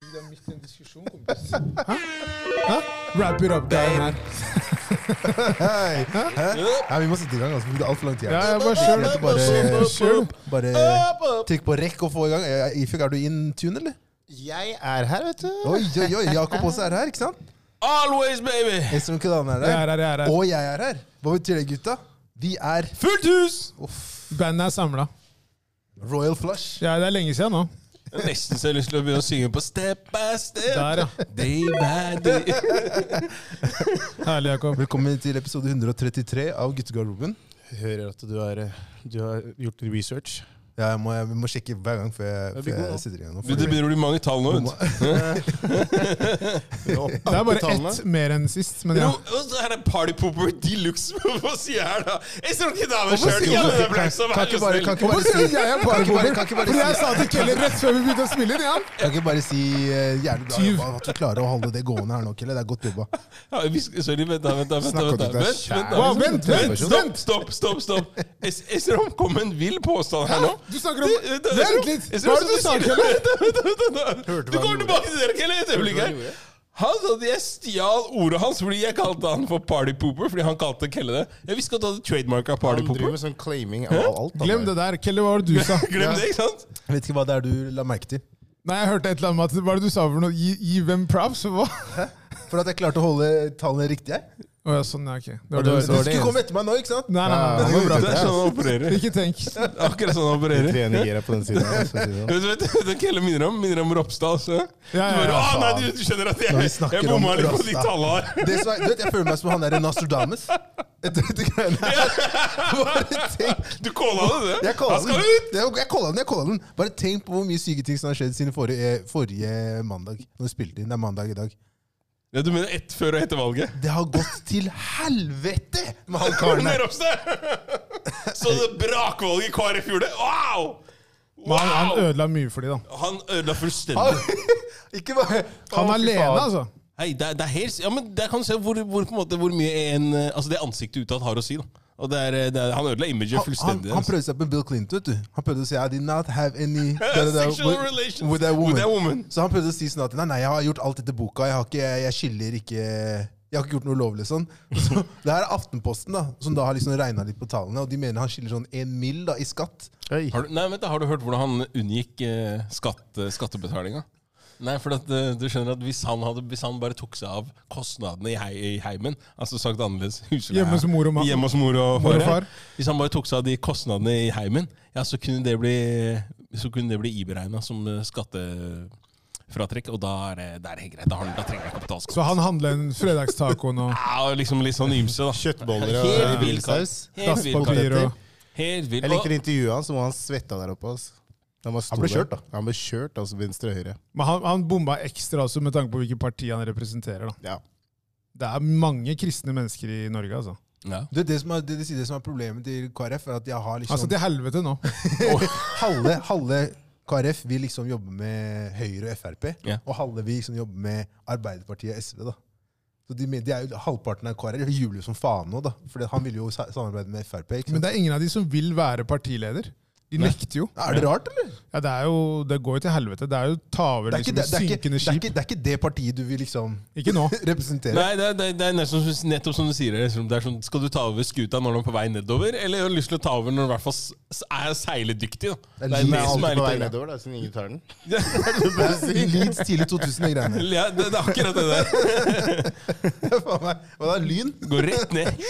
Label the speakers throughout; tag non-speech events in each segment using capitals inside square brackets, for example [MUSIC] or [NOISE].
Speaker 1: du har mistet en diskusjon, kompis.
Speaker 2: Wrap it up, det er den her.
Speaker 3: Hei! Hæ? Nei, vi må sette i gang. altså. Vi brukte altfor lang tid. her.
Speaker 2: Ja, jeg bare kjør.
Speaker 3: Jeg bare-
Speaker 2: Kjør.
Speaker 3: Bare trykk på rekk og få i gang. Eh, Ifjok, er du in tune, eller?
Speaker 1: Jeg er her, vet du.
Speaker 3: Oi, oi, oi. Jakob også er her, ikke sant?
Speaker 4: Always, baby!
Speaker 3: Espen Kudan er
Speaker 2: Jeg er
Speaker 3: her.
Speaker 2: her, jeg er her.
Speaker 3: Og jeg er her. Hva betyr det, gutta? Vi er
Speaker 4: Fullt hus!
Speaker 2: Bandet er samla.
Speaker 3: Royal Flush.
Speaker 2: Ja, det er lenge siden nå.
Speaker 4: Nesten så jeg har lyst til å begynne å synge på step by step.
Speaker 2: Der, ja.
Speaker 4: Day by day.
Speaker 2: Herlig, Jakob.
Speaker 3: Velkommen til episode 133 av Guttegarderoben.
Speaker 1: Hører at du har, du har gjort research.
Speaker 3: Ja, jeg, må, jeg må sjekke hver gang før jeg,
Speaker 1: Det blir
Speaker 3: før
Speaker 1: god, da.
Speaker 3: jeg sitter i gang. nå,
Speaker 4: Det
Speaker 3: fordi-
Speaker 4: begynner å bli mange tall nå. vet du.
Speaker 2: Det er bare ett mer enn sist, men ja.
Speaker 4: Jo, Og så er det Party Pooper Deluxe. Hva sier jeg her, da? Jeg ser ikke dame
Speaker 3: Hvorfor
Speaker 4: sjøl!
Speaker 3: sier
Speaker 4: Ja,
Speaker 3: du-
Speaker 4: det ble så
Speaker 3: Kan
Speaker 4: vær
Speaker 3: ikke
Speaker 4: så
Speaker 3: bare,
Speaker 4: snill.
Speaker 3: kan ikke bare si
Speaker 2: jeg er
Speaker 3: Kan ikke bare- kan ikke bare
Speaker 2: Fordi jeg
Speaker 3: si-
Speaker 2: sa til Kelly rett før vi begynte å spille inn, ja.
Speaker 3: Kan ikke bare si eh, jævlig bra
Speaker 2: Tyv.
Speaker 3: jobba, at du klarer å holde det gående her nå, Kelle. Det er godt jobba.
Speaker 4: Ja, vi skal- Sorry, vent, da. Vent, da. Vent, da,
Speaker 3: Snakk om
Speaker 4: vent,
Speaker 3: det, det er
Speaker 4: da. Vent, vent, da.
Speaker 2: Wow, vent, vent,
Speaker 4: Stopp,
Speaker 2: vent!
Speaker 4: stopp, stopp! stopp. Es- Esrom kom med en vill påstand her nå.
Speaker 2: Du snakker om Vent litt! Hva er det du sa,
Speaker 4: [LAUGHS]
Speaker 2: Kelly?
Speaker 4: Kjelle? Du kommer tilbake til dere, Kjelle, et øyeblikk her. Han sa at jeg stjal ordet hans fordi jeg kalte han for Party Pooper. Fordi han kalte Kelle det. Jeg visste ikke at du hadde trademarka Party
Speaker 1: Han driver
Speaker 4: Pooper.
Speaker 1: med sånn claiming av alt. han
Speaker 2: Glem
Speaker 1: der.
Speaker 2: det der. Kelly, hva var det du
Speaker 1: [LAUGHS]
Speaker 2: sa?
Speaker 4: [LAUGHS] Glem det, ikke sant?
Speaker 3: Jeg vet ikke hva det er du la merke til.
Speaker 2: Nei, jeg hørte et eller annet om at Hva er det du sa for noe? Gi, gi hvem props? Hva?
Speaker 3: For at jeg klarte å holde tallene riktig her.
Speaker 2: Å ja, sånn, ja, ok. Det var
Speaker 1: Og
Speaker 2: det
Speaker 1: det var
Speaker 2: du
Speaker 3: Du
Speaker 2: sa.
Speaker 1: det
Speaker 3: skulle
Speaker 1: eneste.
Speaker 3: komme etter meg nå, ikke sant?
Speaker 2: Nei, nei, nei.
Speaker 3: det var bra.
Speaker 4: Det er sånn han opererer.
Speaker 2: [LAUGHS] Ikke tenk.
Speaker 4: Akkurat sånn han opererer.
Speaker 1: Tre niere på den siden. her, så å si det sånn.
Speaker 4: Vet du vet, du hva Kelle minner om? Minner om Ropstad også.
Speaker 2: Ja, ja,
Speaker 4: Du bare,
Speaker 2: ja.
Speaker 4: «Å, nei, du, du skjønner at jeg,
Speaker 3: Når vi snakker
Speaker 4: jeg bomma
Speaker 3: om
Speaker 4: litt på
Speaker 3: Ropstad.
Speaker 4: de tallene her.
Speaker 3: Det som er, du vet, Jeg føler meg som han der Nostradamus. Etter dette greiene her. Bare tenk.
Speaker 4: [LAUGHS] Du calla det, det?
Speaker 3: Jeg
Speaker 4: Han
Speaker 3: kåla
Speaker 4: skal
Speaker 3: den.
Speaker 4: ut!
Speaker 3: Jeg jeg kåla den, jeg kåla den. Bare tenk på hvor mye syke ting som har skjedd siden forrige, eh, forrige mandag. Når vi spilte inn. Det er mandag i dag.
Speaker 4: Ja, du mener ett før og etter valget?
Speaker 3: Det har gått til helvete med han karen
Speaker 4: Med [LAUGHS]
Speaker 3: her.
Speaker 4: Ropstad! Så det brakvalget KrF gjorde? Wow!
Speaker 2: Men Han, han
Speaker 4: wow!
Speaker 2: ødela mye for de, da.
Speaker 4: Han ødela fullstendig.
Speaker 3: [LAUGHS] Han- Ikke bare
Speaker 2: Han
Speaker 3: Å,
Speaker 2: er
Speaker 3: fy
Speaker 2: alene,
Speaker 3: faen.
Speaker 2: altså.
Speaker 4: Hei, det, er- det er helt, ja, men der kan du se hvor, hvor, på en måte, hvor mye en, eh, altså det ansiktet utad har å si. Da. Og det er, eh, det er, han ødela imaget
Speaker 3: Han, han,
Speaker 4: fullstendig. altså.
Speaker 3: han prøvde seg på Bill Clinton. vet du. Han prøvde å si I did not have
Speaker 4: [LAUGHS]
Speaker 3: any da, da, da,
Speaker 4: Sexual
Speaker 3: with,
Speaker 4: relations
Speaker 3: with, that woman.
Speaker 4: with that woman.
Speaker 3: Så han prøvde å si sånn at nei, nei, jeg har gjort alt etter boka. Jeg har ikke, jeg, jeg skylder ikke Jeg har ikke gjort noe ulovlig. sånn. [LAUGHS] Så, det her er Aftenposten, da, som da har liksom regna litt på tallene. Og de mener han skylder sånn én mill. da, i skatt.
Speaker 1: Oi.
Speaker 4: Har du, nei, vent da, har du hørt hvordan han unngikk eh, skatt, skattebetalinga? Nei, for at, eh, du skjønner at hvis han, hadde, hvis han bare tok seg av kostnadene i, hei, i heimen Altså sagt annerledes [LAUGHS] husleie-
Speaker 2: Hjemme hos mor og ma-
Speaker 4: Hjemme hos mor og
Speaker 2: Mor og
Speaker 4: far,
Speaker 2: far.
Speaker 4: ja. Hvis han bare tok seg av de kostnadene i heimen, ja, så kunne det bli, så kunne det bli iberegna som eh, skattefratrekk, og da er det, det er helt greit. Da, har han- da trenger han ikke å betale skatt.
Speaker 2: Så han handla en fredagstacoen
Speaker 4: [LAUGHS]
Speaker 2: og
Speaker 4: Ja, og liksom litt sånn ymse, da.
Speaker 1: Kjøttboller
Speaker 4: Helt
Speaker 1: og
Speaker 4: vill kar.
Speaker 1: villsaus.
Speaker 4: Helt vill kar.
Speaker 2: dasspapir og
Speaker 4: Helt vill.
Speaker 1: Jeg
Speaker 4: Og-
Speaker 1: likte intervjuet hans, hvor han svetta der oppe. ass. Han, var stor
Speaker 3: ble
Speaker 1: der.
Speaker 3: kjørt, da.
Speaker 1: Han ble kjørt, altså venstre og høyre.
Speaker 2: Men han, han bomba ekstra også med tanke på hvilket parti han representerer. da.
Speaker 1: Ja.
Speaker 2: Det er mange kristne mennesker i Norge, altså.
Speaker 4: Ja.
Speaker 3: Du, vet, det, som er, det, de sier det som er problemet til KrF, er at jeg har liksom
Speaker 2: Altså til helvete nå.
Speaker 3: halve, halve KrF vil liksom jobbe med Høyre og Frp,
Speaker 4: Ja.
Speaker 3: og halve vil liksom jobbe med Arbeiderpartiet og SV. da. Så de, men- de er jo, Halvparten av KrF jubler jo som faen nå, da. For han vil jo sa- samarbeide med Frp. ikke
Speaker 2: Men
Speaker 3: sant?
Speaker 2: det er ingen av de som vil være partileder. De nekter jo.
Speaker 3: er det rart, eller?
Speaker 2: Ja, Det er jo, det går jo til helvete. Det er jo ta over
Speaker 3: Det er, ikke,
Speaker 2: liksom,
Speaker 3: det, det, er ikke,
Speaker 2: synkende
Speaker 3: det, er
Speaker 2: skip.
Speaker 3: ikke, det er ikke det partiet du vil [LAUGHS] liksom
Speaker 2: Ikke nå.
Speaker 3: representere.
Speaker 4: Nei, det, er- det, er- det er nesten, som- nettopp som du sier. det, Liksom. Det er sånn, skal du ta over skuta når den er på vei nedover, eller har du lyst til å ta over når den i hvert fall s- s- er seiledyktig? Da?
Speaker 3: Det
Speaker 4: Det
Speaker 3: er
Speaker 4: er
Speaker 3: litt
Speaker 4: det
Speaker 1: Men
Speaker 4: som
Speaker 1: alltid
Speaker 4: er
Speaker 1: på vei
Speaker 4: litt
Speaker 1: nedover, da, siden ingen tar den.
Speaker 3: Leeds tidlig 2000-greiene.
Speaker 4: ja, det, det er akkurat det
Speaker 1: [LAUGHS]
Speaker 4: der.
Speaker 3: Faen meg. Hva da? Lyn?
Speaker 4: Går rett ned.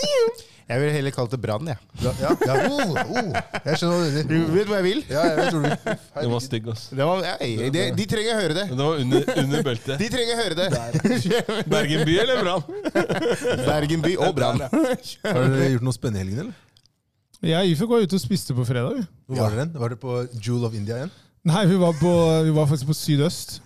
Speaker 1: Jeg ville heller kalt det brann, jeg.
Speaker 3: Ja, ja, ja. Oh, oh. Jeg skjønner hva du
Speaker 1: Du
Speaker 3: mener.
Speaker 1: vet hva jeg vil?
Speaker 3: Ja, jeg vet hvor du vil.
Speaker 4: Den var stygg, ass.
Speaker 1: Det var, ei, de, de trenger å høre det.
Speaker 4: Men Det var under, under
Speaker 1: [LAUGHS]
Speaker 4: beltet.
Speaker 1: De trenger å høre det.
Speaker 4: Bergen by eller Brann?
Speaker 1: [LAUGHS] Bergen by og brann.
Speaker 3: Har dere gjort noe spennende i helgen, eller?
Speaker 2: Jeg og Ifuk var ute og spiste på fredag. vi.
Speaker 3: Hvor var dere? hen? Var dere på Jewel of India igjen?
Speaker 2: Nei, vi var, på, vi var faktisk på Sydøst.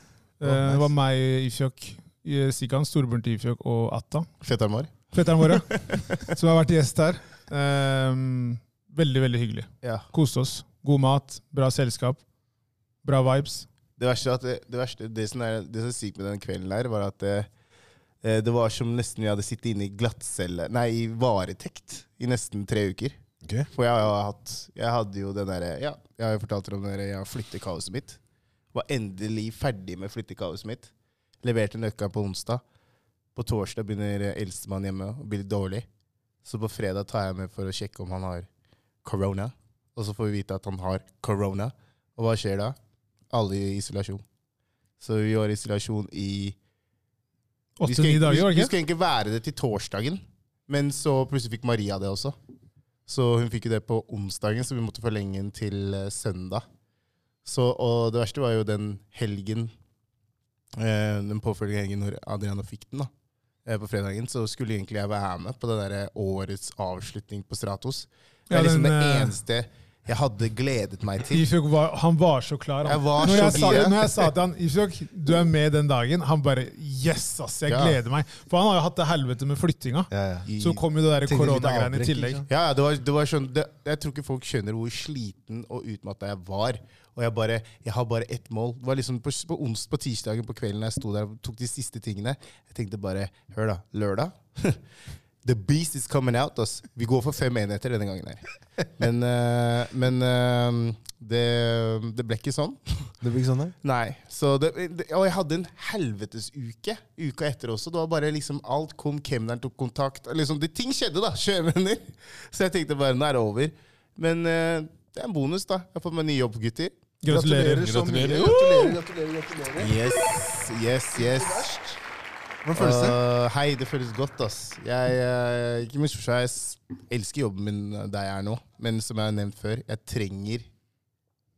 Speaker 2: Eh,
Speaker 3: nice.
Speaker 2: Det var meg, Ifjok, eh, Sikan, storebroren til Ifjok og Atta.
Speaker 1: Fetteren vår.
Speaker 2: Fetteren vår,
Speaker 3: [LAUGHS]
Speaker 2: som har vært gjest her. Ehm, veldig, veldig hyggelig.
Speaker 1: Ja.
Speaker 2: Koste oss. God mat, bra selskap, bra vibes.
Speaker 1: Det verste, er at det, det, verste det, som er, det som er sykt med den kvelden der, var at eh, eh, det var som nesten vi hadde sittet inne i glattcelle Nei, i varetekt i nesten tre uker.
Speaker 3: Ok.
Speaker 1: For jeg har hatt Jeg hadde jo den derre Ja, jeg har jo fortalt dere om det der, jeg har flyttekaoset mitt. Var endelig ferdig med flyttekaoset mitt. Leverte nøkkelen på onsdag. På torsdag begynner eldstemann hjemme og blir litt dårlig. Så på fredag tar jeg med for å sjekke om han har corona. Og så får vi vite at han har corona. Og hva skjer da? Alle i isolasjon. Så vi var i isolasjon i vi skulle-
Speaker 2: Åtte-ni dager, var
Speaker 1: vi- Vi
Speaker 2: det ikke?
Speaker 1: skulle egentlig være det til torsdagen, men så plutselig fikk Maria det også. Så hun fikk jo det på onsdagen, så vi måtte forlenge den til eh, søndag. Så, og det verste var jo den helgen, eh, den påfølgende helgen når Adriana fikk den, da. eh, På fredagen så skulle egentlig jeg være med på det der eh, årets avslutning på Stratos. Det er
Speaker 2: Ja,
Speaker 1: liksom
Speaker 2: den,
Speaker 1: det
Speaker 2: eh,
Speaker 1: eneste jeg hadde gledet meg til.
Speaker 2: Ifjok var, han var så klar. Han.
Speaker 1: Jeg var
Speaker 2: når,
Speaker 1: så
Speaker 2: jeg sa,
Speaker 1: gira.
Speaker 2: når jeg sa til han Ifjok, du er med den dagen, han bare Yes, ass! Jeg
Speaker 1: Ja.
Speaker 2: gleder meg. For han har jo hatt det helvete med flyttinga.
Speaker 3: Ja, ja.
Speaker 1: I-
Speaker 2: Så kom jo det der
Speaker 3: Tenkte litt
Speaker 2: koronagreiene i
Speaker 3: avbrekk,
Speaker 2: tillegg.
Speaker 3: ikke sant?
Speaker 1: Ja, ja, det var, det var sånn, det, Jeg tror ikke folk skjønner hvor sliten og utmatta jeg var. Og jeg bare, jeg har bare ett mål. Det var liksom På, på ons- på tirsdagen på kvelden da jeg sto der og tok de siste tingene, jeg tenkte bare Hør, da. Lørdag? [LAUGHS] The beast is coming out. Ass. Vi går for fem enheter denne gangen her. Men, eh, men eh, det, det ble ikke sånn. [LAUGHS]
Speaker 3: Det blir ikke sånn, nei?
Speaker 1: Nei. Så det, det, og jeg hadde en helvetesuke uka etter også. Det var bare liksom alt kom, kemneren tok kontakt. Liksom, det, ting skjedde, da. [LAUGHS] Sjøvenner. Så jeg tenkte bare nå er det over. Men eh, det er en bonus, da. Jeg har fått meg ny jobb, gutter.
Speaker 2: Gratulerer.
Speaker 3: så mye.
Speaker 4: Gratulerer.
Speaker 3: Gratulerer, gratulerer, gratulerer.
Speaker 1: Yes, yes, yes.
Speaker 3: Hvordan føles det?
Speaker 1: Øh, hei, det føles godt, ass. Jeg, eh, ikke misforstå, jeg s- elsker jobben min eh, der jeg er nå. Men som jeg har nevnt før, jeg trenger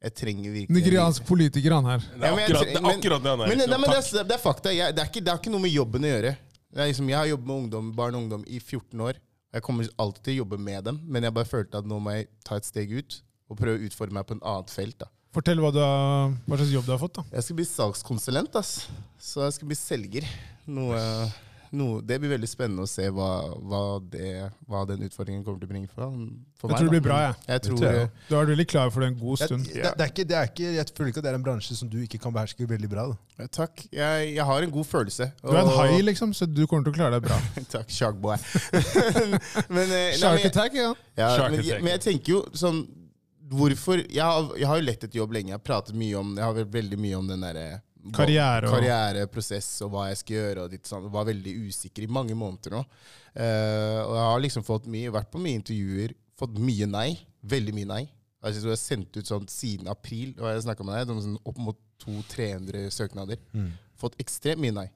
Speaker 1: Jeg trenger virkelig
Speaker 2: Nigeriansk politiker, han her.
Speaker 4: Det er
Speaker 1: Ja, men jeg
Speaker 4: akkurat det, er
Speaker 1: tre-
Speaker 4: akkurat det han er.
Speaker 1: Men,
Speaker 4: Liksom.
Speaker 1: nei, men det,
Speaker 4: Takk.
Speaker 1: er, det er fakta. Jeg, det, er ikke, det har ikke noe med jobben å gjøre. Det er liksom, jeg har jobbet med ungdom, barn og ungdom i 14 år. Jeg kommer alltid til å jobbe med dem, men jeg bare følte at nå må jeg ta et steg ut og prøve å utfordre meg på en annet felt. da.
Speaker 2: Fortell hva, du har, hva slags jobb du har fått. da.
Speaker 1: Jeg skal bli salgskonsulent, ass. så jeg skal bli selger. Noe, noe, det blir veldig spennende å se hva, hva, det, hva den utfordringen kommer til å bringe for, for
Speaker 2: Jeg
Speaker 1: meg.
Speaker 2: tror det
Speaker 1: da.
Speaker 2: blir bra. jeg.
Speaker 1: Jeg tror,
Speaker 3: tror jeg
Speaker 2: Du har vært veldig klar for det en god
Speaker 3: Jeg,
Speaker 2: stund.
Speaker 3: det, det er ikke, det er ikke, jeg føler ikke at det er en bransje som du ikke kan beherske veldig bra. Da.
Speaker 1: Ja, Takk. Jeg, jeg har en god følelse.
Speaker 2: Du er en
Speaker 1: og-
Speaker 2: hai, liksom, så du kommer til å klare deg bra.
Speaker 1: [LAUGHS] Takk, Shagboy. [LAUGHS] men, eh, nei, men
Speaker 2: Shark
Speaker 1: jeg-
Speaker 2: attack, ja.
Speaker 1: Ja,
Speaker 4: Shark
Speaker 1: men,
Speaker 4: Attack.
Speaker 1: men jeg tenker jo sånn Hvorfor Jeg har, jeg har jo lett etter jobb lenge. Jeg har pratet mye om Jeg har vel veldig mye om den eh, derre
Speaker 2: Karriere og-
Speaker 1: karriereprosess og hva jeg skal gjøre. og ditt sånn. Var veldig usikker i mange måneder nå. Eh, og jeg har liksom fått mye, vært på mye intervjuer, fått mye nei. Veldig mye nei. Altså, jeg tror jeg har sendt ut sånn siden april, og jeg snakket med deg, det var sånn opp mot 200-300 søknader. Fått ekstremt mye nei.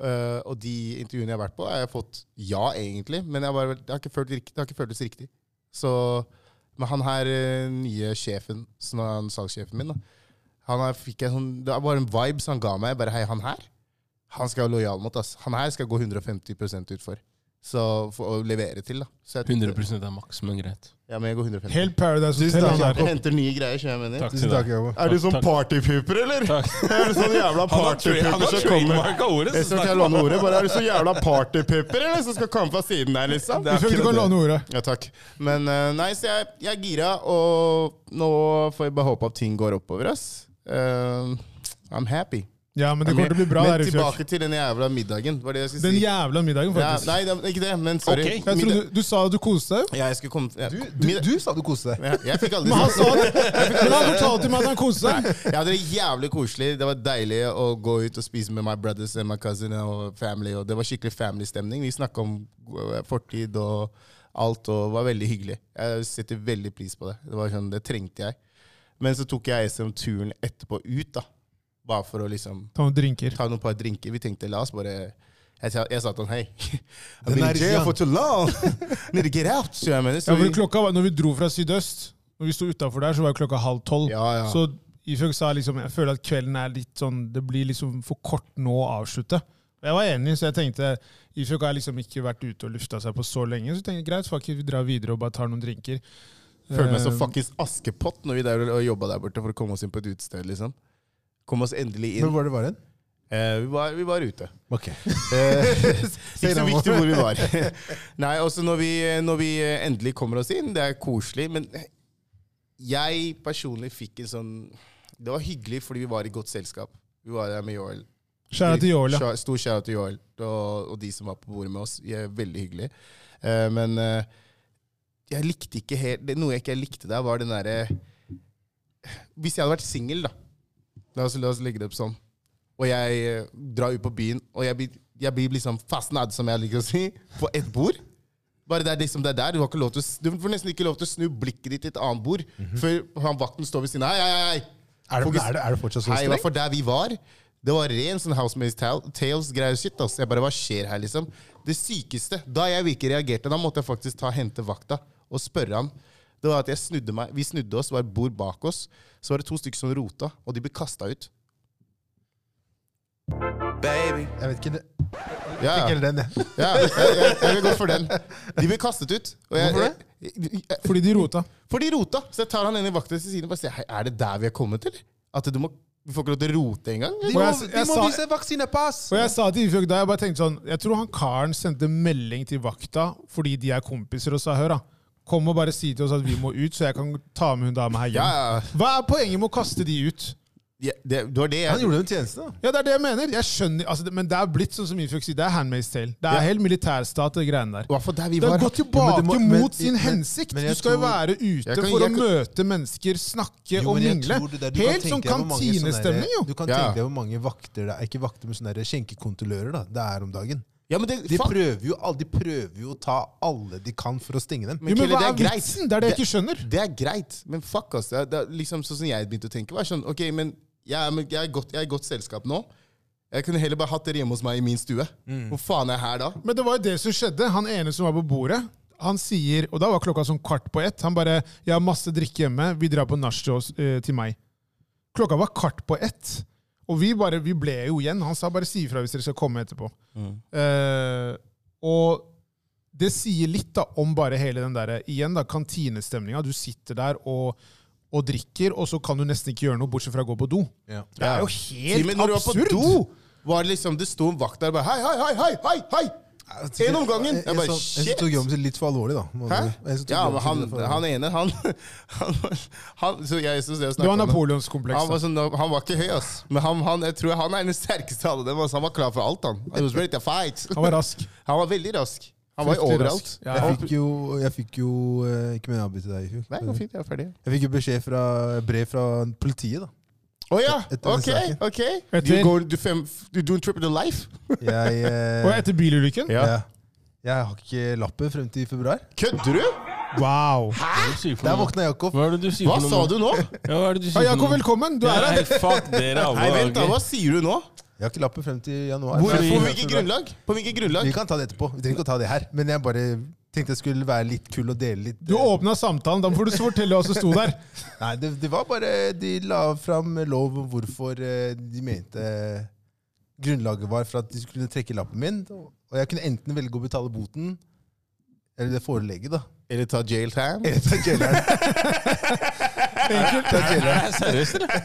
Speaker 1: Eh, og de intervjuene jeg har vært på, har jeg fått ja, egentlig, men jeg har bare, det, har ikke følt, rikt- det har ikke føltes riktig. Så, men han her, eh, nye sjefen, som er han salgssjefen min, da, han her fikk en sånn, det var bare en vibes han ga meg. Jeg Bare, hei, han her, han skal jeg være lojal mot, ass. Han her skal jeg gå 150 ut for. Så, for å levere til, da. Så jeg,
Speaker 4: 100 er maks, men greit.
Speaker 1: Ja, men jeg går 150.
Speaker 2: Helt Paradise Hotel.
Speaker 3: takk,
Speaker 2: han der.
Speaker 1: Jeg henter nye greier, skjønner jeg mener.
Speaker 4: Takk
Speaker 3: Tusen
Speaker 4: til
Speaker 3: takk,
Speaker 4: deg.
Speaker 3: Jakob.
Speaker 1: Er du sånn
Speaker 4: Takk.
Speaker 1: partypooper, eller?
Speaker 4: Takk.
Speaker 1: [LAUGHS] Er du sånn
Speaker 4: [LAUGHS]
Speaker 1: jævla
Speaker 4: Han har tra- han
Speaker 1: partypooper
Speaker 4: har
Speaker 1: som kommer?
Speaker 4: trademarka ordet,
Speaker 1: sånn Jeg
Speaker 4: så
Speaker 1: skal ikke
Speaker 4: snakk om
Speaker 1: låne ordet, bare er du så jævla partypooper, eller? Som skal komme fra siden der, liksom?
Speaker 2: Ifjok, du kan låne ordet.
Speaker 1: Ja, takk. Men eh, nei, så jeg, jeg er gira, og nå får jeg bare håpe at ting går oppover, ass. Eh, I'm happy.
Speaker 2: Ja, men det kommer til å bli bra
Speaker 1: men
Speaker 2: der. Ifjok.
Speaker 1: tilbake til den jævla middagen, var det jeg skulle
Speaker 2: Den
Speaker 1: si.
Speaker 2: jævla middagen,
Speaker 1: Ja,
Speaker 2: faktisk.
Speaker 1: nei, det er ikke det, men sorry.
Speaker 4: Ok.
Speaker 2: Jeg
Speaker 4: Jeg
Speaker 2: tror
Speaker 1: Middag-
Speaker 2: du, du sa at du koste deg.
Speaker 1: ja, jeg skulle komme
Speaker 3: Du, du, du sa du koste deg.
Speaker 1: Jeg, jeg fikk aldri
Speaker 2: Men han
Speaker 1: sagt
Speaker 2: sa det. Men han fortalte meg at han koste seg.
Speaker 1: [LAUGHS] Jeg hadde det jævlig koselig. Det var deilig å gå ut og spise med my brothers and my cousin og family. Og det var skikkelig family-stemning. Vi snakka om eh, fortid og alt, og det var veldig hyggelig. Jeg setter veldig pris på det. Det var sånn, det trengte jeg. Men så tok jeg SM-turen etterpå ut, da. Bare for å liksom
Speaker 2: Ta noen drinker.
Speaker 1: ta noen par drinker. Vi tenkte la oss bare Jeg sa, jeg sa til han hei. [LAUGHS] I've
Speaker 3: Den
Speaker 1: been
Speaker 3: er
Speaker 1: in jail
Speaker 3: young.
Speaker 1: for too long. [LAUGHS] Need to get out. Så jeg mener,
Speaker 2: Ja,
Speaker 1: så
Speaker 2: for
Speaker 1: vi-
Speaker 2: klokka var, når vi dro fra sydøst, når vi sto utafor der, så var klokka halv tolv.
Speaker 1: Ja, ja.
Speaker 2: Så Ifjok sa liksom jeg føler at kvelden er litt sånn Det blir liksom for kort nå å avslutte. Og Jeg var enig, så jeg tenkte Ifjok har liksom ikke vært ute og lufta seg på så lenge. Så tenkte jeg greit, fuck it, vi drar videre og bare tar noen drinker.
Speaker 1: Følte meg som
Speaker 2: Eh,
Speaker 1: fuckings Askepott når vi der og jobba der borte for å komme oss inn på et utested. liksom. Kom oss endelig inn.
Speaker 3: Men hvor det var hen?
Speaker 1: Eh, vi, var, vi var ute.
Speaker 3: [LAUGHS] Ok.
Speaker 1: Eh, ikke så viktig hvor vi var. [LAUGHS] Nei, også når vi, når vi eh, endelig kommer oss inn, det er koselig, men eh, jeg personlig fikk en sånn Det var hyggelig fordi vi var i godt selskap. Vi var der med Joel.
Speaker 2: Skjæra til Joel, ja.
Speaker 1: Shout- Stor shout til Joel og, og de som var på bordet med oss. De er veldig hyggelige. Eh, men eh, jeg likte ikke helt det, Noe jeg ikke likte der, var den derre Hvis jeg hadde vært singel, da, La oss, la oss legge det opp sånn. Og jeg eh, drar ut på byen, og jeg blir, jeg blir liksom fastnad, som jeg liker å si, på ett bord. Bare det er liksom det er der, Du har ikke lov til å, s- du får nesten ikke lov til å snu blikket ditt til et annet bord
Speaker 2: Mhm.
Speaker 1: før han vakten står ved siden av. Hei, hei, hei!
Speaker 3: Er det,
Speaker 1: Fokus-
Speaker 3: er det, er det fortsatt så
Speaker 1: Hei, i hvert
Speaker 3: strengt?
Speaker 1: fall der vi var. Det var ren sånn Housemates Tales-greier. shit, ass. Jeg bare, Hva skjer her, liksom? Det sykeste Da jeg ikke reagerte, da måtte jeg faktisk ta hente vakta og spørre han. Det var at jeg snudde meg, Vi snudde oss, det var et bord bak oss. Så var det to stykker som rota, og de ble kasta ut.
Speaker 5: baby.
Speaker 3: Jeg vet ikke det.
Speaker 1: Ja, ja,
Speaker 3: Eller den, jeg.
Speaker 1: ja jeg, jeg, jeg vil gå for den. De ble kastet ut. Og jeg,
Speaker 3: Hvorfor
Speaker 1: jeg, jeg,
Speaker 2: Fordi de rota.
Speaker 1: For de rota! Så jeg tar han inn i vakta til siden og bare sier «Hei, Er det der vi er kommet til? At du må, vi får ikke lov til å rote engang?
Speaker 3: De
Speaker 2: Og
Speaker 3: må,
Speaker 2: jeg-
Speaker 3: de
Speaker 2: jeg
Speaker 3: må
Speaker 2: sa-
Speaker 3: vise vaksinepass!
Speaker 2: Og jeg sa til Ifjok da, jeg bare tenkte sånn Jeg tror han karen sendte melding til vakta fordi de er kompiser, og sa hør, da. Kom og bare si til oss at vi må ut, så jeg kan ta med hun dama her
Speaker 1: Ja,
Speaker 2: hjem.
Speaker 1: ja.
Speaker 2: Hva er poenget med å kaste de ut?
Speaker 1: ja, Det, det var det jeg
Speaker 3: Han gjorde dem en tjeneste, da.
Speaker 2: Ja, det er det jeg mener. Jeg skjønner, altså, det- Men det er blitt sånn som Ifjok sier, det er handmaid's tale. Det er
Speaker 1: Ja.
Speaker 2: helt militærstat, det greiene der.
Speaker 1: I hvert fall der vi
Speaker 2: Det
Speaker 1: var.
Speaker 2: har gått tilbake
Speaker 3: Jo, men det må- men-
Speaker 2: mot sin
Speaker 3: men-
Speaker 2: hensikt.
Speaker 3: men
Speaker 2: du
Speaker 3: jeg
Speaker 2: skal jo
Speaker 3: tror-
Speaker 2: være ute
Speaker 1: Jeg kan-
Speaker 2: for å
Speaker 1: jeg kan-
Speaker 2: møte mennesker, snakke
Speaker 3: Jo,
Speaker 2: og
Speaker 3: men jeg
Speaker 2: mingle.
Speaker 3: tror det der- du kan
Speaker 2: Helt
Speaker 3: tenke
Speaker 2: sånn
Speaker 3: deg hvor mange sånne der-
Speaker 2: kantinestemning, jo.
Speaker 3: Du kan
Speaker 1: Ja.
Speaker 3: tenke deg hvor mange vakter det er, ikke vakter, men sånne der skjenkekontrollører da, det er om dagen.
Speaker 1: Ja, men det,
Speaker 3: De
Speaker 1: faen,
Speaker 3: prøver, jo, al- de prøver jo å ta alle de kan for å stenge dem.
Speaker 1: Men
Speaker 2: jo, men
Speaker 1: Kelle,
Speaker 2: hva
Speaker 1: det
Speaker 2: er
Speaker 1: er greit.
Speaker 2: vitsen? Det er det jeg ikke skjønner.
Speaker 1: det er greit, men fuck, ass. Det er, det er liksom sånn som jeg begynte å tenke. Var sånn, ok, men jeg, er- men jeg, er godt, jeg er i godt selskap nå. Jeg kunne heller bare hatt dere hjemme hos meg i min stue. Hvor faen er jeg her da?
Speaker 2: Men det var jo det som skjedde. Han ene som var på bordet, han sier Og da var klokka sånn kvart på ett. Han bare 'Jeg har masse drikke hjemme. Vi drar på nach til oss, eh, til meg.' Klokka var kvart på ett. Og vi, bare, vi ble jo igjen. Han sa bare 'si ifra hvis dere skal komme etterpå'.
Speaker 1: Mm.
Speaker 2: Eh, og det sier litt da om bare hele den der, igjen da, kantinestemninga. Du sitter der og, og drikker, og så kan du nesten ikke gjøre noe bortsett fra å gå på do.
Speaker 3: Ja.
Speaker 2: Det er jo
Speaker 1: Si,
Speaker 2: helt
Speaker 1: men når du var på
Speaker 2: absurd!
Speaker 1: do, var det liksom, det sto en vakt der og bare hei, hei, hei, hei, hei, hei! En om gangen!
Speaker 3: En
Speaker 1: Jeg bare,
Speaker 3: som- En som
Speaker 1: shit!
Speaker 3: tok jobben sin litt for alvorlig, da. må
Speaker 1: Hæ?
Speaker 3: du- en som tok
Speaker 1: Ja,
Speaker 3: jobben
Speaker 1: men
Speaker 3: sin
Speaker 1: han,
Speaker 3: litt for alvorlig.
Speaker 1: han ene, han, [LAUGHS] han, han så jeg synes det å
Speaker 2: Det var
Speaker 1: snakke om det.
Speaker 2: napoleonskompleks.
Speaker 1: Han
Speaker 2: da.
Speaker 1: var, sånn, han var ikke høy, ass. Men han, han, jeg tror han er den sterkeste av alle dem. ass. Han var klar for alt, han. He was ready to fight.
Speaker 2: Han var rask.
Speaker 1: Han var veldig rask. Han var jo
Speaker 2: Fryktelig
Speaker 1: overalt.
Speaker 2: rask. Ja.
Speaker 3: jeg fikk jo, jeg fikk jo eh, Ikke min avbryte deg, Hugh.
Speaker 1: Nei, det går fint. Jeg er ferdig.
Speaker 3: Jeg fikk jo beskjed fra, brev fra politiet, da.
Speaker 1: Å ja!
Speaker 3: Etter den
Speaker 1: Ok,
Speaker 3: saken.
Speaker 1: ok.
Speaker 2: Etter-
Speaker 1: You go to fem, you do a trip of the life?
Speaker 3: Jeg, eh,
Speaker 2: Og etter bilulykken?
Speaker 3: ja. Jeg har ikke lappen frem til februar.
Speaker 1: Kødder du?!
Speaker 2: Wow.
Speaker 3: Der våkna Jakob.
Speaker 4: Hva er det du sier
Speaker 1: [LAUGHS] Hva
Speaker 4: for noe?
Speaker 1: sa du nå?!
Speaker 4: Ja, hva er det du
Speaker 2: Ja,
Speaker 4: sier
Speaker 2: Jakob,
Speaker 4: for noe?
Speaker 2: velkommen. Du
Speaker 4: Ja,
Speaker 2: er her.
Speaker 4: nei, fuck dere alle.
Speaker 1: Nei, vent da,
Speaker 4: ok.
Speaker 1: hva sier du nå?
Speaker 3: Jeg har ikke lappen frem til januar.
Speaker 1: Hvor,
Speaker 4: Fordi-
Speaker 1: på hvilket grunnlag? På hvilket
Speaker 3: Vi
Speaker 1: grunnlag?
Speaker 3: kan ta det etterpå. Vi trenger ikke å ta det her. Men jeg bare tenkte jeg skulle være litt kul og dele litt. eh,
Speaker 2: Du åpna samtalen. Da får du fortelle hva som sto der.
Speaker 3: Nei, det, det var bare De la fram lov om hvorfor eh, de mente grunnlaget var for at de skulle trekke lappen min. Og jeg kunne enten velge å betale boten eller det forelegget, da. [LAUGHS]
Speaker 1: Eller ta jail time?
Speaker 3: Eller ta jaileren.
Speaker 2: Enkelt.
Speaker 3: Ta jaileren.
Speaker 4: Nei, seriøst, eller?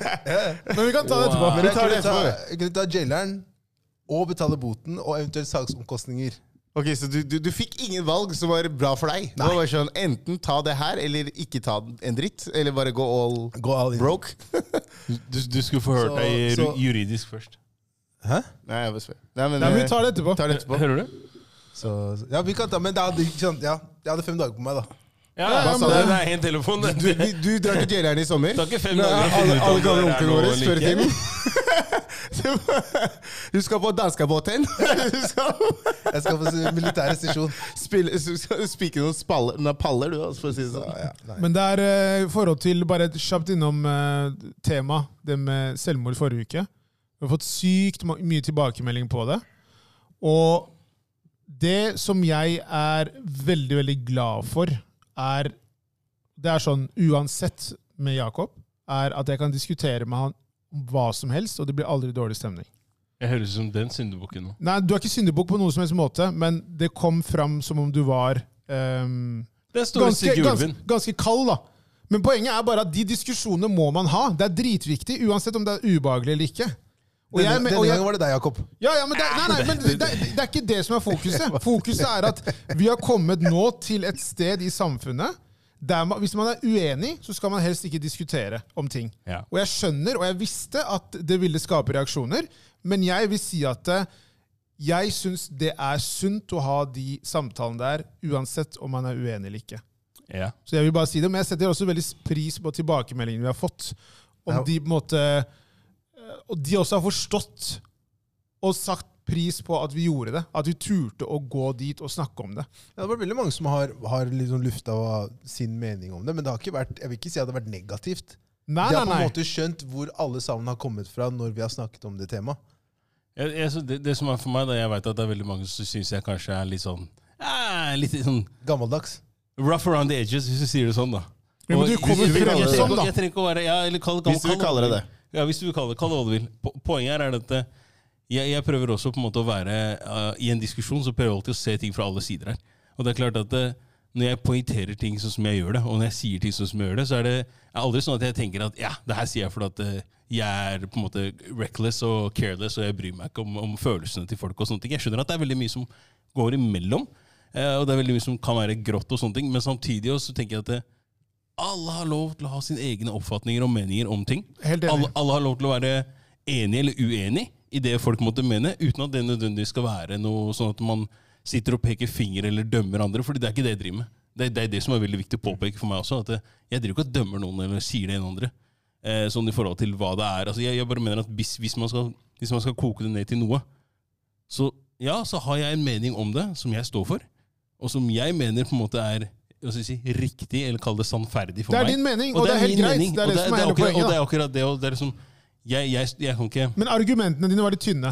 Speaker 2: Men vi kan ta det etterpå.
Speaker 4: Wow.
Speaker 3: Men
Speaker 1: Vi
Speaker 3: jeg kunne
Speaker 1: tar det
Speaker 3: ta,
Speaker 1: etterpå,
Speaker 3: jeg kunne ta jaileren og betale boten og eventuelt saksomkostninger.
Speaker 1: Ok, Så du, du, du fikk ingen valg som var bra for deg? Det var bare sånn, Enten ta det her, eller ikke ta en dritt. Eller bare gå all
Speaker 3: Gå all in.
Speaker 1: broke.
Speaker 4: Du, du skulle få hørt
Speaker 3: Så-
Speaker 4: deg ju-
Speaker 3: så-
Speaker 4: juridisk først.
Speaker 3: Hæ?
Speaker 1: Nei, jeg bare spør. Nei, men,
Speaker 2: Nei, men
Speaker 1: eh,
Speaker 2: vi tar det etterpå.
Speaker 1: tar det etterpå.
Speaker 4: Hører du?
Speaker 3: Så, så- ja, vi kan ta, men da hadde, ikke sant, ja, jeg hadde fem dager på meg, da.
Speaker 4: Ja,
Speaker 1: hva
Speaker 4: men
Speaker 1: sa
Speaker 4: det
Speaker 1: du?
Speaker 4: er én telefon. Det,
Speaker 1: Du, du, du drar til jaileren i sommer.
Speaker 4: det tar ikke fem
Speaker 1: Nei,
Speaker 4: dager å finne
Speaker 1: alle-
Speaker 4: ut
Speaker 1: alle
Speaker 4: om det
Speaker 1: gamle
Speaker 4: er
Speaker 1: onklene
Speaker 4: noe
Speaker 1: våre
Speaker 4: eller
Speaker 1: spør
Speaker 4: ikke.
Speaker 1: [LAUGHS] tiden. Det var- Du skal på danskebåten. [LAUGHS] Du skal
Speaker 3: Jeg skal på s- militær stasjon.
Speaker 1: spille- du skal spike noen spaller, nei, paller, du, altså, for å si det sånn.
Speaker 3: Ja, nei.
Speaker 2: Men det er eh, i forhold til Bare kjapt innom uh, tema, det med selvmord forrige uke. Vi har fått sykt ma- mye tilbakemelding på det. Og det som jeg er veldig, veldig glad for, er Det er sånn uansett med Jakob, er at jeg kan diskutere med han om hva som helst, og det blir aldri dårlig stemning.
Speaker 4: Jeg høres ut som den syndebukken nå.
Speaker 2: Nei, du er ikke syndebukk på noen som helst måte, men det kom fram som om du var ehm,
Speaker 4: Den store
Speaker 2: ganske,
Speaker 4: Sigurd
Speaker 2: ganske,
Speaker 4: Ulven.
Speaker 2: ganske kald, da. Men poenget er bare at de diskusjonene må man ha. Det er dritviktig, uansett om det er ubehagelig eller ikke. Og jeg,
Speaker 3: Denne,
Speaker 2: men- og
Speaker 3: denne
Speaker 2: jeg,
Speaker 3: gangen var det deg, Jakob.
Speaker 2: ja, ja, men det, nei, nei, men det, det, det er ikke det som er
Speaker 3: [LAUGHS]
Speaker 2: fokuset. Fokuset er at vi har kommet nå til et sted i samfunnet der man, hvis man er uenig, så skal man helst ikke diskutere om ting.
Speaker 4: Ja.
Speaker 2: Og jeg skjønner, og jeg visste at det ville skape reaksjoner, men jeg vil si at eh, jeg syns det er sunt å ha de samtalene der, uansett om man er uenig eller ikke.
Speaker 4: Ja.
Speaker 2: Så jeg vil bare si det, men jeg setter også veldig pris på tilbakemeldingene vi har fått. Om
Speaker 3: Ja.
Speaker 2: de på en måte eh, og de også har forstått og sagt pris på at vi gjorde det. At vi turte å gå dit og snakke om det.
Speaker 3: Ja, det har vært veldig mange som har, har liksom lufta sin mening om det, men det har ikke vært, jeg vil ikke si at det har vært negativt.
Speaker 2: Nei,
Speaker 3: de
Speaker 2: nei,
Speaker 3: har på en
Speaker 2: nei.
Speaker 3: måte skjønt hvor alle sammen har kommet fra når vi har snakket om det temaet.
Speaker 4: Jeg, jeg, så det, det som er for meg, da, jeg vet at det er veldig mange som syns jeg kanskje er litt sånn eh, Litt sånn
Speaker 3: Gammeldags.
Speaker 4: rough around the edges, hvis du sier det sånn, da.
Speaker 2: Ja, men du
Speaker 4: Og-
Speaker 2: kommer
Speaker 4: hvis-
Speaker 2: fra
Speaker 4: jeg trenger
Speaker 2: sånn,
Speaker 4: ikke-
Speaker 2: da.
Speaker 4: Jeg trenger ikke å være ja, eller kall, kall,
Speaker 1: Hvis du vil
Speaker 4: kall-
Speaker 1: kalle det det.
Speaker 4: Ja, hvis du vil kalle det kall det hva du vil. Po- Poenget her er at eh, jeg, jeg prøver også på en måte å være eh, I en diskusjon så prøver jeg alltid å se ting fra alle sider her. Og det er klart at eh, når jeg poengterer ting sånn som jeg gjør det, og når jeg sier ting sånn som jeg gjør det, så er det er aldri sånn at jeg tenker at ja, det her sier jeg fordi at eh, jeg er på en måte reckless og careless, og jeg bryr meg ikke om, om følelsene til folk og sånne ting. Jeg skjønner at det er veldig mye som går imellom, eh, og det er veldig mye som kan være grått og sånne ting, men samtidig også så tenker jeg at eh, alle har lov til å ha sine egne oppfatninger og meninger om ting.
Speaker 2: Helt enig.
Speaker 4: Alle, alle har lov til å være enig eller uenig i det folk måtte mene, uten at det nødvendigvis skal være noe sånn at man sitter og peker finger eller dømmer andre, fordi det er ikke det jeg driver med. Det, det er det som er veldig viktig å påpeke for meg også, at eh, jeg driver ikke og dømmer noen eller sier det ene andre. Eh, sånn i forhold til hva det er. Altså, jeg, jeg bare mener at hvis, hvis, man skal, hvis man skal koke det ned til noe, så ja, så har jeg en mening om det som jeg står for, og som jeg mener på en måte er hva skal jeg si, riktig, eller kall det sannferdig for
Speaker 2: Det er
Speaker 4: meg.
Speaker 2: din mening, og, det er helt
Speaker 4: min
Speaker 2: greit.
Speaker 4: mening,
Speaker 2: Det
Speaker 4: og
Speaker 2: er det som er hele
Speaker 4: akkurat- Og det
Speaker 2: poenget.
Speaker 4: er akkurat det, og det er liksom jeg, jeg, jeg kan ikke
Speaker 2: da. Men argumentene dine var litt tynne.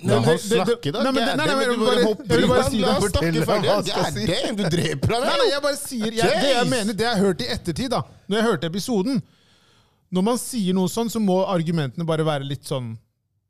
Speaker 1: La
Speaker 2: men
Speaker 1: han
Speaker 2: det- det-
Speaker 1: snakke, da.
Speaker 2: nei, men det- nei, nei,
Speaker 1: Gæren,
Speaker 2: men
Speaker 1: du
Speaker 2: bare- jeg
Speaker 1: hopper
Speaker 2: vil
Speaker 1: i
Speaker 2: bare
Speaker 1: han.
Speaker 2: si
Speaker 1: La
Speaker 2: det.
Speaker 1: han
Speaker 3: Fortell
Speaker 1: snakke
Speaker 3: hva
Speaker 1: ferdig.
Speaker 3: han skal si.
Speaker 1: Gæren, du dreper han
Speaker 2: Nei,
Speaker 1: her.
Speaker 2: nei, jeg bare sier jeg, Det jeg
Speaker 1: Jeez.
Speaker 2: mener, det jeg har hørt i ettertid, da. Når jeg hørte episoden. Når man sier noe sånn, så må argumentene bare være litt sånn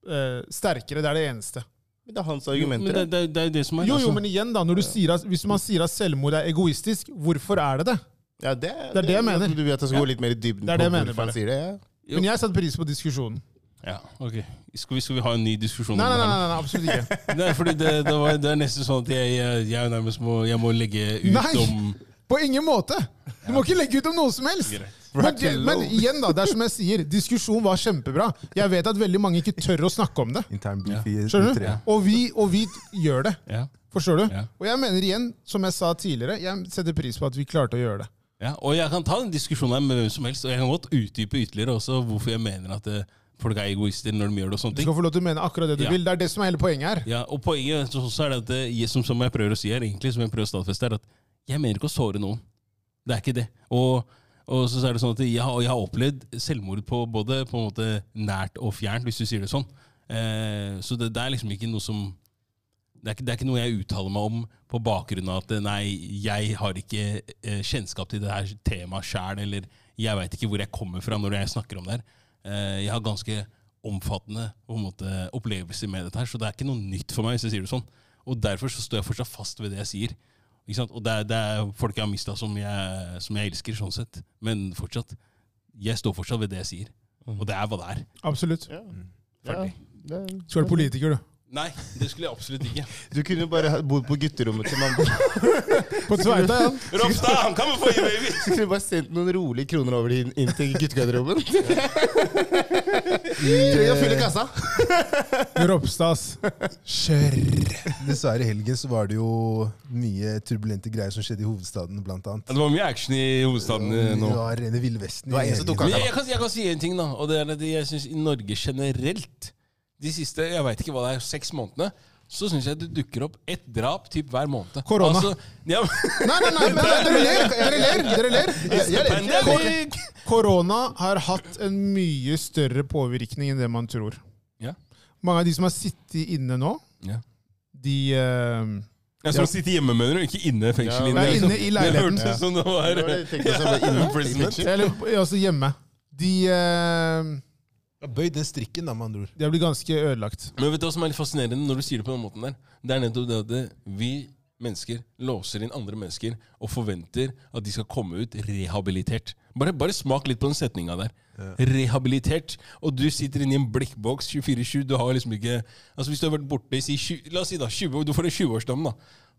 Speaker 2: eh, sterkere. Det er det eneste.
Speaker 1: Men Det er hans
Speaker 4: Men
Speaker 1: argumenter.
Speaker 4: det, det, det er jo det som er
Speaker 2: Jo, jo,
Speaker 4: altså.
Speaker 2: men igjen, da. Når du sier at, hvis man sier at selvmord er egoistisk, hvorfor er det det?
Speaker 1: Ja, det,
Speaker 2: det jeg mener.
Speaker 1: Du vil at jeg skal gå litt mer i dybden
Speaker 2: Det er det jeg
Speaker 1: på
Speaker 2: mener,
Speaker 1: hvorfor
Speaker 2: bare.
Speaker 1: han sier det? Ja.
Speaker 2: Men jeg satte pris på diskusjonen.
Speaker 4: ja, ok. skal, vi, skal vi ha en ny diskusjon?
Speaker 2: Nei, nei,
Speaker 4: om det
Speaker 2: nei,
Speaker 4: her nå?
Speaker 2: nei, nei absolutt ikke.
Speaker 4: [LAUGHS] Nei, fordi det, det, var, det er nesten sånn at jeg, jeg, jeg nærmest må, jeg må legge ut
Speaker 2: Nei!
Speaker 4: om
Speaker 2: På ingen måte! Du må ikke legge ut om noe som helst! Men, men igjen, da. Det er som jeg sier, diskusjon var kjempebra. Jeg vet at veldig mange ikke tør å snakke om det.
Speaker 3: Intern beef i
Speaker 2: Skjønner
Speaker 3: i
Speaker 2: du?
Speaker 3: tre.
Speaker 2: Og vi, og vi gjør det.
Speaker 4: ja.
Speaker 2: Forstår du?
Speaker 4: Ja.
Speaker 2: Og jeg mener igjen, som jeg sa tidligere, jeg setter pris på at vi klarte å gjøre det.
Speaker 4: Ja, og jeg kan ta den diskusjonen her med hvem som helst, og jeg kan godt utdype ytterligere også hvorfor jeg mener at eh, folk er egoister når de gjør det og sånne
Speaker 2: Du
Speaker 4: ting.
Speaker 2: skal få lov til å mene akkurat det du
Speaker 4: Ja.
Speaker 2: vil. Det er det som er hele poenget her.
Speaker 4: Ja, og poenget så, så er det at eh, jeg- som, som jeg prøver å si her, egentlig, som jeg prøver å stadfeste, er at jeg mener ikke å såre noen. Det er ikke det. Og, og så er det sånn at jeg, har- jeg har opplevd selvmord på både på en måte nært og fjernt, hvis du sier det sånn. Eh, så det, det er liksom ikke noe som det er, ikke, det er ikke noe jeg uttaler meg om på bakgrunn av at eh, nei, jeg har ikke eh, kjennskap til det her temaet sjæl, eller jeg veit ikke hvor jeg kommer fra når jeg snakker om det her. Eh, jeg har ganske omfattende på en måte, opplevelser med dette her, så det er ikke noe nytt for meg. hvis jeg sier det sånn. Og derfor så står jeg fortsatt fast ved det jeg sier. Ikke sant? Og det er, det er folk jeg har mista som, jeg- som jeg elsker, sånn sett. Men fortsatt, jeg står fortsatt ved det jeg sier. Og det er hva det er.
Speaker 2: Absolutt.
Speaker 1: Ja.
Speaker 4: Ferdig.
Speaker 1: Ja, det-
Speaker 2: Skal være [LAUGHS] politiker, du.
Speaker 4: Nei, det skulle jeg absolutt ikke. [LAUGHS]
Speaker 1: Du kunne bare ha- bodd på gutterommet til [LAUGHS] mamma.
Speaker 2: På Tveita, ja.
Speaker 4: Ropstad, han kan få i baby!
Speaker 1: Så kunne du bare sendt noen rolige kroner over inn, inn til [LAUGHS] guttegarderoben.
Speaker 3: eh,
Speaker 1: Eh, Trenger å fylle kassa.
Speaker 2: Ropstads. Kjør!
Speaker 3: Dessverre i helgen så var det jo mye turbulente greier som skjedde i hovedstaden, blant annet.
Speaker 4: Det var mye action i hovedstaden eh,
Speaker 3: Det
Speaker 4: nå.
Speaker 3: var rene Ville Vesten.
Speaker 1: Det var en som tok av.
Speaker 4: Men jeg, jeg, kan, jeg kan si en ting, da. Og det er at jeg synes I Norge generelt, de siste jeg vet ikke hva det er, seks månedene, så syns jeg det dukker opp ett drap typ hver måned. Altså,
Speaker 2: Korona.
Speaker 4: ja,
Speaker 2: Nei, nei, nei, nei, dere ler! Dere ler! Dere ler. Jeg ler.
Speaker 4: Pandemic!
Speaker 2: Korona har hatt en mye større påvirkning enn det man tror.
Speaker 4: Ja.
Speaker 2: Mange av de som har sittet inne nå,
Speaker 4: Ja.
Speaker 2: de eh,
Speaker 4: Jeg som sitter hjemme, mener du? Ikke inne i fengselet.
Speaker 1: Ja,
Speaker 4: inne,
Speaker 2: er
Speaker 4: liksom.
Speaker 2: inne i
Speaker 4: Det
Speaker 2: leiligheten.
Speaker 4: hørtes ut som det var
Speaker 1: Det var det jeg tenkte
Speaker 4: [LAUGHS]
Speaker 1: også, bare inne i
Speaker 4: imprisonment.
Speaker 1: fengsel.
Speaker 2: Eller altså hjemme. De, eh,
Speaker 3: Bøy den strikken, da, med andre ord.
Speaker 2: de har blitt ganske ødelagt.
Speaker 4: Men vet du hva som er litt fascinerende når du sier det på den måten der? Det er nettopp det at det- vi mennesker låser inn andre mennesker og forventer at de skal komme ut rehabilitert. Bare, bare smak litt på den setninga der. Rehabilitert. Og du sitter inne i en blikkboks 24-7. Du har liksom ikke Altså Hvis du har vært borte i si, 20 La oss si da, 20, år, du får en 20-årsdom, da.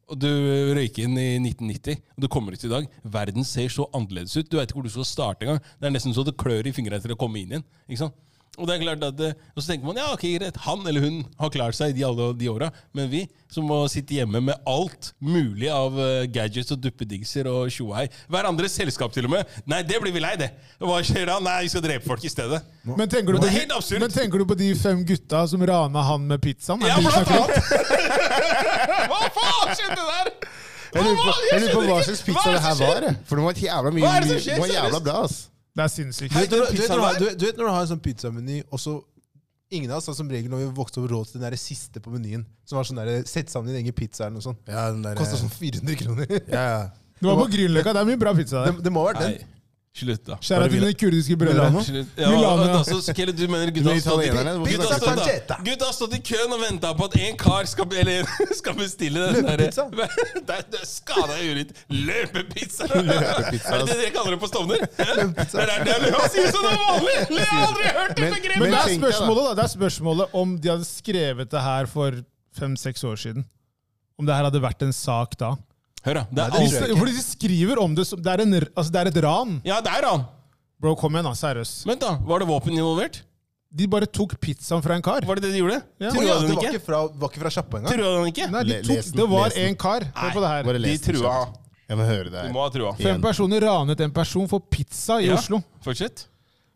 Speaker 4: Og du røyker inn i 1990, og du kommer ut i dag. Verden ser så annerledes ut. Du veit ikke hvor du skal starte engang. Det er nesten så det klør i fingra etter å komme inn igjen. Ikke sant? Og det er klart at, eh, og så tenker man ja, ok, greit, han eller hun har klart seg de alle de åra, men vi som må sitte hjemme med alt mulig av eh, gadgets og duppedingser og tjohei Hverandres selskap, til og med. Nei, det blir vi lei, det. Hva skjer da? Nei, vi skal drepe folk i stedet.
Speaker 2: Men tenker, du på
Speaker 4: Det er helt
Speaker 2: de,
Speaker 4: absurd.
Speaker 2: men tenker du på de fem gutta som rana han med pizzaen? Er
Speaker 4: Ja,
Speaker 2: det de
Speaker 4: blant
Speaker 2: snakker om?
Speaker 4: Hva faen skjedde der?!
Speaker 1: Jeg lurer på,
Speaker 4: Hva-
Speaker 1: jeg lurer på hva
Speaker 4: skjønner
Speaker 1: slags
Speaker 4: ikke. Hva
Speaker 1: pizza
Speaker 4: er
Speaker 1: det her
Speaker 4: som skjer?
Speaker 1: var. jeg. For det var jævla mye,
Speaker 4: Hva er det som
Speaker 1: mye-
Speaker 4: skjer,
Speaker 1: det var jævla
Speaker 4: seriøst?
Speaker 1: bra, altså. ass.
Speaker 2: Det er sinnssykt.
Speaker 3: Du vet, når, du, vet,
Speaker 4: pizzaen
Speaker 3: når du, har-
Speaker 4: der?
Speaker 3: du, vet, du vet når du har en sånn pizzameny, og så Ingen av oss har som regel når vi vokste over råd til den der siste på menyen. Som var sånn der, Sett sammen din egen pizza eller noe sånt.
Speaker 1: Ja, den der, eh,
Speaker 3: Kosta sånn 400 kroner.
Speaker 1: [LAUGHS] ja, ja.
Speaker 2: Du var på Grünerløkka, det er mye bra pizza
Speaker 3: [LAUGHS] Det,
Speaker 2: der.
Speaker 3: det må ha vært den.
Speaker 4: Nei, slutt, da.
Speaker 2: Kjære til dine kurdiske brødre.
Speaker 4: Slutt. Ja,
Speaker 2: Milano.
Speaker 4: og altså, Skelle, du mener gutta
Speaker 1: Du er
Speaker 4: har stått i-
Speaker 1: italiener, du må
Speaker 4: gutta
Speaker 1: ikke
Speaker 4: har
Speaker 1: snakke
Speaker 4: stått-
Speaker 3: pancetta.
Speaker 4: Gutta har stått i køen og venta på at en kar skal, eller, skal bestille den der
Speaker 3: Løpepizza.
Speaker 4: Det er- det er skada i huet ditt. Løpepizza!
Speaker 1: Løpepizza,
Speaker 4: Er det det dere kaller det på Stovner? Løpepizza. Det er det jeg løper. sier sånn det er vanlig! Jeg har aldri hørt det
Speaker 1: Men-
Speaker 4: begrepet!
Speaker 2: Men det er
Speaker 1: tenk deg da.
Speaker 2: spørsmålet da, det er spørsmålet om de hadde skrevet det her for fem-seks år siden. Om det her hadde vært en sak da.
Speaker 4: Hør, da. Det er
Speaker 2: De,
Speaker 4: alt.
Speaker 3: tror jeg ikke.
Speaker 2: fordi de skriver om det som Det er, en, r- altså det er et ran.
Speaker 4: Ja, der, han.
Speaker 2: Bro, kom igjen, da. Seriøst.
Speaker 4: Vent, da. Var det våpen involvert?
Speaker 2: De bare tok pizzaen fra en kar.
Speaker 4: Var det det de gjorde?
Speaker 2: Ja.
Speaker 4: Trua
Speaker 3: Tror jeg,
Speaker 4: de
Speaker 3: det
Speaker 4: den
Speaker 3: var
Speaker 4: ikke?
Speaker 3: ikke fra, var ikke fra sjappa engang.
Speaker 4: Trua den ikke?
Speaker 2: Nei, de
Speaker 1: Le-
Speaker 2: tok,
Speaker 1: les den,
Speaker 2: det var
Speaker 1: les den.
Speaker 2: en kar. Hør på det her.
Speaker 1: Bare
Speaker 4: De
Speaker 1: les den
Speaker 4: trua.
Speaker 1: kjapt. Jeg må høre det
Speaker 4: Du
Speaker 1: her.
Speaker 4: må ha trua.
Speaker 2: Fem
Speaker 1: igjen.
Speaker 2: personer ranet en person for pizza i
Speaker 4: Ja,
Speaker 2: Oslo.
Speaker 4: Fortsett.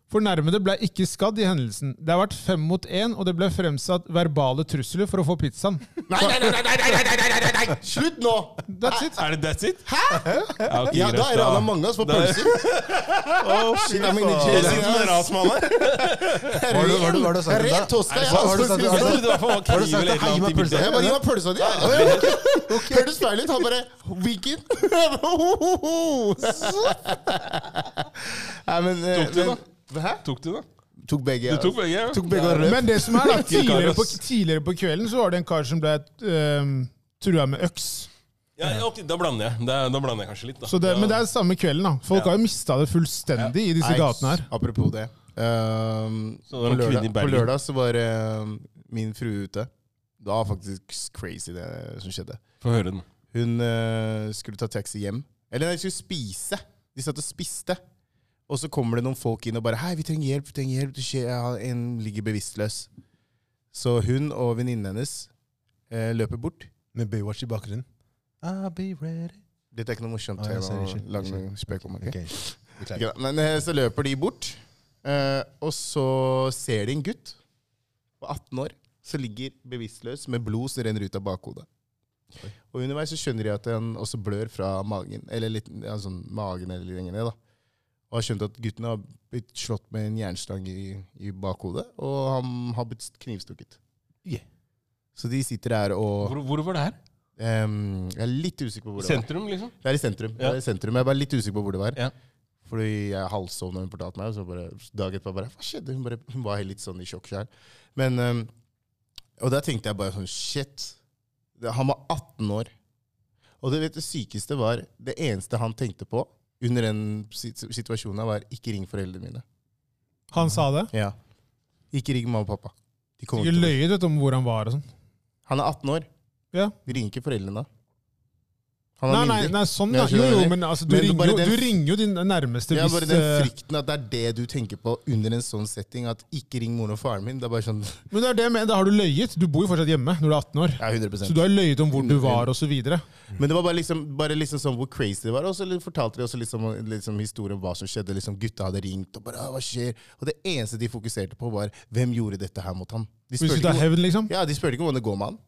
Speaker 2: Fornærmede ble ikke skadd i hendelsen. Det har vært fem mot én, og det ble fremsatt verbale trusler for å få pizzaen.
Speaker 1: Nei, nei, nei, nei, nei, nei, nei, nei, nei, nei, nei. Slutt nå!
Speaker 2: That's it.
Speaker 4: Er det that's it? Hæ? [LAUGHS] Ja, okay,
Speaker 1: Ja, da
Speaker 4: greit,
Speaker 1: er Rana mange ass for
Speaker 4: Da- [LAUGHS]
Speaker 1: pølser. Oh, shit, I'm in the
Speaker 4: Jeg
Speaker 1: jail.
Speaker 4: synes den er sånn ras, mann, her.
Speaker 3: Hva var det- hva var det- hva var det du sa?
Speaker 1: Ren toska, jeg,
Speaker 3: Hva var
Speaker 1: ass.
Speaker 3: det du sa?
Speaker 4: Jeg trodde det var for å
Speaker 3: Har du
Speaker 4: knive
Speaker 3: sagt det? Hei,
Speaker 4: eller et eller
Speaker 3: gi
Speaker 4: annet
Speaker 3: meg
Speaker 4: i
Speaker 3: pølsa.
Speaker 4: bildet.
Speaker 1: Jeg bare gi meg pølsa di. Ja. Ja, ja, ok. [LAUGHS] Hørtes feil ut. Han bare Hvilken? [LAUGHS] Jeg bare, ho, ho, ho. Nei, men eh,
Speaker 4: Tok du
Speaker 1: men- Hæ?
Speaker 4: Tok du det?
Speaker 1: Tok begge.
Speaker 4: Du tok begge? ja.
Speaker 1: Tok begge og røp.
Speaker 2: Men det som er da,
Speaker 4: Ikke kar,
Speaker 2: tidligere på,
Speaker 4: ass.
Speaker 2: tidligere på kvelden så var det en kar som ble ehm, trua med øks.
Speaker 4: Ja, ja, ok, da blander jeg. Da, da blander jeg kanskje litt, da.
Speaker 2: Så det,
Speaker 4: ja.
Speaker 2: Men det er samme kvelden. da. Folk har jo mista det fullstendig i disse
Speaker 1: Nei,
Speaker 2: gatene her.
Speaker 1: Apropos det. Um,
Speaker 4: Så det var
Speaker 1: på,
Speaker 4: en kvinne i
Speaker 1: lørdag, på
Speaker 4: Bergen.
Speaker 1: lørdag så var um, min frue ute. Det var faktisk crazy, det som skjedde.
Speaker 4: Få høre den.
Speaker 1: Hun eh, skulle ta taxi hjem. Eller nei, de skulle spise. De satt og spiste. Og så kommer det noen folk inn og bare 'Hei, vi trenger hjelp. vi trenger hjelp, det skjer, ja, En ligger bevisstløs.' Så hun og venninnen hennes eh, løper bort.
Speaker 3: Med Baywatch i bakgrunnen. I'll be ready.
Speaker 1: Dette er ikke noe morsomt.
Speaker 3: Ah, jeg
Speaker 1: jeg
Speaker 3: ser
Speaker 1: må
Speaker 3: ikke.
Speaker 1: lage noe spøk om, ok?
Speaker 3: Ok, beklager.
Speaker 1: Ikke da. Men eh, så løper de bort, eh, og så ser de en gutt på 18 år som ligger bevisstløs med blod som renner ut av bakhodet. Og underveis så skjønner de at han også blør fra magen, eller litt, ja, sånn magen eller litt lenger ned. da. Og har skjønt at gutten har blitt slått med en jernstang i, i bakhodet, og han har blitt knivstukket.
Speaker 3: Yeah.
Speaker 1: Så de sitter her og
Speaker 4: Hvor, hvor var det her?
Speaker 1: ehm, Jeg er litt usikker på hvor det var.
Speaker 4: Sentrum, liksom?
Speaker 1: Det er i sentrum.
Speaker 4: Ja.
Speaker 1: Det er i sentrum. Jeg er bare litt usikker på hvor det var.
Speaker 4: Ja.
Speaker 1: Fordi jeg halvsov når hun fortalte meg, og så bare dag etterpå bare Hva skjedde? Hun, bare, hun var helt litt sånn i sjokk sjøl. Men øhm, Og da tenkte jeg bare sånn Shit. Det, han var 18 år. Og du vet, det sykeste var Det eneste han tenkte på under den sit- situasjonen, her var ikke ring foreldrene mine.
Speaker 2: Han sa det.
Speaker 1: Ja. Ikke ring mamma og pappa. De kommer
Speaker 2: Ikke
Speaker 1: til å
Speaker 2: løyet vet, du, om hvor han var og sånn.
Speaker 1: Han er 18 år.
Speaker 2: Ja.
Speaker 1: De ringer ikke foreldrene da. Han
Speaker 2: Nei,
Speaker 1: er
Speaker 2: nei,
Speaker 1: mindre.
Speaker 2: nei, sånn da.
Speaker 1: Jeg
Speaker 2: Jo,
Speaker 1: skjønner
Speaker 2: jo,
Speaker 1: det.
Speaker 2: men altså, du,
Speaker 1: Men
Speaker 2: ringer,
Speaker 1: bare
Speaker 2: jo,
Speaker 1: den-
Speaker 2: du ringer jo din nærmeste
Speaker 1: Ja,
Speaker 2: hvis
Speaker 1: bare den
Speaker 2: eh,
Speaker 1: frykten at det er det du tenker på under en sånn setting. At ikke ring moren og faren min. Det er bare sånn [LAUGHS]
Speaker 2: Men det er det jeg mener, da har du løyet. Du bor jo fortsatt hjemme når du er 18 år.
Speaker 1: Ja,
Speaker 2: Så
Speaker 1: 100
Speaker 2: du har løyet om hvor du var osv.
Speaker 1: Men det var bare liksom, bare liksom sånn hvor crazy det var. Og så li- fortalte de også liksom, liksom historien om hva som skjedde. Liksom Gutta hadde ringt og bare «Ah, 'Hva skjer?' Og det eneste de fokuserte på, var hvem gjorde dette her mot ham. De
Speaker 2: Hvis du
Speaker 1: spurte
Speaker 2: tar
Speaker 1: ikke-
Speaker 2: hevn, liksom.
Speaker 1: Ja, De spurte ikke hvordan det går med han.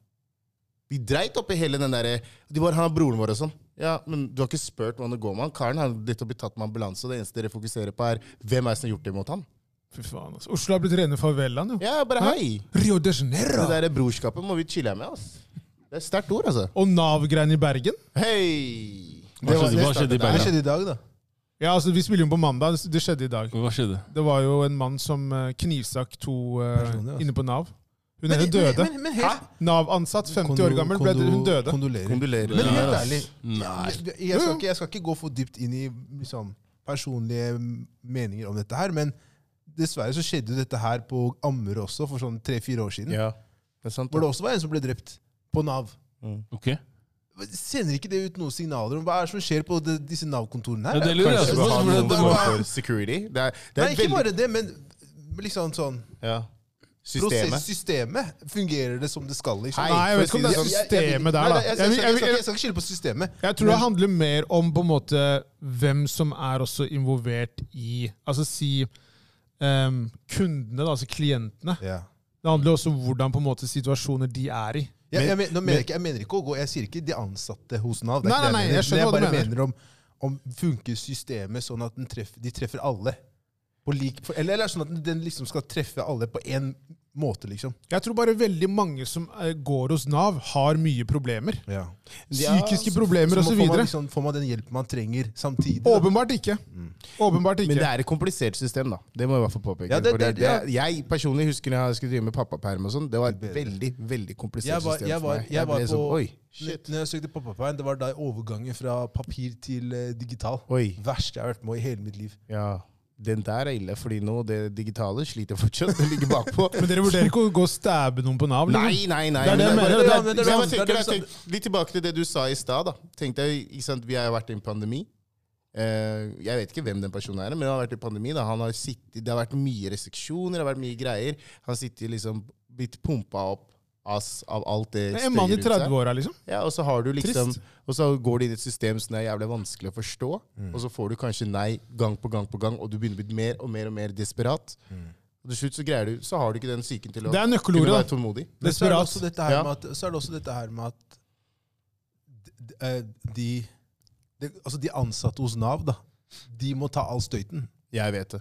Speaker 1: De dreit opp i hele den derre De bare 'Han er broren vår' og sånn. Ja, Men du har ikke spurt hvordan det går med han. Karen har blitt blitt tatt med ambulanse, og det eneste dere fokuserer på, er hvem er det som har gjort det mot han?
Speaker 2: Fy faen, altså. Oslo har blitt rene favelaen, jo.
Speaker 1: Ja, bare hei.
Speaker 2: Rio de Janeiro!
Speaker 1: Det der brorskapet må vi chille med, ass. Det er sterkt ord, altså.
Speaker 2: Og Nav-greiene i Bergen.
Speaker 1: Hei!
Speaker 4: Hva skjedde- hva skjedde i
Speaker 1: startet der.
Speaker 3: Hva
Speaker 4: Bergen?
Speaker 3: skjedde i dag, da?
Speaker 2: Ja, altså, Vi spiller jo på mandag. det- Det skjedde i dag.
Speaker 4: Hva skjedde?
Speaker 2: Det var jo en mann som eh, knivstakk to eh,
Speaker 3: Personer, altså.
Speaker 2: inne på Nav. Hun ene døde.
Speaker 3: Men, men, helt,
Speaker 2: Nav-ansatt, 50 år gammel, ble hun døde.
Speaker 3: Kondolerer.
Speaker 1: Kondolerer.
Speaker 3: Men helt
Speaker 4: Nei,
Speaker 3: ærlig,
Speaker 4: Nei.
Speaker 3: jeg, jeg, skal ikke, jeg skal ikke gå for dypt inn i liksom, personlige meninger om dette her, men dessverre så skjedde jo dette her på Ammerud også for sånn tre-fire år siden.
Speaker 1: Ja, det er sant.
Speaker 3: Hvor det også var en som ble drept. På Nav.
Speaker 4: Ok.
Speaker 3: Sender ikke det ut noen signaler om hva er det som skjer på de, disse Nav-kontorene
Speaker 4: Ja,
Speaker 3: her?
Speaker 4: det lurer jeg også
Speaker 1: Kanskje det
Speaker 4: på.
Speaker 1: var
Speaker 4: for
Speaker 1: noen
Speaker 4: det- det
Speaker 1: som
Speaker 4: var-
Speaker 1: var for security. Det er, det
Speaker 3: Nei,
Speaker 1: er
Speaker 3: ikke
Speaker 1: veldig...
Speaker 3: bare det, men Men liksom sånn
Speaker 1: Ja.
Speaker 3: Systemet.
Speaker 1: Systemet.
Speaker 3: systemet fungerer det som det skal? Liksom?
Speaker 1: Hei,
Speaker 2: Nei, jeg vet ikke om det er
Speaker 1: for å si
Speaker 3: Jeg- jeg- jeg-
Speaker 2: systemet der, da.
Speaker 3: Nei, nei, Jeg,
Speaker 2: Jeg
Speaker 3: jeg,
Speaker 2: vil-
Speaker 3: jeg,
Speaker 2: jeg
Speaker 3: skal
Speaker 2: vil-
Speaker 3: ikke- jeg skal ikke skylde på systemet.
Speaker 2: Jeg tror det handler mer om på en måte hvem som er også involvert i Altså si ehm, kundene, da, altså klientene.
Speaker 3: Ja.
Speaker 2: Det handler også om hvordan på en måte situasjoner de er i.
Speaker 3: Jeg, jeg, men- nå mener
Speaker 1: men-
Speaker 3: jeg, ikke, jeg mener ikke å gå Jeg sier ikke de ansatte hos Nav. Det er
Speaker 2: Nei,
Speaker 3: ikke det
Speaker 2: nei, nei, jeg
Speaker 3: mener.
Speaker 2: skjønner hva
Speaker 3: Men
Speaker 2: du
Speaker 3: jeg bare
Speaker 2: mener.
Speaker 3: mener om, om funker systemet sånn at den treffer, de treffer alle? På lik, for, eller, eller er det sånn at den liksom skal treffe alle på én måte, liksom?
Speaker 2: Jeg tror bare veldig mange som eh, går hos Nav, har mye problemer.
Speaker 3: Ja.
Speaker 2: Psykiske
Speaker 3: Så
Speaker 2: problemer
Speaker 3: må-
Speaker 2: osv.
Speaker 3: får, man liksom, får man den hjelpen man trenger, samtidig? da?
Speaker 2: Åpenbart ikke.
Speaker 1: Mm.
Speaker 2: Åpenbart
Speaker 1: Men det
Speaker 2: ikke.
Speaker 1: er et komplisert system, da. Det må jeg i hvert fall påpeke.
Speaker 3: Ja, det-
Speaker 1: For det,
Speaker 3: det- ja.
Speaker 1: det- Jeg personlig husker når jeg skulle drive med pappaperm og sånn. Det var et
Speaker 3: Bedre.
Speaker 1: veldig veldig komplisert
Speaker 3: Jeg var-
Speaker 1: system
Speaker 3: jeg var-
Speaker 1: for meg.
Speaker 3: jeg var
Speaker 1: ble
Speaker 3: på-
Speaker 1: sånn, Oi,
Speaker 3: Shit. Når jeg søkte pappaperm, det var da i overgangen fra papir til eh, digital.
Speaker 1: oi.
Speaker 3: Verste jeg har vært med i hele mitt liv.
Speaker 1: Ja. Den der er ille, fordi nå det digitale sliter fortsatt. Det ligger bakpå.
Speaker 2: Men dere vurderer ikke å gå og stabbe noen på Nav? liksom?
Speaker 1: Nei, nei, nei.
Speaker 2: Det er det jeg
Speaker 1: men-
Speaker 2: mener, det er-
Speaker 1: men-
Speaker 2: liksom-
Speaker 1: men-
Speaker 3: det er-
Speaker 1: men jeg
Speaker 3: det er-
Speaker 1: tenker- jeg
Speaker 3: det er-
Speaker 1: tenker- Litt tilbake til det du sa i stad. da. Tenkte jeg, ikke sant, Vi har vært i en pandemi. Eh, jeg vet ikke hvem den personen er, men han har vært i pandemi. da. Han har sittet, det har vært mye restriksjoner, det har vært mye greier. Han sitter liksom blitt pumpa opp ass, av alt det
Speaker 2: En mann i
Speaker 1: støyet rundt seg.
Speaker 2: 30-åra, liksom.
Speaker 1: Ja, og så har du liksom
Speaker 2: Trist.
Speaker 1: Og så går du inn i et system som er jævlig vanskelig å forstå, og så får du kanskje nei gang på gang på gang, og du begynner å bli mer og mer og mer desperat. Og til slutt så greier du Så har du ikke den psyken til å
Speaker 2: Det er nøkkelordet,
Speaker 1: kunne
Speaker 2: da.
Speaker 1: være tålmodig.
Speaker 3: Men så er det
Speaker 2: Desperat.
Speaker 3: også dette her
Speaker 1: Ja.
Speaker 3: med at, så er det også dette her med at d- d- eh, de, de, altså de ansatte hos Nav da, de må ta all støyten.
Speaker 1: Jeg vet det.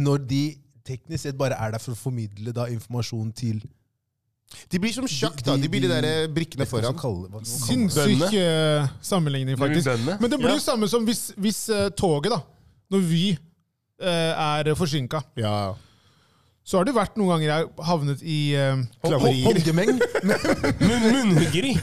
Speaker 3: Når de teknisk sett bare er der for å formidle da informasjon til
Speaker 1: De blir som sjakk, da. De blir de der eh, brikkene foran.
Speaker 3: Kalle, hva, hva kaller man det?
Speaker 2: Sinnssyk eh, sammenligning, faktisk. Men det blir jo
Speaker 1: ja.
Speaker 2: samme som hvis, hvis eh, toget, da. Når Vy eh, er forsinka.
Speaker 1: ja.
Speaker 2: Så har det vært noen ganger jeg har havnet i eh,
Speaker 3: Hå-
Speaker 1: [LAUGHS] Klammerier.
Speaker 3: Håndgemeng?
Speaker 4: Munn- Munnhuggeri!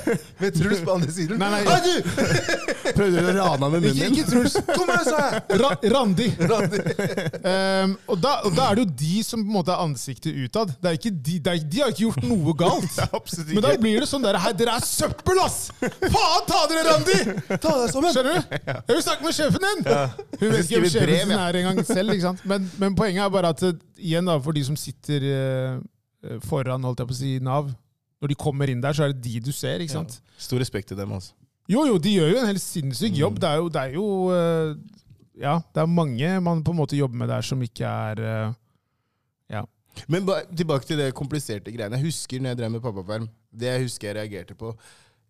Speaker 3: Med Truls på andre siden.
Speaker 2: Nei, nei.
Speaker 3: Hei, du!
Speaker 1: Prøvde å rane av med
Speaker 3: Ikke,
Speaker 1: munnen
Speaker 3: ikke
Speaker 1: din.
Speaker 3: Truls! Kom her,
Speaker 1: [LAUGHS]
Speaker 3: sa jeg!
Speaker 2: Ra Randi! [LAUGHS] Ehm, og, da, og da er det jo de som på en måte er ansiktet utad. Det er ikke de, det er, de har ikke gjort noe galt.
Speaker 1: Absolutt
Speaker 2: Men da
Speaker 1: ikke.
Speaker 2: blir det sånn der Hei, dere er søppel, ass! Faen ta dere, Randi!
Speaker 3: Ta deg sammen!
Speaker 2: Skjønner du? Jeg vil snakke med sjefen din! Hun
Speaker 1: Jeg
Speaker 2: vet ikke
Speaker 1: skriver
Speaker 2: hvem
Speaker 1: brev,
Speaker 2: sjefen sin
Speaker 1: jeg.
Speaker 2: er engang selv. ikke sant? Men, men poenget er bare at eh, igjen da, for de som sitter eh, foran holdt jeg på å si, Nav, når de kommer inn der, så er det de du ser. ikke sant?
Speaker 1: Stor respekt til dem, altså.
Speaker 2: Jo, jo, de gjør jo en helt sinnssyk jobb.
Speaker 1: Mm.
Speaker 2: Det er jo, det er jo eh, Ja, det er mange man på en måte jobber med der som ikke er eh, Ja.
Speaker 1: Men ba, tilbake til det kompliserte greiene. Jeg husker når jeg drev med pappaperm. Det jeg husker jeg reagerte på.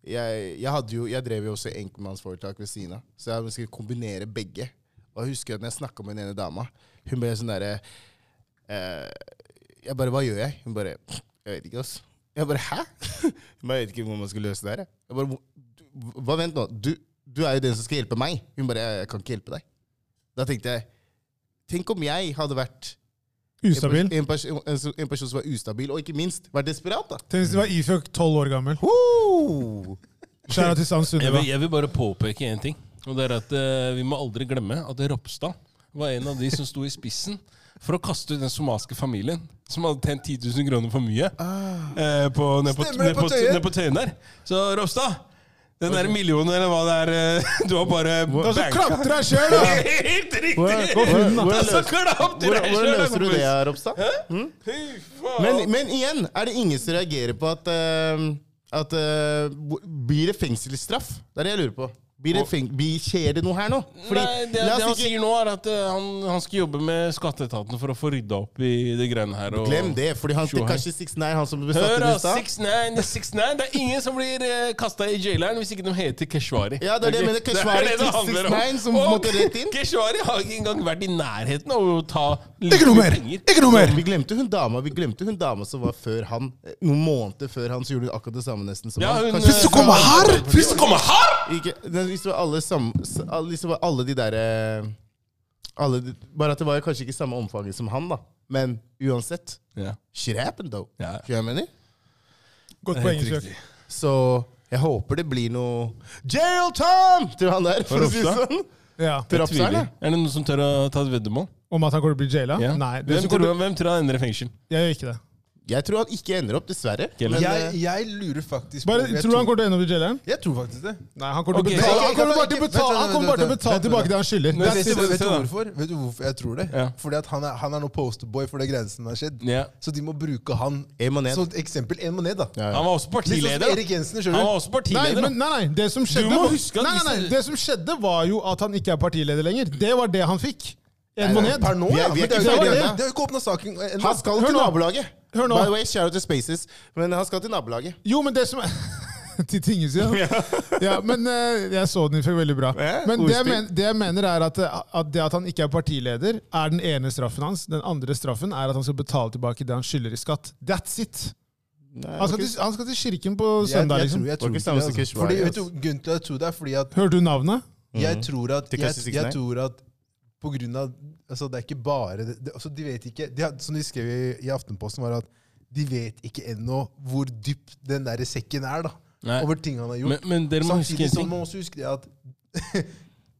Speaker 1: Jeg, jeg, hadde jo, jeg drev jo også enkeltmannsforetak ved siden av, så jeg skulle kombinere begge. Og jeg husker at når jeg snakka med den ene dama, hun ble sånn derre eh, Jeg bare Hva gjør jeg? Hun bare Jeg vet ikke, altså. Jeg bare Hæ? [LAUGHS] Hun bare, jeg vet ikke hvordan man skal løse det her. jeg." Jeg bare «Hvor- Hva, vent nå. Du, du er jo den som skal hjelpe meg. Hun bare Jeg, jeg kan ikke hjelpe deg. Da tenkte jeg Tenk om jeg hadde vært
Speaker 2: Ustabil.
Speaker 1: en, pers en, pers en person som var ustabil, og ikke minst var desperat. da.
Speaker 2: Tenk hvis du var ifølge tolv år gammel.
Speaker 1: Ho!
Speaker 2: Skjæra til Sand
Speaker 4: Jeg
Speaker 2: Sunniva.
Speaker 4: vil, jeg vil bare påpeke én ting. Og det er at eh, Vi må aldri glemme at Ropstad var en av de som sto i spissen for å kaste ut den somaliske familien som hadde tjent 10 000 kroner for mye
Speaker 1: Ah.
Speaker 4: eh, på, ned på,
Speaker 3: Stemmer
Speaker 4: ned
Speaker 3: det på
Speaker 4: på,
Speaker 3: Tøyen?
Speaker 4: ned på Tøyen der. Så Ropstad, den der millionen eller hva det er eh, [LAUGHS] Du har bare
Speaker 2: Og så
Speaker 4: banka.
Speaker 2: klapper deg sjøl, da!
Speaker 4: [LAUGHS] Helt
Speaker 1: Hvor-
Speaker 4: riktig!
Speaker 1: hvor-
Speaker 4: [LAUGHS]
Speaker 1: hvor-
Speaker 4: Og så
Speaker 1: hvor-
Speaker 4: klapper
Speaker 1: Hvordan
Speaker 4: jeg selv,
Speaker 1: hvordan
Speaker 4: da,
Speaker 1: løser du
Speaker 4: kompis.
Speaker 1: det, Ropstad?
Speaker 4: Fy faen.
Speaker 1: Men, men igjen, er det ingen som reagerer på at, eh, at eh, hvor- Blir det fengselsstraff? Det er det jeg lurer på. Blir det feng blir, skjer det noe her nå? Fordi,
Speaker 4: Nei, det,
Speaker 1: la
Speaker 4: det han
Speaker 1: oss ikke
Speaker 4: sier nå, er at eh, han, han skal jobbe med skatteetaten for å få rydda opp i det greiene her. Og
Speaker 1: Glem det, fordi han
Speaker 4: Sure.
Speaker 1: kanskje 6ix9ine, han som ble satt
Speaker 4: Hør,
Speaker 1: inn i
Speaker 4: da!
Speaker 1: stad.
Speaker 4: 69, 69. Det er ingen som blir uh, kasta i jaileren hvis ikke de heter Keshvari.
Speaker 1: Ja, det er det jeg
Speaker 4: Ok?
Speaker 1: mener, Keshvari
Speaker 4: det handler om.
Speaker 1: 69 som
Speaker 4: Og
Speaker 1: måtte rett inn.
Speaker 4: Keshvari har ikke engang vært i nærheten av å ta
Speaker 2: Ikke noe mer! Ikke noe mer!
Speaker 1: Vi glemte hun dama Vi glemte hun dama som var før han. eh, Noen måneder før han, så gjorde hun akkurat det samme nesten som
Speaker 4: Ja,
Speaker 1: han.
Speaker 4: hun, eh,
Speaker 1: Kanskje-
Speaker 4: Hvis du
Speaker 2: kommer her!
Speaker 4: Hvis du kommer her!
Speaker 1: Ikke, men hvis det var alle, sam, s- alle, hvis det var alle de derre alle, de- Bare at det var jo kanskje ikke samme omfanget som han, da. Men uansett.
Speaker 4: Ja.
Speaker 1: Shit happened, though.
Speaker 4: Ja.
Speaker 1: Skjønner du hva jeg mener?
Speaker 2: Godt poeng. Sjøk.
Speaker 1: Så jeg håper det blir noe Jail time til han der, for å si det
Speaker 4: Ropstad?
Speaker 1: sånn.
Speaker 2: Ja.
Speaker 1: Til Ropstad,
Speaker 4: Tviler.
Speaker 1: eller?
Speaker 4: Er det noen som tør å ta et veddemål?
Speaker 2: Om at han kommer til å bli jaila?
Speaker 4: Ja.
Speaker 2: Nei. Det
Speaker 4: Hvem
Speaker 2: som kommer,
Speaker 4: tror, hvem tror han ender i fengsel?
Speaker 2: jeg gjør ikke det.
Speaker 1: Jeg tror han ikke ender opp, dessverre.
Speaker 4: Ikke heller.
Speaker 1: Men,
Speaker 3: Jeg,
Speaker 1: eh,
Speaker 3: jeg lurer faktisk
Speaker 2: Bare,
Speaker 3: jeg
Speaker 2: tror du han kommer til å ende opp i jaileren?
Speaker 3: Jeg tror faktisk det.
Speaker 2: Nei, han kommer
Speaker 4: Ok,
Speaker 2: til å betale,
Speaker 3: ok,
Speaker 2: han kommer
Speaker 3: ok,
Speaker 2: bare til å
Speaker 3: ok,
Speaker 2: betale,
Speaker 3: vent,
Speaker 2: han kommer
Speaker 3: vent,
Speaker 2: bare til å
Speaker 3: vent,
Speaker 2: betale
Speaker 3: vent,
Speaker 2: tilbake
Speaker 3: vent.
Speaker 2: det han skylder.
Speaker 4: Men
Speaker 3: Vet
Speaker 4: se-
Speaker 3: du, vet
Speaker 4: se
Speaker 3: du
Speaker 4: da.
Speaker 3: hvorfor? Vet du hvorfor jeg tror det?
Speaker 4: Ja.
Speaker 3: Fordi at han er, han er nå posterboy for det grensen har skjedd.
Speaker 4: Ja.
Speaker 3: Så de må bruke han
Speaker 1: En manet.
Speaker 3: som et eksempel. En manet, da.
Speaker 1: Ja.
Speaker 4: Han var også
Speaker 3: Litt sånn som
Speaker 4: partileder.
Speaker 3: Erik Jensen,
Speaker 4: Han var
Speaker 3: skjønner du.
Speaker 4: også
Speaker 2: Nei,
Speaker 4: partileder.
Speaker 2: men, nei, nei, det som skjedde
Speaker 4: må
Speaker 2: var-
Speaker 4: huske at
Speaker 2: nei, nei, nei,
Speaker 4: disse-
Speaker 2: Det som skjedde, var jo at han ikke er partileder lenger. Det var det han fikk. En måned.
Speaker 3: Per nå,
Speaker 1: Vi
Speaker 3: ja.
Speaker 1: er- vi er
Speaker 3: Men det er jo
Speaker 1: ikke
Speaker 2: ferdig
Speaker 3: ikke-
Speaker 1: ennå.
Speaker 3: det er jo ikke åpna saken ennå.
Speaker 1: han skal
Speaker 2: Hør
Speaker 1: til
Speaker 2: nå.
Speaker 1: nabolaget!
Speaker 2: Hør nå.
Speaker 1: By the way, shout out to Spaces. Men han skal til nabolaget.
Speaker 2: Jo, men det som [LAUGHS] er Til tingesida. Ja, men eh, jeg så den, fikk veldig bra.
Speaker 1: Ja,
Speaker 2: Men det jeg,
Speaker 1: ordspill.
Speaker 2: men, det jeg mener, er at, eh, at det at han ikke er partileder, er den ene straffen hans. Den andre straffen er at han skal betale tilbake det han skylder i skatt. That's it! Han skal til, han skal til kirken på
Speaker 3: Jeg,
Speaker 2: søndag,
Speaker 3: jeg tror,
Speaker 2: liksom.
Speaker 3: jeg
Speaker 1: Det
Speaker 3: tror
Speaker 1: var ikke
Speaker 3: ikke
Speaker 1: samme
Speaker 3: det, altså.
Speaker 1: som
Speaker 3: Fordi,
Speaker 1: Keshvari,
Speaker 3: vet du, grunnen til at jeg tror det, er fordi at
Speaker 2: Hører du navnet?
Speaker 3: jeg tror at
Speaker 1: Mm. Til
Speaker 3: jeg,
Speaker 1: Classic Six
Speaker 3: jeg
Speaker 1: Nine.
Speaker 3: tror at på grunn av altså Det er ikke bare det, det, altså De vet ikke de, har- Som de skrev i, i Aftenposten, var at de vet ikke ennå hvor dypt den der sekken er. da
Speaker 4: Nei.
Speaker 3: Over ting han har gjort.
Speaker 4: Men, men dere må huske
Speaker 3: Samtidig
Speaker 4: en
Speaker 3: som
Speaker 4: ting.
Speaker 3: man også husker det at [LAUGHS]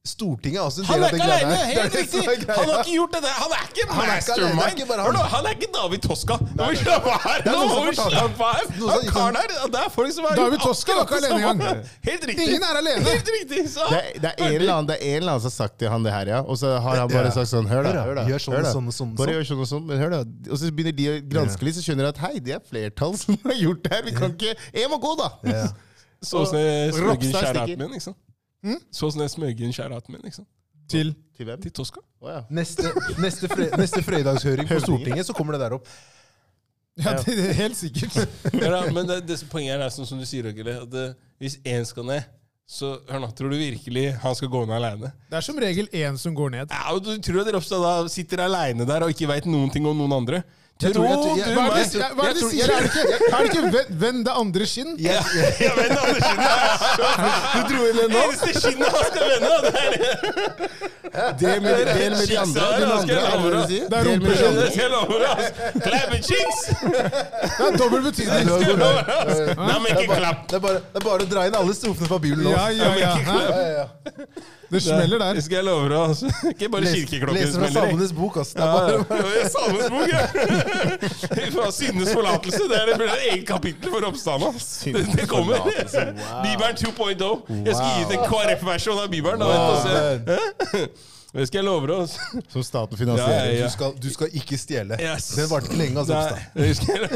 Speaker 3: Stortinget er også en
Speaker 4: Han
Speaker 3: del av
Speaker 4: er
Speaker 3: det
Speaker 4: ikke
Speaker 3: greia
Speaker 4: aleine!
Speaker 3: her. [LAUGHS] Det er
Speaker 4: Helt
Speaker 3: det som
Speaker 4: riktig!
Speaker 3: er greia.
Speaker 4: Han har ikke gjort det der. Han er ikke
Speaker 3: Han er ikke alene, det er
Speaker 4: mastermind!
Speaker 3: ikke bare
Speaker 4: Hør
Speaker 3: han.
Speaker 4: nå, Han er ikke David Toska! Nå må vi slappe av her!
Speaker 3: Det er
Speaker 4: Nå
Speaker 3: noen
Speaker 4: må
Speaker 3: som
Speaker 4: vi
Speaker 3: fortalte-
Speaker 4: slappe av!
Speaker 3: noen som
Speaker 4: Han
Speaker 3: ikke-
Speaker 4: karen her, det er folk som er
Speaker 2: David Toska var ikke
Speaker 4: akkurat
Speaker 2: alene
Speaker 4: det
Speaker 2: engang.
Speaker 4: samme. Helt riktig.
Speaker 2: Ingen er alene.
Speaker 4: Helt riktig. Så.
Speaker 1: Det er, det, er en eller annen, det er en eller annen som har sagt til han det her, ja. Og så har han
Speaker 3: Ja.
Speaker 1: bare sagt sånn Hør,
Speaker 3: Hør
Speaker 1: da.
Speaker 3: da,
Speaker 1: Hør da
Speaker 3: gjør sånn
Speaker 1: hør da.
Speaker 3: og sånn og sånn og sånn.
Speaker 1: Bare gjør sånn og sånn. Men hør, da. Og så begynner de å granske litt, så skjønner de at hei, det er flertall som har gjort det her. Vi kan ikke Jeg må gå, da!
Speaker 3: Ja.
Speaker 4: Så åssen jeg smøg inn
Speaker 1: Ropstad stikker.
Speaker 4: skjæraten min, ikke sant?
Speaker 3: Mm?
Speaker 4: Så åssen jeg smøg inn skjæraten min, ikke sant?
Speaker 2: Til
Speaker 1: Til hvem?
Speaker 4: Til Toska.
Speaker 1: Å ja.
Speaker 3: Neste, neste, fre, neste fredagshøring på Stortinget, så kommer det der opp.
Speaker 2: Ja, det, det, er helt sikkert.
Speaker 4: Ja, da, men det, det som poenget her er sånn som du sier, Røgele, at det, hvis én skal ned, så hør nå, tror du virkelig han skal gå ned aleine?
Speaker 2: Det er som regel én som går ned.
Speaker 4: Ja, og du tror at Ropstad da sitter aleine der og ikke veit noen ting om noen andre?
Speaker 3: Jeg
Speaker 4: Tror
Speaker 3: tror- jeg tror- jeg-
Speaker 4: du
Speaker 2: Hva er det,
Speaker 4: meg?
Speaker 2: ja, hva er det de
Speaker 3: Jeg tror-
Speaker 2: sier? Er det ikke, er det ikke venn, venn det andre skinn?
Speaker 3: Jeg, jeg,
Speaker 4: Ja, [LAUGHS] men Andersen, det er så Du dro inn en nå? Eneste skinnet han skal vende, det er det.
Speaker 1: Del med, del med de andre. Den andre, andre du sier.
Speaker 2: Det er
Speaker 1: Del med de
Speaker 2: rumpeskinn.
Speaker 1: andre.
Speaker 4: Det skal jeg love deg, ass. Clap and cheeks!
Speaker 2: Det er dobbel
Speaker 3: jeg,
Speaker 2: betydning.
Speaker 4: Skal jeg love deg, ass. Nei, men
Speaker 3: det, er
Speaker 4: ikke
Speaker 3: bare,
Speaker 4: klapp.
Speaker 3: det, er bare, det er bare å dra inn alle strofene fra Bibelen nå.
Speaker 2: Ja, ja, ja. Hæ?
Speaker 3: Ja, ja, ja.
Speaker 2: Det smeller der.
Speaker 4: Det skal jeg love deg, ass. Ikke bare
Speaker 3: Les-
Speaker 4: kirkeklokken
Speaker 3: Leser fra
Speaker 4: smeller. jeg.
Speaker 3: Salmenes bok, altså. Det
Speaker 4: Ja,
Speaker 3: er bare,
Speaker 4: ja. Salmens bok, ja. [LAUGHS] Fra syndenes forlatelse. Det er det blir et eget kapittel for oppstanden. ass. Det det kommer. [LAUGHS] Bibelen 2.0. Jeg skal gi ut en KrF-versjon av Bibelen. da, vet du, så- Hæ? Det skal jeg love deg, ass.
Speaker 1: Som staten
Speaker 4: Ja, ja,
Speaker 1: finansierer.
Speaker 4: ja.
Speaker 3: Du, skal, du skal ikke stjele.
Speaker 4: Yes.
Speaker 3: Den varte lenge, altså. Ropstad.
Speaker 4: Nei, jeg
Speaker 1: [LAUGHS]
Speaker 4: husker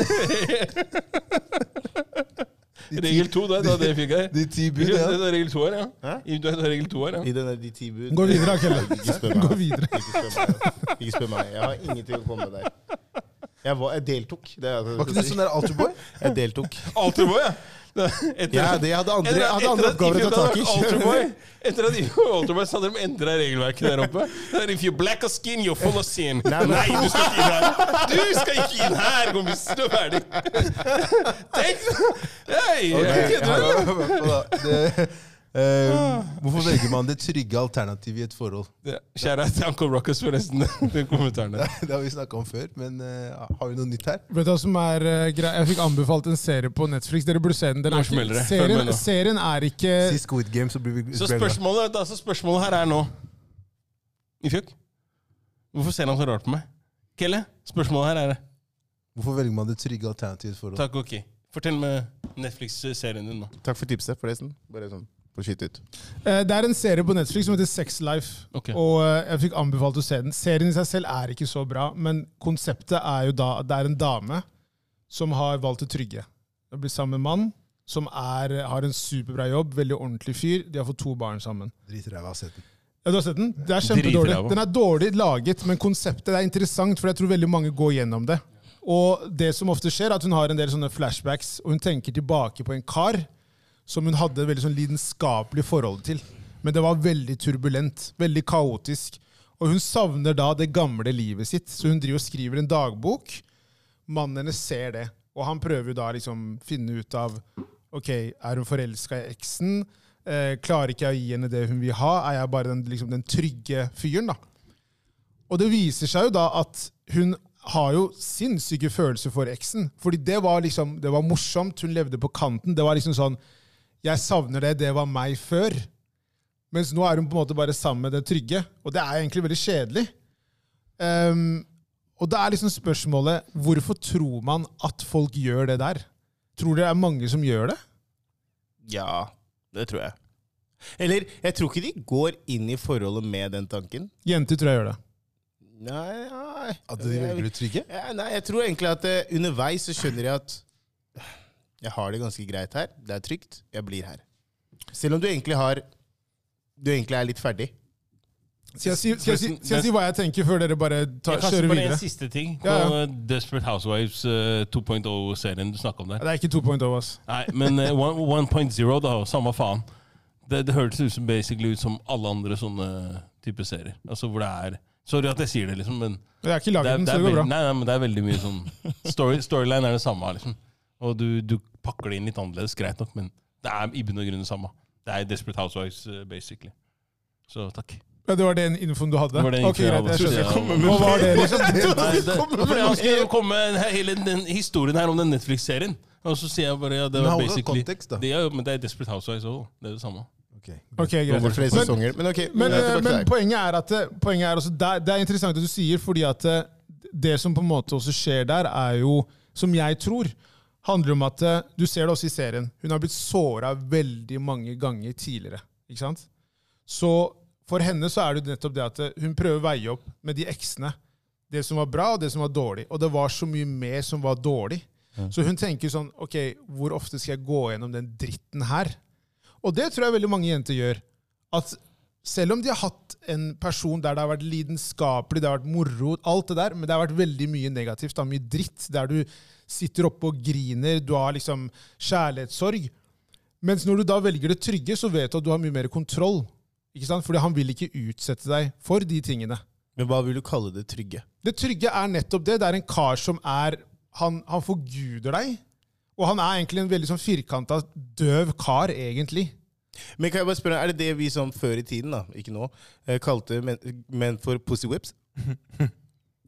Speaker 4: Regel to, det, da, det fikk jeg.
Speaker 3: De ti bud,
Speaker 4: det,
Speaker 3: ja.
Speaker 4: det er regel to her, ja.
Speaker 1: Hæ?
Speaker 4: I- Det er regel to her, ja.
Speaker 1: [LAUGHS] I den der de ti bud.
Speaker 2: Gå videre, Akelle.
Speaker 3: [LAUGHS]
Speaker 1: Ikke spør
Speaker 2: [LAUGHS] Gå
Speaker 1: meg.
Speaker 2: videre.
Speaker 1: Ikke spør meg. Ikke spør meg. Jeg har ingenting å komme med der. Jeg, var, jeg deltok. Det er,
Speaker 3: Var ikke du sånn der [LAUGHS] Alterboy?
Speaker 1: Jeg deltok.
Speaker 4: Alterboy, ja. Det- Etter,
Speaker 1: Ja, det hadde andre, jeg hadde andre oppgaver å ta tak i.
Speaker 4: Alterboy, etter at Alterboy sa de endra regelverket der oppe Det er, If you're black of skin, you're full of sin. Nei,
Speaker 1: men-
Speaker 4: du skal ikke inn her! Du skal ikke inn her, kompis! Du er ferdig. Tenk! Hei, jeg
Speaker 1: Ok,
Speaker 4: kødder.
Speaker 3: det, eh,
Speaker 1: [LAUGHS]
Speaker 3: hvorfor velger man det trygge alternativet i et forhold?
Speaker 4: Ja, Kjære til Uncle Rockers, forresten. Den kommentaren der.
Speaker 3: [LAUGHS] Det har vi snakka om før, men eh, har vi noe nytt her?
Speaker 2: Vet du hva som er eh, grei- Jeg fikk anbefalt en serie på Netflix. Dere burde se den. den
Speaker 4: Nå
Speaker 2: er
Speaker 4: smeller
Speaker 2: ikke,
Speaker 4: det. Følg med
Speaker 2: serien,
Speaker 4: nå.
Speaker 2: serien er ikke
Speaker 3: Si Squid Game, så blir vi
Speaker 4: Så spørsmålet, da, så spørsmålet her er nå I fjøk? Hvorfor ser han så rart på meg? Kelle, spørsmålet her er det.
Speaker 3: Hvorfor velger man det trygge alternativet i et forhold?
Speaker 4: Takk, ok. Fortell med Netflix-serien din nå.
Speaker 1: Takk for tipset, forresten. Bare sånn på skitt ut.
Speaker 2: eh, Det er en serie på Netflix som heter Sex Life.
Speaker 4: Ok.
Speaker 2: Og eh, jeg fikk anbefalt å se den. Serien i seg selv er ikke så bra, men konseptet er jo da at det er en dame som har valgt det trygge. Hun blir sammen med en mann som er, har en superbra jobb, veldig ordentlig fyr. De har fått to barn sammen.
Speaker 3: Drit i ræva, sett den.
Speaker 2: Ja, du har sett den? Det er kjempedårlig.
Speaker 4: Dritræva.
Speaker 2: Den er dårlig laget, men konseptet er interessant, for jeg tror veldig mange går gjennom det. Og det som ofte skjer, er at hun har en del sånne flashbacks, og hun tenker tilbake på en kar som hun hadde et veldig sånn lidenskapelig forhold til. Men det var veldig turbulent, veldig kaotisk. Og hun savner da det gamle livet sitt, så hun driver og skriver en dagbok. Mannen hennes ser det, og han prøver jo da liksom finne ut av Ok, er hun forelska i eksen? Eh, klarer ikke jeg å gi henne det hun vil ha? Er jeg bare den, liksom, den trygge fyren, da? Og det viser seg jo da at hun har jo sinnssyke følelser for eksen. Fordi det var liksom, det var morsomt, hun levde på kanten. Det var liksom sånn Jeg savner det, det var meg før. Mens nå er hun på en måte bare sammen med det trygge. Og det er egentlig veldig kjedelig. Ehm, Og da er liksom spørsmålet hvorfor tror man at folk gjør det der? Tror dere det er mange som gjør det?
Speaker 1: Ja, det tror jeg. Eller jeg tror ikke de går inn i forholdet med den tanken.
Speaker 2: Jenter tror jeg gjør det.
Speaker 1: Nei, nei.
Speaker 3: At de velger ut trygge?
Speaker 1: Ja, nei, jeg tror egentlig at eh, underveis så skjønner jeg at [SIGHS] jeg har det ganske greit her. Det er trygt. Jeg blir her. Selv om du egentlig har Du egentlig er litt ferdig.
Speaker 2: Skal jeg si, skal jeg si, skal jeg si hva jeg tenker, før dere bare tar,
Speaker 4: Jeg kaster
Speaker 2: kjører
Speaker 4: på det en
Speaker 2: videre?
Speaker 4: siste ting.
Speaker 2: Ja, ja.
Speaker 4: På eh, Desperate Housewives eh, 2.0-serien du snakka om der.
Speaker 2: Det er ikke 2.0, ass.
Speaker 4: Nei, men eh, one- 1.0, da. Samme faen. Det, det høres ut som, basically ut som alle andre sånne type serier. Altså hvor det er Sorry at jeg sier det, liksom, men
Speaker 2: Jeg har ikke
Speaker 4: det
Speaker 2: laget
Speaker 4: er,
Speaker 2: den,
Speaker 4: det
Speaker 2: så
Speaker 4: er
Speaker 2: det går
Speaker 4: veldig,
Speaker 2: bra.
Speaker 4: nei, nei, men det er veldig mye sånn story, Storyline er det samme, liksom. Og du, du pakker det inn litt annerledes, greit nok, men det er i bunn og grunn det samme. Det er Desperate Housewives, eh, basically. Så takk.
Speaker 2: Ja, det var den infoen du hadde?
Speaker 4: Det var den
Speaker 2: Ok,
Speaker 4: infoen jeg
Speaker 2: greit,
Speaker 4: hadde.
Speaker 2: jeg
Speaker 4: Ja.
Speaker 2: skjønner. Hva var det? liksom?
Speaker 4: [LAUGHS] Nei, det, fordi han skulle komme med hele den historien her om den Netflix-serien. Og så sier jeg bare ja, det
Speaker 3: Men
Speaker 4: var
Speaker 3: han har
Speaker 4: basically
Speaker 3: kontekst, da.
Speaker 4: det er, jo- Men det er Desperate Housewives òg. Det er det samme.
Speaker 3: Ok.
Speaker 2: Ok,
Speaker 1: Det
Speaker 2: greit.
Speaker 1: går flere
Speaker 2: Men-
Speaker 1: sesonger. Men ok.
Speaker 2: Men,
Speaker 1: jeg
Speaker 2: eh,
Speaker 1: er tilbake til
Speaker 2: men
Speaker 1: deg.
Speaker 2: poenget er at det- poenget er også, det, er- det er interessant det du sier, fordi at eh, det som på en måte også skjer der, er jo, som jeg tror, handler om at eh, du ser det også i serien. Hun har blitt såra veldig mange ganger tidligere. ikke sant? Så for henne så er det jo nettopp det at eh, hun prøver å veie opp med de eksene. Det som var bra, og det som var dårlig. Og det var så mye mer som var dårlig. Så hun tenker sånn Ok, hvor ofte skal jeg gå gjennom den dritten her? Og det tror jeg veldig mange jenter gjør. At selv om de har hatt en person der det har vært lidenskapelig, det har vært moro, alt det der, men det har vært veldig mye negativt, da, mye dritt, der du sitter oppe og griner, du har liksom kjærlighetssorg. Mens når du da velger det trygge, så vet du at du har mye mer kontroll. Ikke sant? Fordi han vil ikke utsette deg for de tingene.
Speaker 1: men hva vil du kalle det trygge?
Speaker 2: Det trygge er nettopp det. Det er en kar som er Han, han forguder deg. Og han er egentlig en veldig sånn firkanta, døv kar, egentlig.
Speaker 1: Men kan jeg bare spørre, Er det det vi som før i tiden, da, ikke nå, eh, kalte men- menn for pussy whips?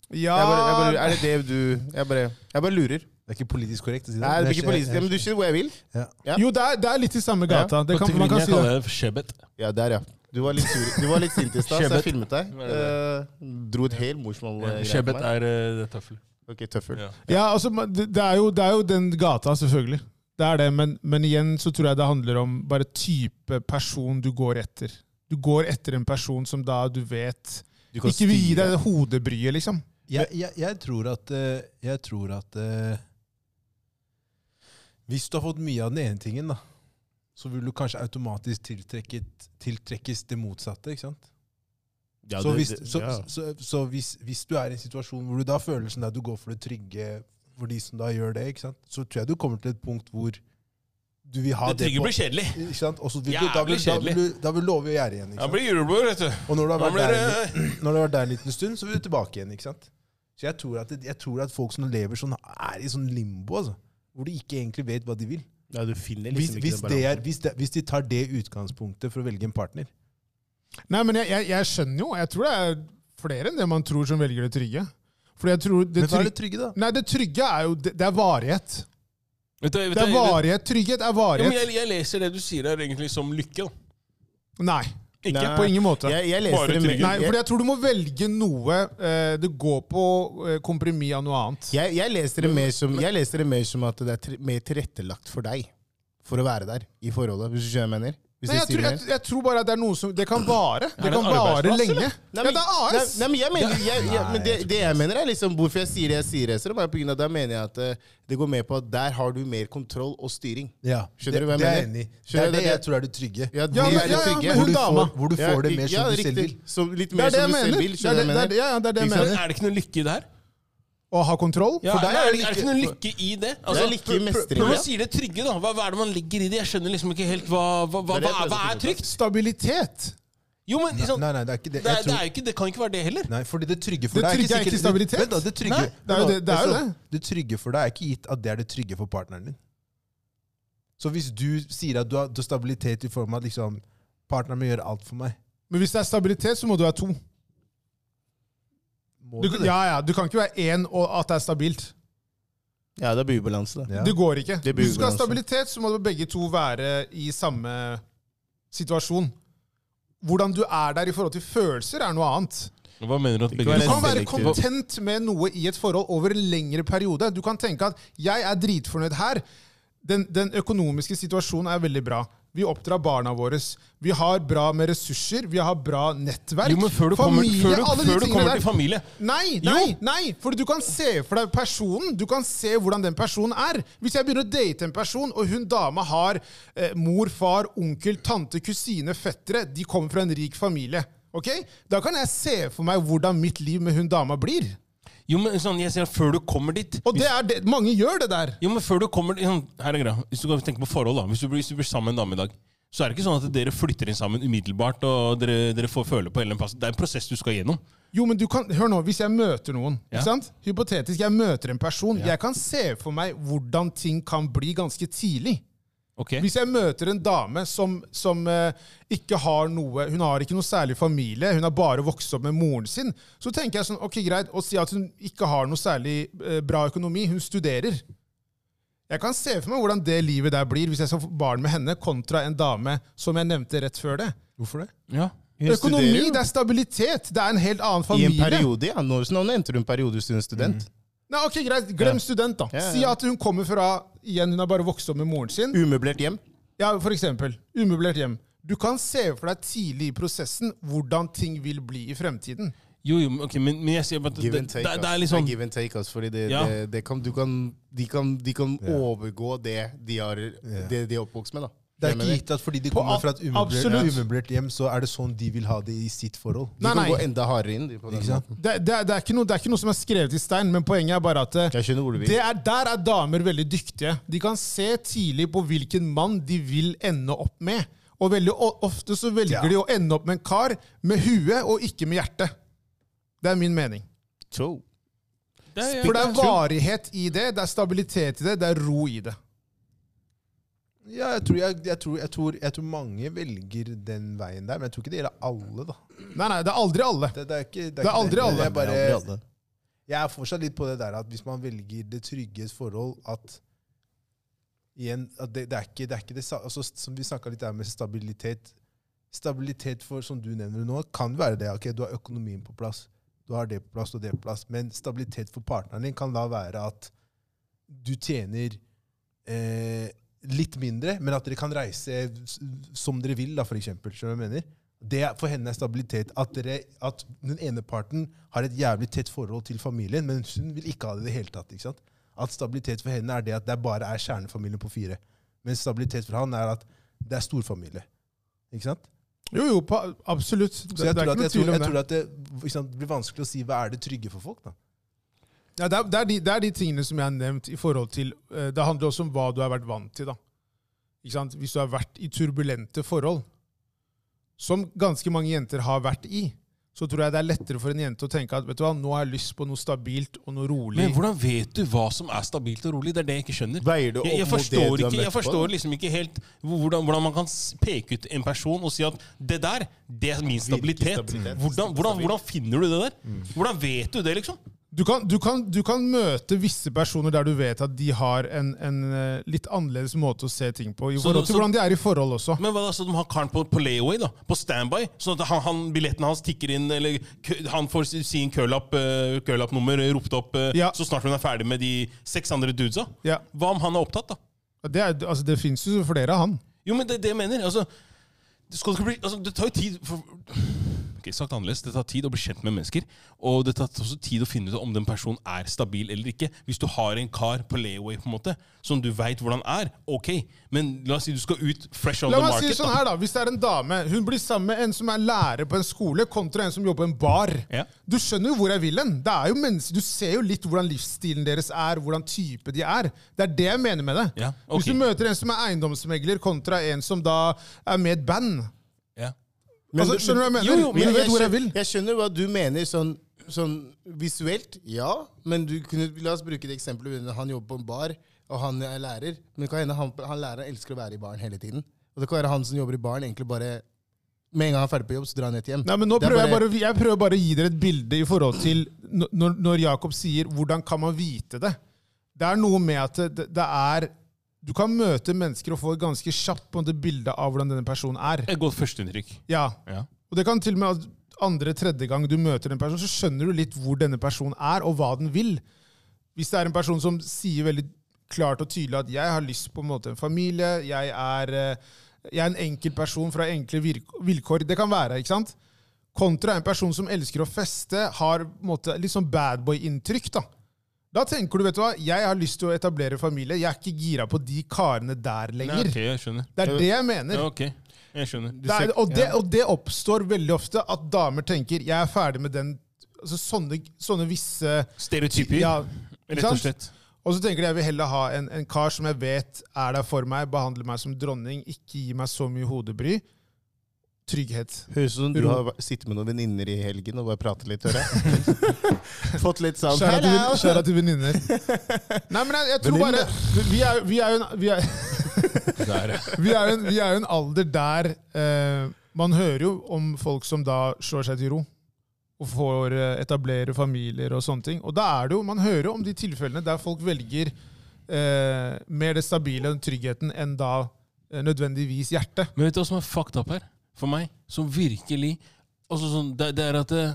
Speaker 2: Ja
Speaker 1: Jeg bare, jeg bare, er det det du Jeg bare, jeg bare lurer.
Speaker 3: Det er ikke politisk korrekt å si det.
Speaker 1: Nei, det blir ikke politisk, men du skjønner hvor jeg vil? Ja.
Speaker 2: Jo, det er, det er litt i samme gata. Det
Speaker 4: På
Speaker 2: kan, man
Speaker 4: Twitter
Speaker 2: kan si det.
Speaker 4: kaller jeg det for Shebbet.
Speaker 1: Ja, der, ja. Du var litt, sur. Du var litt sint i stad, så jeg filmet deg.
Speaker 4: Hva er det?
Speaker 1: Eh, dro et helt morsmål. eh, greie på
Speaker 4: Shebbet
Speaker 1: meg.
Speaker 4: er eh, det tøffel.
Speaker 1: Ok, tøffel.
Speaker 4: Ja.
Speaker 2: Ja, altså, man- det det er, jo, det er jo den gata, selvfølgelig. Det er det, men, men igjen så tror jeg det handler om bare type person du går etter. Du går etter en person som da du vet
Speaker 1: Du kan
Speaker 2: Ikke vil gi
Speaker 1: styre.
Speaker 2: deg det hodebryet, liksom.
Speaker 3: Jeg, jeg, jeg tror at, eh, jeg tror at eh, Hvis du har fått mye av den ene tingen, da, så vil du kanskje automatisk tiltrekket, tiltrekkes det motsatte. ikke sant?
Speaker 1: Ja,
Speaker 3: så
Speaker 1: det-
Speaker 3: hvis,
Speaker 1: det-
Speaker 3: så,
Speaker 1: ja.
Speaker 3: så, så, hvis, hvis du er i en situasjon hvor du da føler sånn at du går for det trygge for de som da gjør det, ikke sant? så tror jeg du kommer til et punkt hvor du vil ha
Speaker 4: Det
Speaker 3: det,
Speaker 4: trygge blir kjedelig.
Speaker 3: på ikke sant? Og så vil du, da, vil,
Speaker 4: Jævlig
Speaker 3: da, vil du, da vil du love å gjøre igjen.
Speaker 4: Da
Speaker 3: Ikke sant?
Speaker 4: blir det julebord, vet du.
Speaker 3: Og når du har
Speaker 4: Da
Speaker 3: vært
Speaker 4: blir
Speaker 3: der litt-
Speaker 4: det
Speaker 3: når du har vært der en liten stund, så vil du tilbake igjen. ikke sant? Så jeg tror at, jeg tror at folk som lever sånn, er i sånn limbo, altså. Hvor de ikke egentlig vet hva de vil.
Speaker 1: ja, du finner
Speaker 3: Hvis,
Speaker 1: liksom ikke
Speaker 3: hvis,
Speaker 1: den
Speaker 3: det er,
Speaker 1: balansen.
Speaker 3: hvis, det, hvis de tar det utgangspunktet for å velge en partner.
Speaker 2: Nei, men jeg, jeg, jeg skjønner jo. Jeg tror det er flere enn det man tror som velger det trygge. For jeg tror det
Speaker 3: Men hva
Speaker 2: trygge,
Speaker 3: er det trygge, da?
Speaker 2: Nei, det trygge er jo Det, det er varighet.
Speaker 4: Vet du, vet
Speaker 2: Det er
Speaker 4: du-
Speaker 2: varighet. Trygghet er
Speaker 4: Ja, men
Speaker 2: varighet.
Speaker 4: jeg, jeg leser det du sier her, egentlig som lykke. da.
Speaker 2: Nei.
Speaker 4: Ikke
Speaker 1: Nei.
Speaker 2: På ingen måte.
Speaker 1: Jeg, jeg
Speaker 4: Bare
Speaker 1: leser det
Speaker 4: trygge.
Speaker 1: med
Speaker 2: Nei,
Speaker 1: jeg,
Speaker 2: for jeg tror du må velge noe eh, Det går på eh, kompromiss av noe annet.
Speaker 1: jeg, jeg, leser det mer som, jeg leser det mer som at det er tre- mer tilrettelagt for deg for å være der i forholdet, hvis du skjønner hva jeg mener. Hvis
Speaker 2: Nei, jeg,
Speaker 1: sier
Speaker 2: tror,
Speaker 1: det
Speaker 2: jeg,
Speaker 1: mer.
Speaker 2: jeg tror bare at det er noe som Det kan vare. Det
Speaker 4: det
Speaker 2: kan
Speaker 4: en
Speaker 2: vare
Speaker 4: arbeidsplass,
Speaker 2: lenge.
Speaker 1: Nei,
Speaker 2: Ja, det er AS.
Speaker 1: Nei, nei, men jeg mener, jeg, jeg, men det, det jeg mener er liksom Hvorfor jeg sier det jeg sier, Ezra, er på grunn av at da mener jeg at eh, det går med på at der har du mer kontroll og styring.
Speaker 3: Ja,
Speaker 1: Skjønner
Speaker 3: det,
Speaker 1: du hva jeg
Speaker 3: det er jeg enig
Speaker 1: mener?
Speaker 3: i. Det er
Speaker 1: Skjønner du
Speaker 3: det
Speaker 1: det-
Speaker 3: jeg tror er det trygge.
Speaker 1: Ja,
Speaker 2: Ja,
Speaker 1: det
Speaker 2: men- ja,
Speaker 1: er det
Speaker 2: ja,
Speaker 1: trygge.
Speaker 2: men
Speaker 3: Hvor
Speaker 2: hun
Speaker 3: du
Speaker 2: dama.
Speaker 3: får, hvor du får det mer som du selv vil.
Speaker 1: Som, litt
Speaker 2: Det
Speaker 1: mer
Speaker 2: er det jeg
Speaker 1: som du selv
Speaker 2: mener.
Speaker 1: vil.
Speaker 2: Det er det,
Speaker 1: Skjønner du
Speaker 2: det er,
Speaker 1: hva jeg mener?
Speaker 2: ja, ja, det, er det jeg
Speaker 1: Ikke sant?
Speaker 4: Men
Speaker 2: mener.
Speaker 4: er det ikke noe lykke der?
Speaker 2: Å ha kontroll?
Speaker 4: Ja,
Speaker 3: For deg
Speaker 4: er,
Speaker 3: er det
Speaker 4: det, er det ikke noe lykke i det? Altså,
Speaker 1: Det er lykke i mestring,
Speaker 4: Når
Speaker 1: ja.
Speaker 4: man sier det trygge, da, hva, hva er det man legger i det? Jeg skjønner liksom ikke helt hva, hva, hva,
Speaker 1: Det er det
Speaker 4: hva,
Speaker 1: jeg
Speaker 4: er- hva
Speaker 1: prøver å
Speaker 4: er
Speaker 1: finne ut
Speaker 4: trygt.
Speaker 2: Stabilitet.
Speaker 4: Jo, men liksom,
Speaker 3: Nei, nei, det er ikke det.
Speaker 4: det, er,
Speaker 3: Jeg
Speaker 4: det,
Speaker 3: tror,
Speaker 4: er jo ikke, det kan ikke være det heller.
Speaker 3: nei, fordi det trygge for
Speaker 2: Det
Speaker 3: deg
Speaker 2: trygge er ikke
Speaker 3: sikkert-
Speaker 2: stabilitet.
Speaker 3: Vent da, det trygge,
Speaker 4: Nei,
Speaker 2: det er jo det- det er jo
Speaker 3: Altså, det trygge for deg er ikke gitt at det er det trygge for partneren din. Så hvis du sier at du har du har stabilitet i form av at liksom, partneren min gjør alt for meg
Speaker 2: Men hvis det er stabilitet, så må du være to.
Speaker 3: må
Speaker 2: Du,
Speaker 3: du det?
Speaker 2: ja, ja, du kan ikke være én og at det er stabilt.
Speaker 1: Ja, det er bubalanse, det.
Speaker 3: Ja.
Speaker 2: Det går ikke.
Speaker 1: Det blir
Speaker 2: Hvis du skal ha
Speaker 1: ubalanse.
Speaker 2: stabilitet, så må du begge to være i samme situasjon. Hvordan du er der i forhold til følelser, er noe annet.
Speaker 4: Hva mener du at begge
Speaker 1: vær
Speaker 2: Du kan være
Speaker 1: Selektiv.
Speaker 2: content med noe i et forhold over en lengre periode. Du kan tenke at 'jeg er dritfornøyd her'. Den, den økonomiske situasjonen er veldig bra. Vi oppdrar barna våre. Vi har bra med ressurser. Vi har bra nettverk.
Speaker 4: Jo, men før du kommer, før du,
Speaker 2: alle de
Speaker 4: før du
Speaker 2: tingene
Speaker 4: kommer
Speaker 2: der.
Speaker 4: til familie
Speaker 2: Nei,
Speaker 4: Jo.
Speaker 2: nei, nei! For du kan se for deg personen. Du kan se hvordan den personen er. Hvis jeg begynner å date en person, og hun dama har eh, mor, far, onkel, tante, kusine, fettere De kommer fra en rik familie. ok? Da kan jeg se for meg hvordan mitt liv med hun dama blir.
Speaker 4: Jo, men sånn, jeg sier før du kommer dit
Speaker 2: Og det er det, mange gjør det der.
Speaker 4: Jo, men før du kommer sånn, Her er greia. Hvis du kan tenke på forhold, da. Hvis du, blir, hvis du blir sammen med en dame i dag, så er det ikke sånn at dere flytter inn sammen umiddelbart og dere, dere får føle på hele den passen. Det er en prosess du skal gjennom.
Speaker 2: Jo, men du kan, Hør nå, hvis jeg møter noen
Speaker 4: Ja.
Speaker 2: ikke sant? Hypotetisk, jeg møter en person. Jeg kan se for meg hvordan ting kan bli ganske tidlig.
Speaker 4: Ok?
Speaker 2: Hvis jeg møter en dame som, som eh, ikke har noe Hun har ikke noe særlig familie, hun har bare vokst opp med moren sin. Så tenker jeg sånn, ok greit, å si at hun ikke har noe særlig eh, bra økonomi. Hun studerer. Jeg kan se for meg hvordan det livet der blir hvis jeg skal få barn med henne, kontra en dame som jeg nevnte rett før det.
Speaker 3: Hvorfor det?
Speaker 4: Ja.
Speaker 2: Økonomi,
Speaker 1: studerer jo.
Speaker 2: det er stabilitet! Det er en helt annen
Speaker 1: I en
Speaker 2: familie.
Speaker 1: periode, ja. Når, nå nevnte du en periode som student.
Speaker 2: Nei, ok, greit, Glem student, da.
Speaker 1: Ja, ja,
Speaker 2: Si
Speaker 1: ja.
Speaker 2: at hun kommer fra igjen, hun har bare vokst opp med moren sin.
Speaker 1: Umøblert hjem.
Speaker 2: Ja, for eksempel. Umøblert hjem. Du kan se for deg tidlig i prosessen hvordan ting vil bli i fremtiden.
Speaker 4: Jo, jo, men- ok, men, men jeg sier bare at det,
Speaker 1: Give
Speaker 4: det,
Speaker 1: and
Speaker 4: det,
Speaker 1: take, ass.
Speaker 4: er litt sånn
Speaker 1: give and take, ass. Fordi det,
Speaker 4: Ja.
Speaker 1: det, det kan, du kan, de kan, de kan overgå det de, har, det de er oppvokst med. da.
Speaker 3: Det er
Speaker 1: Jeg
Speaker 3: ikke
Speaker 1: mener,
Speaker 3: gitt at fordi de
Speaker 2: På
Speaker 3: kommer
Speaker 2: ab-
Speaker 3: fra et
Speaker 2: absolutt.
Speaker 3: umøblert, umøblert hjem, så er det sånn de vil ha det i sitt forhold.
Speaker 1: De
Speaker 2: Nei,
Speaker 1: kan
Speaker 2: nei.
Speaker 1: gå enda hardere inn. De, på den
Speaker 3: Ikke sant?
Speaker 1: måten.
Speaker 2: Det, det, er- det, er ikke noe, det er ikke noe som er skrevet i stein, men poenget er bare at eh,
Speaker 1: Jeg skjønner hvor du vil.
Speaker 2: det er, der er damer veldig dyktige. De kan se tidlig på hvilken mann de vil ende opp med. Og veldig o- ofte så velger
Speaker 3: Ja.
Speaker 2: de å ende opp med en kar med huet og ikke med hjertet. Det er min mening.
Speaker 1: Tjo.
Speaker 4: det er,
Speaker 2: For det er varighet i det, det er stabilitet i det, det er ro i det.
Speaker 3: Ja, jeg tror, jeg, jeg, tror, jeg, tror, jeg tror mange velger den veien der, men jeg tror ikke det gjelder alle. da.
Speaker 2: Nei, nei, det er aldri alle.
Speaker 3: Det, det er, ikke,
Speaker 2: Det er aldri alle.
Speaker 3: Jeg, bare,
Speaker 1: Det er aldri alle.
Speaker 3: jeg er fortsatt litt på det der at hvis man velger det trygge i et forhold at igjen, at det, det er ikke det, er ikke det sa- altså, Som vi snakka litt der med stabilitet Stabilitet for, som du nevner nå, kan være det. ok, Du har økonomien på plass, du har det på plass og det på plass, men stabilitet for partneren din kan da være at du tjener eh, litt mindre, men at dere kan reise s- som dere vil, da, for eksempel. Skjønner du hva jeg mener? Det er, for henne er stabilitet at, dere, at den ene parten har et jævlig tett forhold til familien, men hun vil ikke ha det i det hele tatt. ikke sant? At stabilitet for henne er det at det bare er kjernefamilien på fire. Mens stabilitet for han er at det er storfamilie. Ikke sant?
Speaker 2: Jo, jo, på, absolutt.
Speaker 3: Så
Speaker 2: Det,
Speaker 3: jeg
Speaker 2: det er
Speaker 3: tror
Speaker 2: ikke noe
Speaker 3: at, jeg tror,
Speaker 2: tvil om
Speaker 3: jeg
Speaker 2: det.
Speaker 3: tror at det, ikke sant, det blir vanskelig å si hva er det trygge for folk. da.
Speaker 2: Ja, det, er, det, er de, det er de tingene som jeg har nevnt. i forhold til, eh, Det handler også om hva du har vært vant til. da. Ikke sant? Hvis du har vært i turbulente forhold, som ganske mange jenter har vært i, så tror jeg det er lettere for en jente å tenke at vet du hva, nå har jeg lyst på noe stabilt og noe rolig.
Speaker 4: Men hvordan vet du hva som er stabilt og rolig? Det er det jeg ikke skjønner.
Speaker 1: Veier det opp
Speaker 4: Jeg, jeg,
Speaker 1: mot det
Speaker 4: forstår,
Speaker 1: du har
Speaker 4: ikke, jeg
Speaker 1: møtt på?
Speaker 4: forstår liksom ikke helt hvordan, hvordan man kan s- peke ut en person og si at det der, det er min stabilitet.
Speaker 1: stabilitet. Mm.
Speaker 4: Hvordan, hvordan, hvordan finner du det der? Hvordan vet du det, liksom?
Speaker 2: Du kan, du, kan, du kan møte visse personer der du vet at de har en, en eh, litt annerledes måte å se ting på, i
Speaker 4: Så-
Speaker 2: forhold til
Speaker 4: så-
Speaker 2: hvordan de er i forhold også.
Speaker 4: Men hva da, så de har karen på, på layaway, da? På standby? Sånn at han, han, billetten hans tikker inn, eller kø- han får si- sin curl-up-nummer ropt opp eh,
Speaker 2: Ja.
Speaker 4: så snart hun er ferdig med de seks andre dudesa?
Speaker 2: Ja.
Speaker 4: Hva om han er opptatt, da?
Speaker 2: Det, er, altså, det fins jo flere av han.
Speaker 4: Jo, men det er det jeg mener. Altså, det, skal ikke bli, altså, det tar jo tid for, Ok, sagt annerledes. Det tar tid å bli kjent med mennesker. Og det tar også tid å finne ut om den personen er stabil eller ikke. Hvis du har en kar på layaway på en måte, som du veit hvordan er, ok. Men la oss si du skal ut fresh on
Speaker 2: La
Speaker 4: the
Speaker 2: meg si
Speaker 4: market.
Speaker 2: det sånn her da, Hvis det er en dame Hun blir sammen med en som er lærer på en skole, kontra en som jobber på en bar.
Speaker 4: Ja.
Speaker 2: Du skjønner jo hvor jeg vil hen. Det er jo mennesker- Du ser jo litt hvordan livsstilen deres er, hvordan type de er. Det er det jeg mener med det.
Speaker 4: Ja, ok.
Speaker 2: Hvis du møter en som er eiendomsmegler, kontra en som da er med i et band
Speaker 4: da. Ja.
Speaker 2: altså, Skjønner du hva jeg mener?
Speaker 1: Jo, jo, men
Speaker 2: du vet hvor jeg vil.
Speaker 1: skjønner- Jeg skjønner hva du mener sånn, sånn visuelt, ja. Men du kunne, la oss bruke det eksempelet med han jobber på en bar, og han er lærer. Men det kan hende han, han læreren elsker å være i baren hele tiden. Og det kan være han som jobber i baren, egentlig bare Med en gang han er ferdig på jobb, så drar han rett hjem.
Speaker 2: Nei, men nå
Speaker 1: Det er
Speaker 2: prøver jeg, bare, jeg prøver bare å gi dere et bilde i forhold til n- når, når Jakob sier 'hvordan kan man vite det'? Det er noe med at det, det er Du kan møte mennesker og få et ganske kjapt på en måte bilde av hvordan denne personen er.
Speaker 4: Et godt førsteinntrykk.
Speaker 2: Ja.
Speaker 4: Ja.
Speaker 2: Og det kan til og med andre, tredje gang du møter den personen, så skjønner du litt hvor denne personen er, og hva den vil. Hvis det er en person som sier veldig klart og tydelig at 'jeg har lyst på en måte en familie', 'jeg er, eh, jeg er en enkel person fra enkle virk- vilkår', det kan være, ikke sant? Kontra en person som elsker å feste, har på en måte, litt sånn badboy-inntrykk. Da Da tenker du vet du hva, 'jeg har lyst til å etablere familie', jeg er ikke gira på de karene der
Speaker 4: Nei,
Speaker 2: lenger.
Speaker 4: ok, jeg skjønner.
Speaker 2: Det er det jeg mener.
Speaker 4: Ja, ok, jeg skjønner.
Speaker 2: Det er, og, det, og det oppstår veldig ofte at damer tenker 'jeg er ferdig med den' altså sånne, sånne visse
Speaker 4: Stereotypier,
Speaker 2: Ja, ikke
Speaker 4: rett og
Speaker 2: sant?
Speaker 4: slett.
Speaker 2: Og så tenker de jeg vil heller ha en, en kar som jeg vet er der for meg, behandler meg som dronning, ikke gir meg så mye hodebry. Trygghet.
Speaker 1: Høres ut som du
Speaker 2: Ro.
Speaker 1: har vært- sittet med noen venninner i helgen og bare pratet litt. Hører. jeg.
Speaker 2: [LAUGHS]
Speaker 1: Fått litt sånn
Speaker 2: Kjære til,
Speaker 1: hello.
Speaker 2: kjære til venninner. Nei, men jeg, jeg tror bare Vi er vi er jo en, vi er, [LAUGHS] vi er jo en, vi er jo en alder der eh, man hører jo om folk som da slår seg til ro. Og får eh, etablere familier og sånne ting. Og da er det jo, man hører jo om de tilfellene der folk velger eh, mer det stabile og den tryggheten enn da eh, nødvendigvis hjertet.
Speaker 4: Men vet du hva som er fucked up her? For meg, som virkelig altså sånn, det, det er at eh,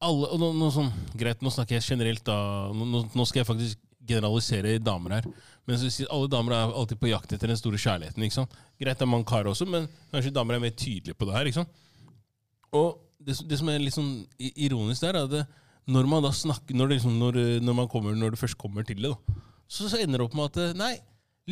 Speaker 4: alle og nå, nå, sånn, Greit, nå snakker jeg generelt, da. Nå, nå- nå skal jeg faktisk generalisere damer her. Men så, sier- alle damer er alltid på jakt etter den store kjærligheten. ikke sant? Greit, det er mange karer også, men kanskje damer er mer tydelige på det her. ikke sant? Og det, som- det som er litt sånn i- ironisk der, er at det- når man da snakker, når det, liksom, når, eh, når man kommer, når det først kommer til det, da, så, så ender det opp med at eh, nei,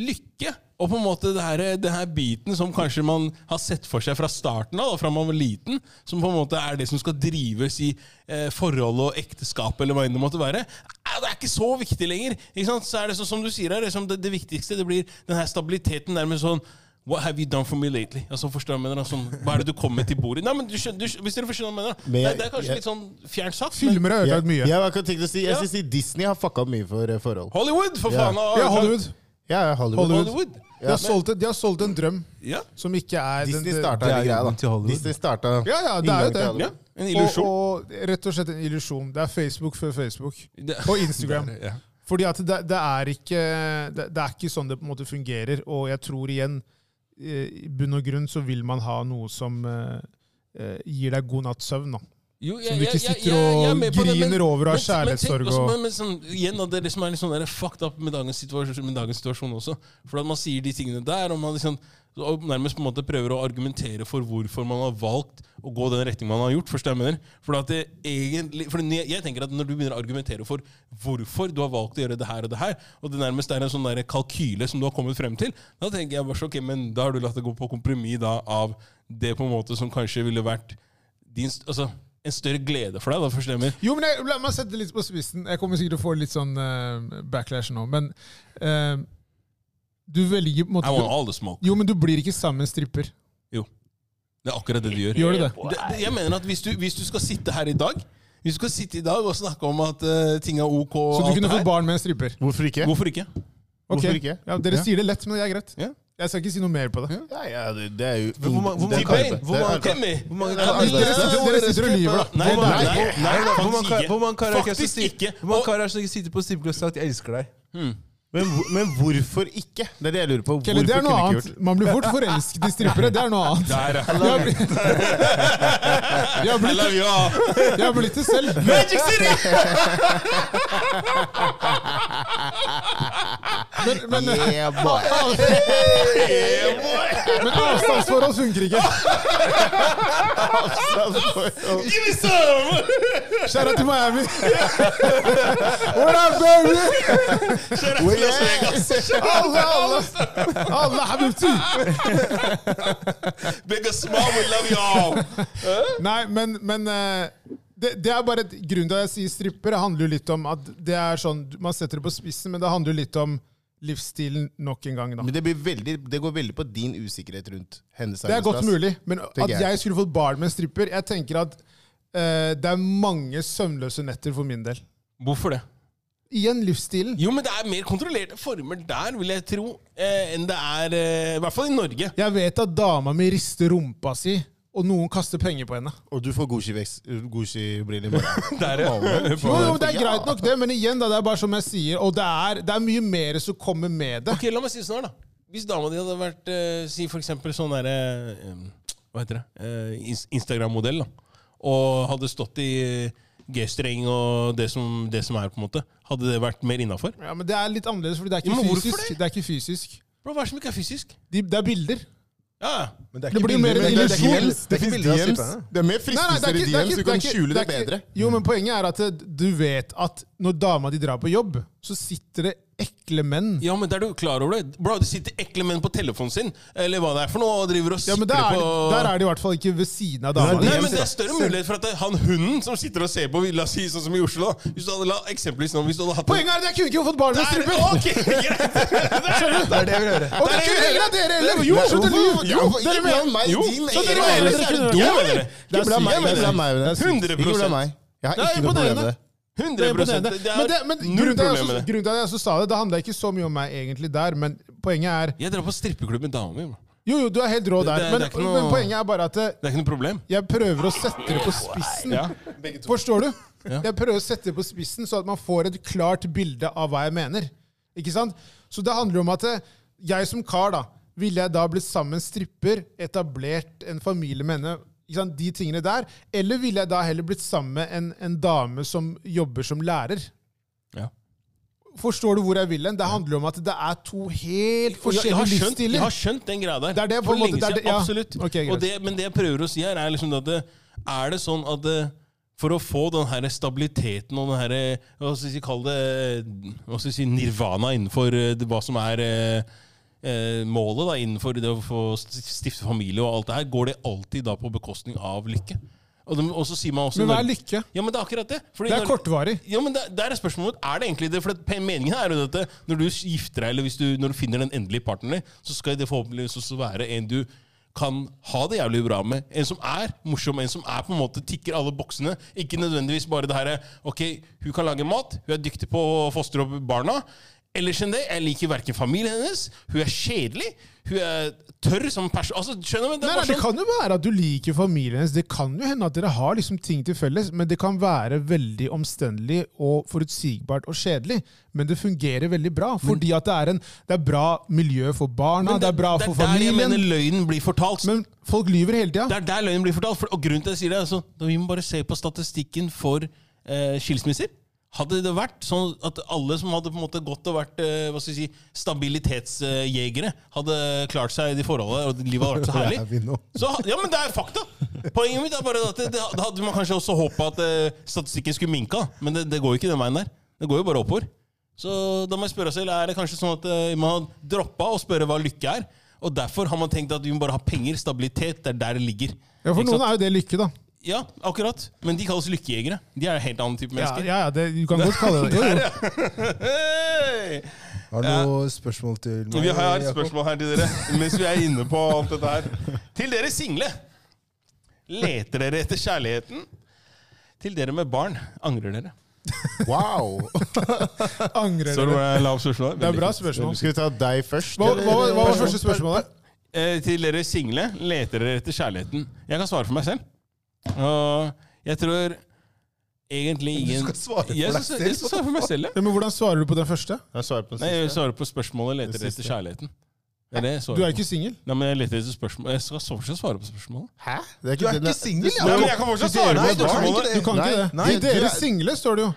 Speaker 4: lykke! Og på en måte det her, eh, det her biten som kanskje man har sett for seg fra starten av, da, fra man var liten, som på en måte er det som skal drives i eh, forhold og ekteskap, eller hva enn det måtte være, eh, det er ikke så viktig lenger. Ikke sant? Så er det sånn som du sier her, liksom, det, det viktigste det blir den her stabiliteten nærmest sånn What have you done for me lately? Altså, forstår du hva jeg mener? Sånn, hva er det du kommer med til bordet? Nei, men du skjønner, du, skjønner- Hvis dere forstår hva jeg mener. da.
Speaker 1: Men
Speaker 4: det,
Speaker 1: jeg-
Speaker 4: det er kanskje
Speaker 1: jeg-
Speaker 4: litt sånn fjernt sagt. men-
Speaker 2: Filmer har
Speaker 1: Jeg,
Speaker 2: ødelagt mye.
Speaker 1: jeg, var akkurat tenkt å si, jeg
Speaker 4: Ja.
Speaker 1: synes i Disney har fucka opp mye for eh, forhold.
Speaker 4: Hollywood, for
Speaker 1: Ja.
Speaker 4: faen! ah,
Speaker 2: Ja, Hollywood.
Speaker 1: Ja, ja, Hollywood.
Speaker 2: Hollywood.
Speaker 4: Hollywood.
Speaker 2: De har, solgt, de har solgt en drøm
Speaker 4: Ja.
Speaker 2: som ikke er den-
Speaker 1: Disney
Speaker 2: den-
Speaker 1: starta
Speaker 3: det er
Speaker 1: hele greia,
Speaker 3: jobben til
Speaker 1: da.
Speaker 3: Hollywood.
Speaker 1: Disney starta
Speaker 2: Ja, ja, det er jo det.
Speaker 4: ja. En
Speaker 2: Og,
Speaker 4: illusjon.
Speaker 2: og rett og slett en illusjon. Det er Facebook før Facebook.
Speaker 4: Det-
Speaker 2: Og Instagram.
Speaker 4: [LAUGHS] Ja.
Speaker 2: Fordi at det, det, er ikke, det, det er ikke sånn det på en måte fungerer. Og jeg tror igjen, eh, i bunn og grunn så vil man ha noe som eh, eh, gir deg god natts søvn. da.
Speaker 4: Jo, jeg-
Speaker 2: Som du
Speaker 4: jeg-
Speaker 2: ikke
Speaker 4: jeg-
Speaker 2: sitter
Speaker 4: jeg- jeg er
Speaker 2: og
Speaker 4: med på det, men-
Speaker 2: griner over av
Speaker 4: men- men tenk
Speaker 2: kjærlighetssorg.
Speaker 4: også-
Speaker 2: og-
Speaker 4: Men, men sånn, igjen, da, det er det som er litt sånn der fucked up med dagens situasjon, med dagens situasjon også. For at man sier de tingene der, og man liksom, og nærmest på en måte prøver å argumentere for hvorfor man har valgt å gå den retningen man har gjort. Forstår jeg hva jeg mener? For at det egentlig, for jeg, jeg tenker at når du begynner å argumentere for hvorfor du har valgt å gjøre det her og det her, og det nærmest er en sånn der kalkyle som du har kommet frem til, da tenker jeg bare så, ok, men da har du latt det gå på kompromiss da av det på en måte som kanskje ville vært din, st- altså, en større glede for deg, da, forstår jeg hva jeg mener?
Speaker 2: Jo, men jeg, La meg sette det litt på spissen. Jeg kommer sikkert til å få litt sånn eh, backlash nå, men eh, du velger på en
Speaker 4: I want
Speaker 2: måte
Speaker 4: all the smoke.
Speaker 2: Jo, men du blir ikke sammen med en stripper.
Speaker 4: Det er akkurat det du gjør.
Speaker 2: Gjør du det?
Speaker 4: Det, det, jeg mener at hvis du, hvis du skal sitte her i dag Hvis du skal sitte i dag og snakke om at eh, ting er ok og
Speaker 2: Så du
Speaker 4: alt
Speaker 2: kunne
Speaker 4: det
Speaker 2: fått
Speaker 4: her,
Speaker 2: barn med en stripper?
Speaker 1: Hvorfor ikke?
Speaker 4: Hvorfor ikke?
Speaker 2: Ok.
Speaker 1: Hvorfor ikke?
Speaker 2: Ja, dere
Speaker 1: Ja.
Speaker 2: sier det lett, men det er greit.
Speaker 4: Ja.
Speaker 2: Jeg skal ikke si noe mer på det.
Speaker 1: Ja, ja, det, det er jo
Speaker 3: Hvor mange- hvor
Speaker 1: det
Speaker 3: mange-
Speaker 1: er arbeid.
Speaker 3: hvor
Speaker 1: Det er
Speaker 3: mange-
Speaker 1: arbeid.
Speaker 3: Hvor mange
Speaker 4: Ja,
Speaker 3: karer-
Speaker 4: men-
Speaker 2: Dere sitter, dere sitter og lyver, da.
Speaker 4: Nei, nei, nei, nei, nei,
Speaker 3: Hvor mange
Speaker 4: faktisk
Speaker 3: kar- hvor mange karer er det som
Speaker 4: Faktisk
Speaker 3: sier-
Speaker 4: ikke.
Speaker 3: hvor mange
Speaker 4: Og-
Speaker 3: karer er det som ikke sitter på strippeklubb og sagt 'jeg elsker deg'?
Speaker 1: Men, hvor- men hvorfor ikke? Det er det jeg lurer på.
Speaker 2: Kelly, det
Speaker 1: Hvorfor
Speaker 2: er noe
Speaker 1: kunne ikke
Speaker 2: annet.
Speaker 1: gjort?
Speaker 2: Man blir fort forelsket i strippere. Det er noe annet.
Speaker 4: Der, ja.
Speaker 2: Jeg har
Speaker 4: [LAUGHS]
Speaker 2: blitt, jeg har
Speaker 4: I
Speaker 2: blitt,
Speaker 4: love you all.
Speaker 2: jeg har blitt det selv.
Speaker 4: Magic City!
Speaker 2: Men, men,
Speaker 1: Yeah, boy.
Speaker 2: men avstandsforhold funker ikke.
Speaker 4: Give me some!
Speaker 2: Kjære til Miami. What up, baby?
Speaker 4: Shout out to Las Vegas.
Speaker 2: Alle, alle. Alle, habibti.
Speaker 4: Big and small, we love you all.
Speaker 2: Nei, men, men eh, det, det er bare et- Grunnen til at jeg sier stripper, handler jo litt om at det er sånn Man setter det på spissen, men det handler jo litt om livsstilen nok en gang, da.
Speaker 1: Men det, blir veldig, det går veldig på din usikkerhet rundt hennes
Speaker 2: Det er godt
Speaker 1: arbeidsplass.
Speaker 2: mulig, men at
Speaker 1: altså, jeg.
Speaker 2: jeg skulle fått barn med en stripper Jeg tenker at eh, det er mange søvnløse netter for min del.
Speaker 4: Hvorfor det?
Speaker 2: Igjen livsstilen.
Speaker 4: Jo, men det er mer kontrollerte former der, vil jeg tro, eh, enn det er eh, I hvert fall i Norge.
Speaker 2: Jeg vet at dama mi rister rumpa si, og noen kaster penger på henne.
Speaker 1: Og du får Gucci-briller Gucci i morgen.
Speaker 4: Der,
Speaker 2: Jo,
Speaker 4: ja.
Speaker 2: jo, Det er greit nok, det, men igjen da, det er bare som jeg sier, og det er, det er mye mer som kommer med det.
Speaker 4: Ok, La meg si det sånn her, da. Hvis dama di hadde vært eh, Si for eksempel sånn derre eh, Hva heter det? Eh, ins- Instagram-modell, da. og hadde stått i G-streng og det som, det som er, på en måte, hadde det vært mer innafor?
Speaker 2: Ja, men Det er litt annerledes, for det er
Speaker 4: Ja,
Speaker 2: ikke
Speaker 4: men hvorfor
Speaker 2: fysisk.
Speaker 4: det?
Speaker 2: Det er ikke fysisk.
Speaker 4: Bro, hva er det som ikke er fysisk?
Speaker 2: De, det er bilder.
Speaker 4: Ja, ja.
Speaker 3: Men det, er
Speaker 2: Det
Speaker 3: ikke
Speaker 2: blir jo
Speaker 3: bilder-
Speaker 2: mer
Speaker 3: det er ikke- det er ikke
Speaker 2: illusjon.
Speaker 3: bilder- Det er ikke bilder av stripperne.
Speaker 1: Det er mer fristelser i DMs, du kan skjule det
Speaker 2: det er ikke-
Speaker 1: bedre.
Speaker 2: Jo, men Poenget er at eh, du vet at når dama di drar på jobb, så sitter det ekle menn
Speaker 4: Ja, men er du klar over det? Bro, det sitter ekle menn på telefonen sin, eller hva det er for noe, og driver og
Speaker 2: Ja,
Speaker 4: sikler
Speaker 2: men der er,
Speaker 4: på
Speaker 2: det- der er det i hvert fall ikke ved siden av dama.
Speaker 3: Nei,
Speaker 4: Nei,
Speaker 2: di.
Speaker 4: men Det er større mulighet for at det- han hunden som sitter og ser på, vil la oss si sånn som i Oslo da. Hvis du hadde la, eksempelvis nå, hvis du hadde hatt
Speaker 2: Poenget er at jeg kunne ikke fått barn med
Speaker 4: er,
Speaker 2: stripper!
Speaker 4: Ok, greit!
Speaker 3: Det er det jeg vil høre.
Speaker 2: Og det kunne heller dere heller! Jo, skjønner du?
Speaker 1: Hvorfor-
Speaker 2: Jo,
Speaker 1: hvorfor-
Speaker 2: dere
Speaker 1: ikke
Speaker 2: mener
Speaker 1: blant meg,
Speaker 4: Jo,
Speaker 1: din
Speaker 4: så dere
Speaker 1: egen
Speaker 4: mener
Speaker 1: alder,
Speaker 4: dere
Speaker 1: så er
Speaker 4: kunne-
Speaker 1: du dum,
Speaker 4: Jeg mener
Speaker 1: eller?
Speaker 4: det.
Speaker 1: Ikke
Speaker 2: Det er
Speaker 1: blant meg,
Speaker 4: sykt,
Speaker 1: ikke blant meg.
Speaker 2: det er sykt.
Speaker 1: Ikke blant
Speaker 4: 100%.
Speaker 1: meg. Jeg har
Speaker 2: Det er
Speaker 1: ikke noe problem med
Speaker 2: imponerende.
Speaker 4: 100
Speaker 1: det.
Speaker 2: Det er imponerende.
Speaker 4: Det er
Speaker 2: Men, det, men grunnen
Speaker 4: null
Speaker 2: til at jeg
Speaker 4: problem med
Speaker 2: også-
Speaker 4: det.
Speaker 2: grunnen til at jeg også sa det, det handla ikke så mye om meg egentlig der, men poenget er
Speaker 4: Jeg drar på strippeklubb med dama mi. bro.
Speaker 2: Jo, jo, du er helt rå
Speaker 4: Det-
Speaker 2: der,
Speaker 4: det-
Speaker 2: men,
Speaker 4: det er ikke noe-
Speaker 2: men poenget er bare at eh,
Speaker 4: Det er ikke noe problem.
Speaker 2: jeg prøver å sette det på spissen.
Speaker 4: Ja.
Speaker 2: Forstår du? Jeg prøver å sette det på spissen, så at man får et klart bilde av hva jeg mener. Ikke sant? Så det handler om at eh, jeg som kar, da, ville jeg da blitt sammen med en stripper, etablert en familie med henne, ikke sant? de tingene der, eller ville jeg da heller blitt sammen med en, en dame som jobber som lærer?
Speaker 4: Ja.
Speaker 2: Forstår du hvor jeg vil hen? Det handler om at det er to helt
Speaker 4: Og Jeg, jeg, har
Speaker 2: forskjellige
Speaker 4: skjønt, jeg
Speaker 2: livsstiler.
Speaker 4: har skjønt den greia der.
Speaker 2: Det er det, på
Speaker 4: For
Speaker 2: en måte,
Speaker 4: lenge
Speaker 2: det er
Speaker 4: siden.
Speaker 2: det- ja.
Speaker 4: Absolutt.
Speaker 2: Ok, greit.
Speaker 4: Og det, men det jeg prøver å si her, er liksom at det, er det sånn at det, for å få den her stabiliteten og den her eh, Hva skal vi si, kalle det eh, hva skal vi si, nirvana innenfor eh, det- hva som er eh, eh, målet da, innenfor det å få stifte familie og alt det her, går det alltid da på bekostning av lykke? Og, det, og så sier man også
Speaker 2: Men hva er lykke?
Speaker 4: Ja, men det er akkurat det. Fordi
Speaker 2: Det er
Speaker 4: når-
Speaker 2: kortvarig.
Speaker 4: ja, men der, der er spørsmålet Er det egentlig det? For at pe- meningen er jo at det- når du gifter deg, eller hvis du, når du finner den endelige partneren din, så skal det forhåpentligvis også være en du kan ha det jævlig bra med. En som er morsom, en som er på en måte tikker alle boksene. Ikke nødvendigvis bare det herre Ok, hun kan lage mat, hun er dyktig på å fostre opp barna. Ellers enn det, jeg liker verken familien hennes, hun er kjedelig, hun er tørr som person Altså, skjønner du?
Speaker 2: Nei, nei,
Speaker 4: Det er bare
Speaker 2: det
Speaker 4: sånn.
Speaker 2: kan jo være at du liker familien hennes. Det kan jo hende at dere har liksom ting til felles, men det kan være veldig omstendelig og forutsigbart og kjedelig. Men det fungerer veldig bra, fordi at det er, en, det er bra miljø for barna,
Speaker 4: Men
Speaker 2: det, er bra for familien.
Speaker 4: Det er der jeg mener løgnen blir fortalt.
Speaker 2: men folk lyver hele tida.
Speaker 4: Det er der løgnen blir fortalt. For, og grunnen til at jeg sier det er sånn, da Vi må bare se på statistikken for eh, skilsmisser. Hadde det vært sånn at alle som hadde på en måte gått og vært eh, hva skal jeg si, stabilitetsjegere, hadde klart seg i de forholdene, og livet hadde vært så
Speaker 3: Jeg vil nå.
Speaker 4: herlig så, ha- ja, men det er fakta! Poenget mitt er bare at det, det, da hadde man kanskje også håpa at eh, statistikken skulle minka, men det, det går jo ikke den veien der. Det går jo bare oppover. Så da må jeg spørre seg, eller er det kanskje sånn at eh, man har droppa å spørre hva lykke er? Og derfor har man tenkt at vi må bare ha penger, stabilitet, det er der det ligger.
Speaker 2: Ja, for
Speaker 4: Ikke
Speaker 2: noen
Speaker 4: sant?
Speaker 2: er jo det lykke, da.
Speaker 4: ja, akkurat. Men de kalles lykkejegere. De er en helt annen type
Speaker 2: Ja,
Speaker 4: mennesker.
Speaker 2: ja, ja det, du kan godt kalle
Speaker 4: [LAUGHS]
Speaker 2: det det.
Speaker 4: Hey!
Speaker 3: Har du noe spørsmål til meg?
Speaker 4: Vi har et
Speaker 3: Jakob?
Speaker 4: spørsmål her til dere, mens vi er inne på alt dette her. Til dere single. Leter dere etter kjærligheten? Til dere med barn, angrer dere?
Speaker 1: Wow!
Speaker 2: Angrer
Speaker 4: Så det
Speaker 2: dere?
Speaker 4: var lavt spørsmål.
Speaker 2: Det er bra
Speaker 4: Veldig fint.
Speaker 2: spørsmål.
Speaker 1: Skal vi ta deg først?
Speaker 2: Hva, hva,
Speaker 1: eller?
Speaker 2: hva var første spørsmålet?
Speaker 4: Eh, til dere single, leter dere etter kjærligheten? Jeg kan svare for meg selv. Og jeg tror egentlig
Speaker 3: Du
Speaker 4: ingen
Speaker 3: skal svare for
Speaker 4: jeg
Speaker 3: deg
Speaker 4: skal, jeg skal svare for meg selv, ja.
Speaker 2: Ja, men hvordan svarer du på den første?
Speaker 1: Jeg svarer på den
Speaker 4: Nei, jeg
Speaker 1: siste.
Speaker 4: svarer på spørsmålet 'leter
Speaker 1: Det
Speaker 4: dere etter
Speaker 1: siste.
Speaker 4: kjærligheten'. Det er det
Speaker 2: Du
Speaker 4: jeg
Speaker 2: er
Speaker 4: svarer på.
Speaker 2: ikke singel?
Speaker 4: Nei, men jeg leter etter spørsmål. Jeg skal fortsatt svare på spørsmålet.
Speaker 1: Hæ? Det
Speaker 3: Du er
Speaker 1: det-
Speaker 3: ikke singel, ja?
Speaker 4: Nei, men jeg kan fortsatt
Speaker 3: Nei,
Speaker 4: svare på
Speaker 3: du kan ikke
Speaker 4: spørsmålet.
Speaker 3: det.
Speaker 2: Du kan
Speaker 1: Nei,
Speaker 2: ikke det.
Speaker 1: nei,
Speaker 2: Til
Speaker 1: du
Speaker 2: dere
Speaker 1: er-
Speaker 2: single, står det jo.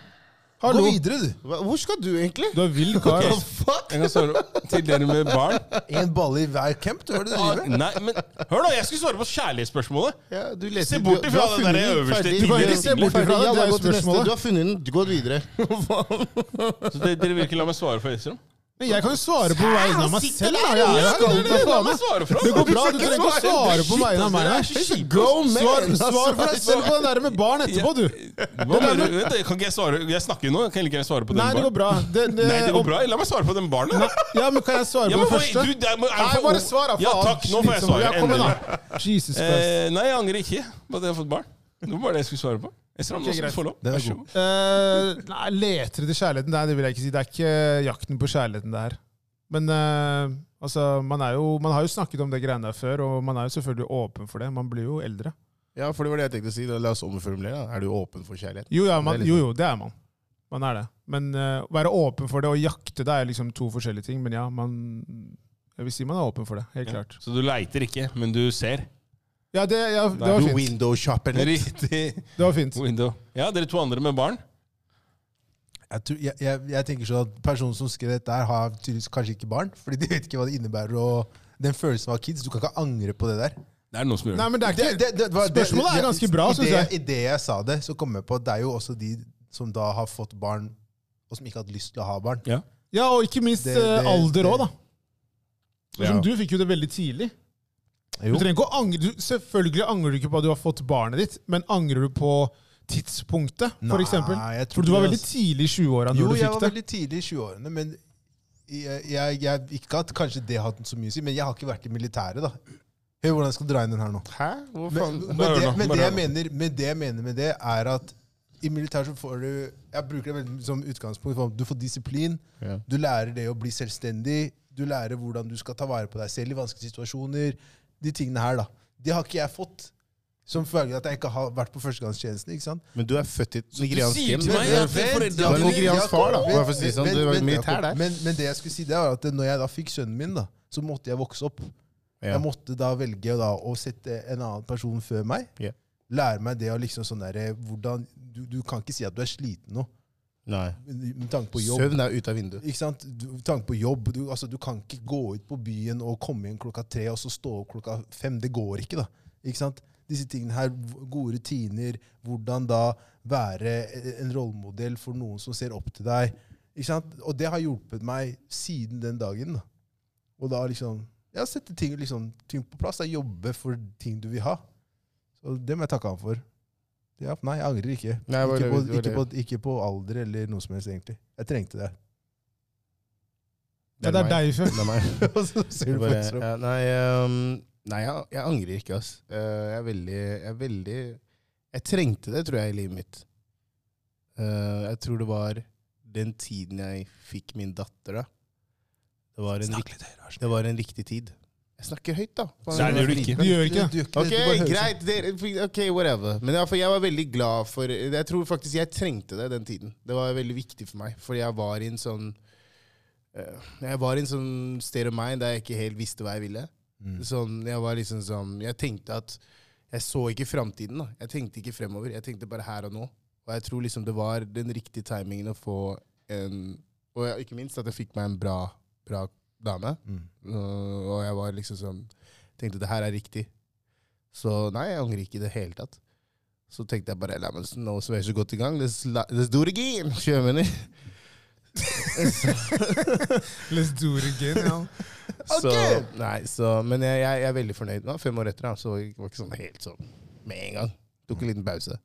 Speaker 3: Gå
Speaker 2: Hallo.
Speaker 3: videre, du.
Speaker 1: Hva- Hvor skal du egentlig?
Speaker 2: Du er vill kar.
Speaker 4: Ok.
Speaker 2: altså.
Speaker 1: Fuck!
Speaker 4: Jeg kan svare til dere med barn.
Speaker 3: Én balle i hver camp. Du hører det
Speaker 4: Ah,
Speaker 3: driver med?
Speaker 4: Nei, men Hør, da! Jeg skulle svare på kjærlighetsspørsmålet.
Speaker 1: Ja, du leser,
Speaker 4: Se bort
Speaker 1: du- du
Speaker 4: ifra
Speaker 1: har
Speaker 4: den
Speaker 1: funnet
Speaker 4: der
Speaker 1: den
Speaker 4: øverste
Speaker 1: ferdig.
Speaker 4: Du kan
Speaker 1: Du
Speaker 4: ikke
Speaker 1: kan
Speaker 4: se bort
Speaker 1: ferdig.
Speaker 2: ifra den,
Speaker 1: Ja,
Speaker 2: det er
Speaker 1: da,
Speaker 2: jo
Speaker 1: gå til neste.
Speaker 2: spørsmålet.
Speaker 1: Du har funnet den. Gå videre.
Speaker 4: Så dere, dere vil ikke la meg svare for Esrom?
Speaker 2: Men jeg kan jo svare på vegne av meg selv. da. Jeg er jo
Speaker 4: La
Speaker 2: skald til faen, da.
Speaker 4: meg svare for
Speaker 2: Det går bra, du
Speaker 4: Dere
Speaker 2: trenger ikke å svare på vegne av meg.
Speaker 4: Dere
Speaker 2: da.
Speaker 4: er så kjipe.
Speaker 1: Go man!
Speaker 2: Svar,
Speaker 1: Altså,
Speaker 2: svar for deg selv på den der med barn etterpå, du.
Speaker 4: Hva mener du? Vent, Kan ikke jeg svare? Jeg snakker jo nå. Kan jeg ikke svare på den
Speaker 2: Nei, det går bra. Det, det,
Speaker 4: Nei, det går bra. La meg svare på den barnet.
Speaker 2: Ja, men kan jeg svare
Speaker 4: Ja,
Speaker 2: på den
Speaker 4: men hva-
Speaker 2: første?
Speaker 4: du, det er- må- er det
Speaker 2: Nei,
Speaker 4: for-
Speaker 2: bare svar, da.
Speaker 4: Ja,
Speaker 2: faen.
Speaker 4: takk. Nå får jeg
Speaker 2: Slitsomt.
Speaker 4: svare.
Speaker 2: Ja, kom igjen,
Speaker 4: Endelig.
Speaker 2: da. Jesus Christ.
Speaker 4: Eh, nei, jeg angrer ikke på at jeg har fått barn. Det var bare det jeg skulle svare på. Esrom, nå skal du få lov.
Speaker 3: Den er
Speaker 4: Vær så
Speaker 3: god.
Speaker 4: god.
Speaker 2: Eh, nei, leter etter kjærligheten? Nei, det vil jeg ikke si. Det er ikke jakten på kjærligheten, det her. Men eh, altså, man, er jo, man har jo snakket om det greiene der før, og man er jo selvfølgelig åpen for det. Man blir jo eldre.
Speaker 1: Ja, for det var det jeg tenkte å si. La oss omformulere. da. Er du åpen for kjærlighet?
Speaker 2: Jo, ja, man,
Speaker 1: Det er litt-
Speaker 2: jo, jo, det er man. Man er det. Men eh, å være åpen for det og jakte det er liksom to forskjellige ting. Men ja, man Jeg vil si man er åpen for det. Helt klart.
Speaker 4: Så du leiter ikke, men du ser?
Speaker 2: Ja, det, ja, det var
Speaker 1: Du
Speaker 2: fint.
Speaker 1: window-shopper litt.
Speaker 4: Riktig.
Speaker 2: Det var fint.
Speaker 4: Window. Ja, dere to andre med barn.
Speaker 3: Jeg, tror, jeg, jeg, jeg tenker sånn at Personen som skrev dette, her har tydeligvis kanskje ikke barn. Fordi de vet ikke hva det innebærer. Og den følelsen av kids. Du kan ikke angre på det der.
Speaker 4: Det er noen som gjør
Speaker 2: Nei,
Speaker 4: det.
Speaker 2: men det er
Speaker 3: Det,
Speaker 2: ikke,
Speaker 3: det, det var- det-
Speaker 2: Spørsmålet er
Speaker 3: det-
Speaker 2: ganske bra,
Speaker 3: i
Speaker 2: synes
Speaker 3: det-
Speaker 2: jeg.
Speaker 3: I det jeg sa det, så kom jeg på at det er jo også de som da har fått barn, og som ikke har hatt lyst til å ha barn.
Speaker 4: Ja.
Speaker 2: ja, og ikke minst
Speaker 3: Det-
Speaker 2: eh,
Speaker 3: det-
Speaker 2: alder
Speaker 3: det-
Speaker 2: òg, da. Sånn Som du fikk jo det veldig tidlig. Du
Speaker 3: Jo.
Speaker 2: trenger ikke å angre, du, selvfølgelig angrer du ikke på at du har fått barnet ditt, men angrer du på tidspunktet, for
Speaker 3: Nei,
Speaker 2: eksempel?
Speaker 3: jeg tror
Speaker 2: For du var
Speaker 3: det,
Speaker 2: veldig
Speaker 3: altså.
Speaker 2: tidlig i 20-åra
Speaker 3: Jo,
Speaker 2: når du
Speaker 3: jeg
Speaker 2: fikk
Speaker 3: var
Speaker 2: det.
Speaker 3: veldig tidlig i 20-årene, men jeg, jeg, jeg, ikke at kanskje det har hatt så mye å si, men jeg har ikke vært i militæret, da. Hør hvordan jeg skal dra inn den her nå.
Speaker 1: Hæ? Hvor
Speaker 3: Men,
Speaker 1: faen?
Speaker 3: men,
Speaker 4: Bare hør
Speaker 3: det,
Speaker 4: nå,
Speaker 3: men,
Speaker 4: bare
Speaker 3: det
Speaker 4: hør
Speaker 3: jeg mener, men det jeg mener med det, er at i militæret så får du Jeg bruker det veldig som utgangspunkt. for Du får disiplin.
Speaker 1: Ja.
Speaker 3: Du lærer det å bli selvstendig. Du lærer hvordan du skal ta vare på deg selv i vanskelige situasjoner. De tingene her, da. Det har ikke jeg fått. Som følge av at jeg ikke har vært på førstegangstjenesten. ikke sant?
Speaker 1: Men du er født i et nigeriansk
Speaker 4: sier
Speaker 1: hjem.
Speaker 4: til
Speaker 1: du.
Speaker 4: meg
Speaker 1: Du er
Speaker 4: at
Speaker 1: født-
Speaker 4: foreldrene
Speaker 1: Du var
Speaker 4: dine-
Speaker 1: nigeriansk far, da.
Speaker 3: Jakob,
Speaker 1: Bare for å si det sånn,
Speaker 3: vent,
Speaker 1: du var
Speaker 3: vent,
Speaker 1: militær
Speaker 3: Jakob.
Speaker 1: der.
Speaker 3: Men, men det jeg skulle si, det var at når jeg da fikk sønnen min, da, så måtte jeg vokse opp.
Speaker 1: Ja.
Speaker 3: Jeg måtte da velge da, å sette en annen person før meg.
Speaker 1: Ja.
Speaker 3: Lære meg det å liksom sånn derre hvordan du, du kan ikke si at du er sliten nå,
Speaker 1: Nei.
Speaker 3: med tanke på jobb.
Speaker 1: Søvn er ute av vinduet.
Speaker 3: Ikke sant? Du, med tanke på jobb. Du, altså, du kan ikke gå ut på byen og komme inn klokka tre og så stå opp klokka fem. Det går ikke, da. Ikke sant? Disse tingene her, gode rutiner, hvordan da være eh, en rollemodell for noen som ser opp til deg. Ikke sant? Og det har hjulpet meg siden den dagen. da. Og da liksom Jeg har sett ting, liksom, ting på plass. Da, jobbe for ting du vil ha. Så det må jeg takke han for. Ja, nei, jeg angrer ikke.
Speaker 1: Nei, det var
Speaker 3: ikke,
Speaker 1: det-
Speaker 3: på,
Speaker 1: det var
Speaker 3: ikke, på,
Speaker 1: det.
Speaker 3: ikke på alder eller noe som helst, egentlig. Jeg trengte det.
Speaker 2: Ja, det er deg, Før.
Speaker 1: Det er meg.
Speaker 3: [LAUGHS] Og så ser du på
Speaker 1: Bare,
Speaker 3: Instagram.
Speaker 1: ja, nei, ehm, nei jeg, jeg angrer ikke, ass. Eh, jeg er veldig Jeg, er veldig, jeg trengte det, tror jeg, i livet mitt. Eh, jeg tror det var den tiden jeg fikk min datter, da. Det var en, rikt, det var en riktig tid. Jeg snakker høyt, da.
Speaker 4: Nei, det gjør du ikke.
Speaker 2: Du gjør ikke det.
Speaker 3: Du gjør ikke det,
Speaker 1: Ok,
Speaker 3: du bare hører
Speaker 1: greit. dere- ok, whatever. Men ja, for jeg var veldig glad for Jeg tror faktisk jeg trengte det den tiden. Det var veldig viktig for meg, fordi jeg var i en sånn eh, Jeg var i en sånn state of mind der jeg ikke helt visste hva jeg ville.
Speaker 3: sånn.
Speaker 1: Sånn, jeg var liksom sånn Jeg tenkte at Jeg så ikke framtiden, da. Jeg tenkte ikke fremover. Jeg tenkte bare her og nå. Og jeg tror liksom det var den riktige timingen å få en Og jeg, ikke minst at jeg fikk meg en bra, bra dame.
Speaker 3: Mm.
Speaker 1: Uh, og jeg var liksom sånn Tenkte det her er riktig. Så nei, jeg angrer ikke i det hele tatt. Så tenkte jeg bare la meg nå som jeg er så godt i gang, let's, la- let's do it again! [LAUGHS] Sjømenn.
Speaker 2: Let's do it again. Ja.
Speaker 3: [LAUGHS]
Speaker 1: Så, nei, så, men jeg, jeg, jeg er veldig fornøyd nå. Fem år etter, da, så jeg var ikke sånn helt sånn med en gang. Tok en liten pause.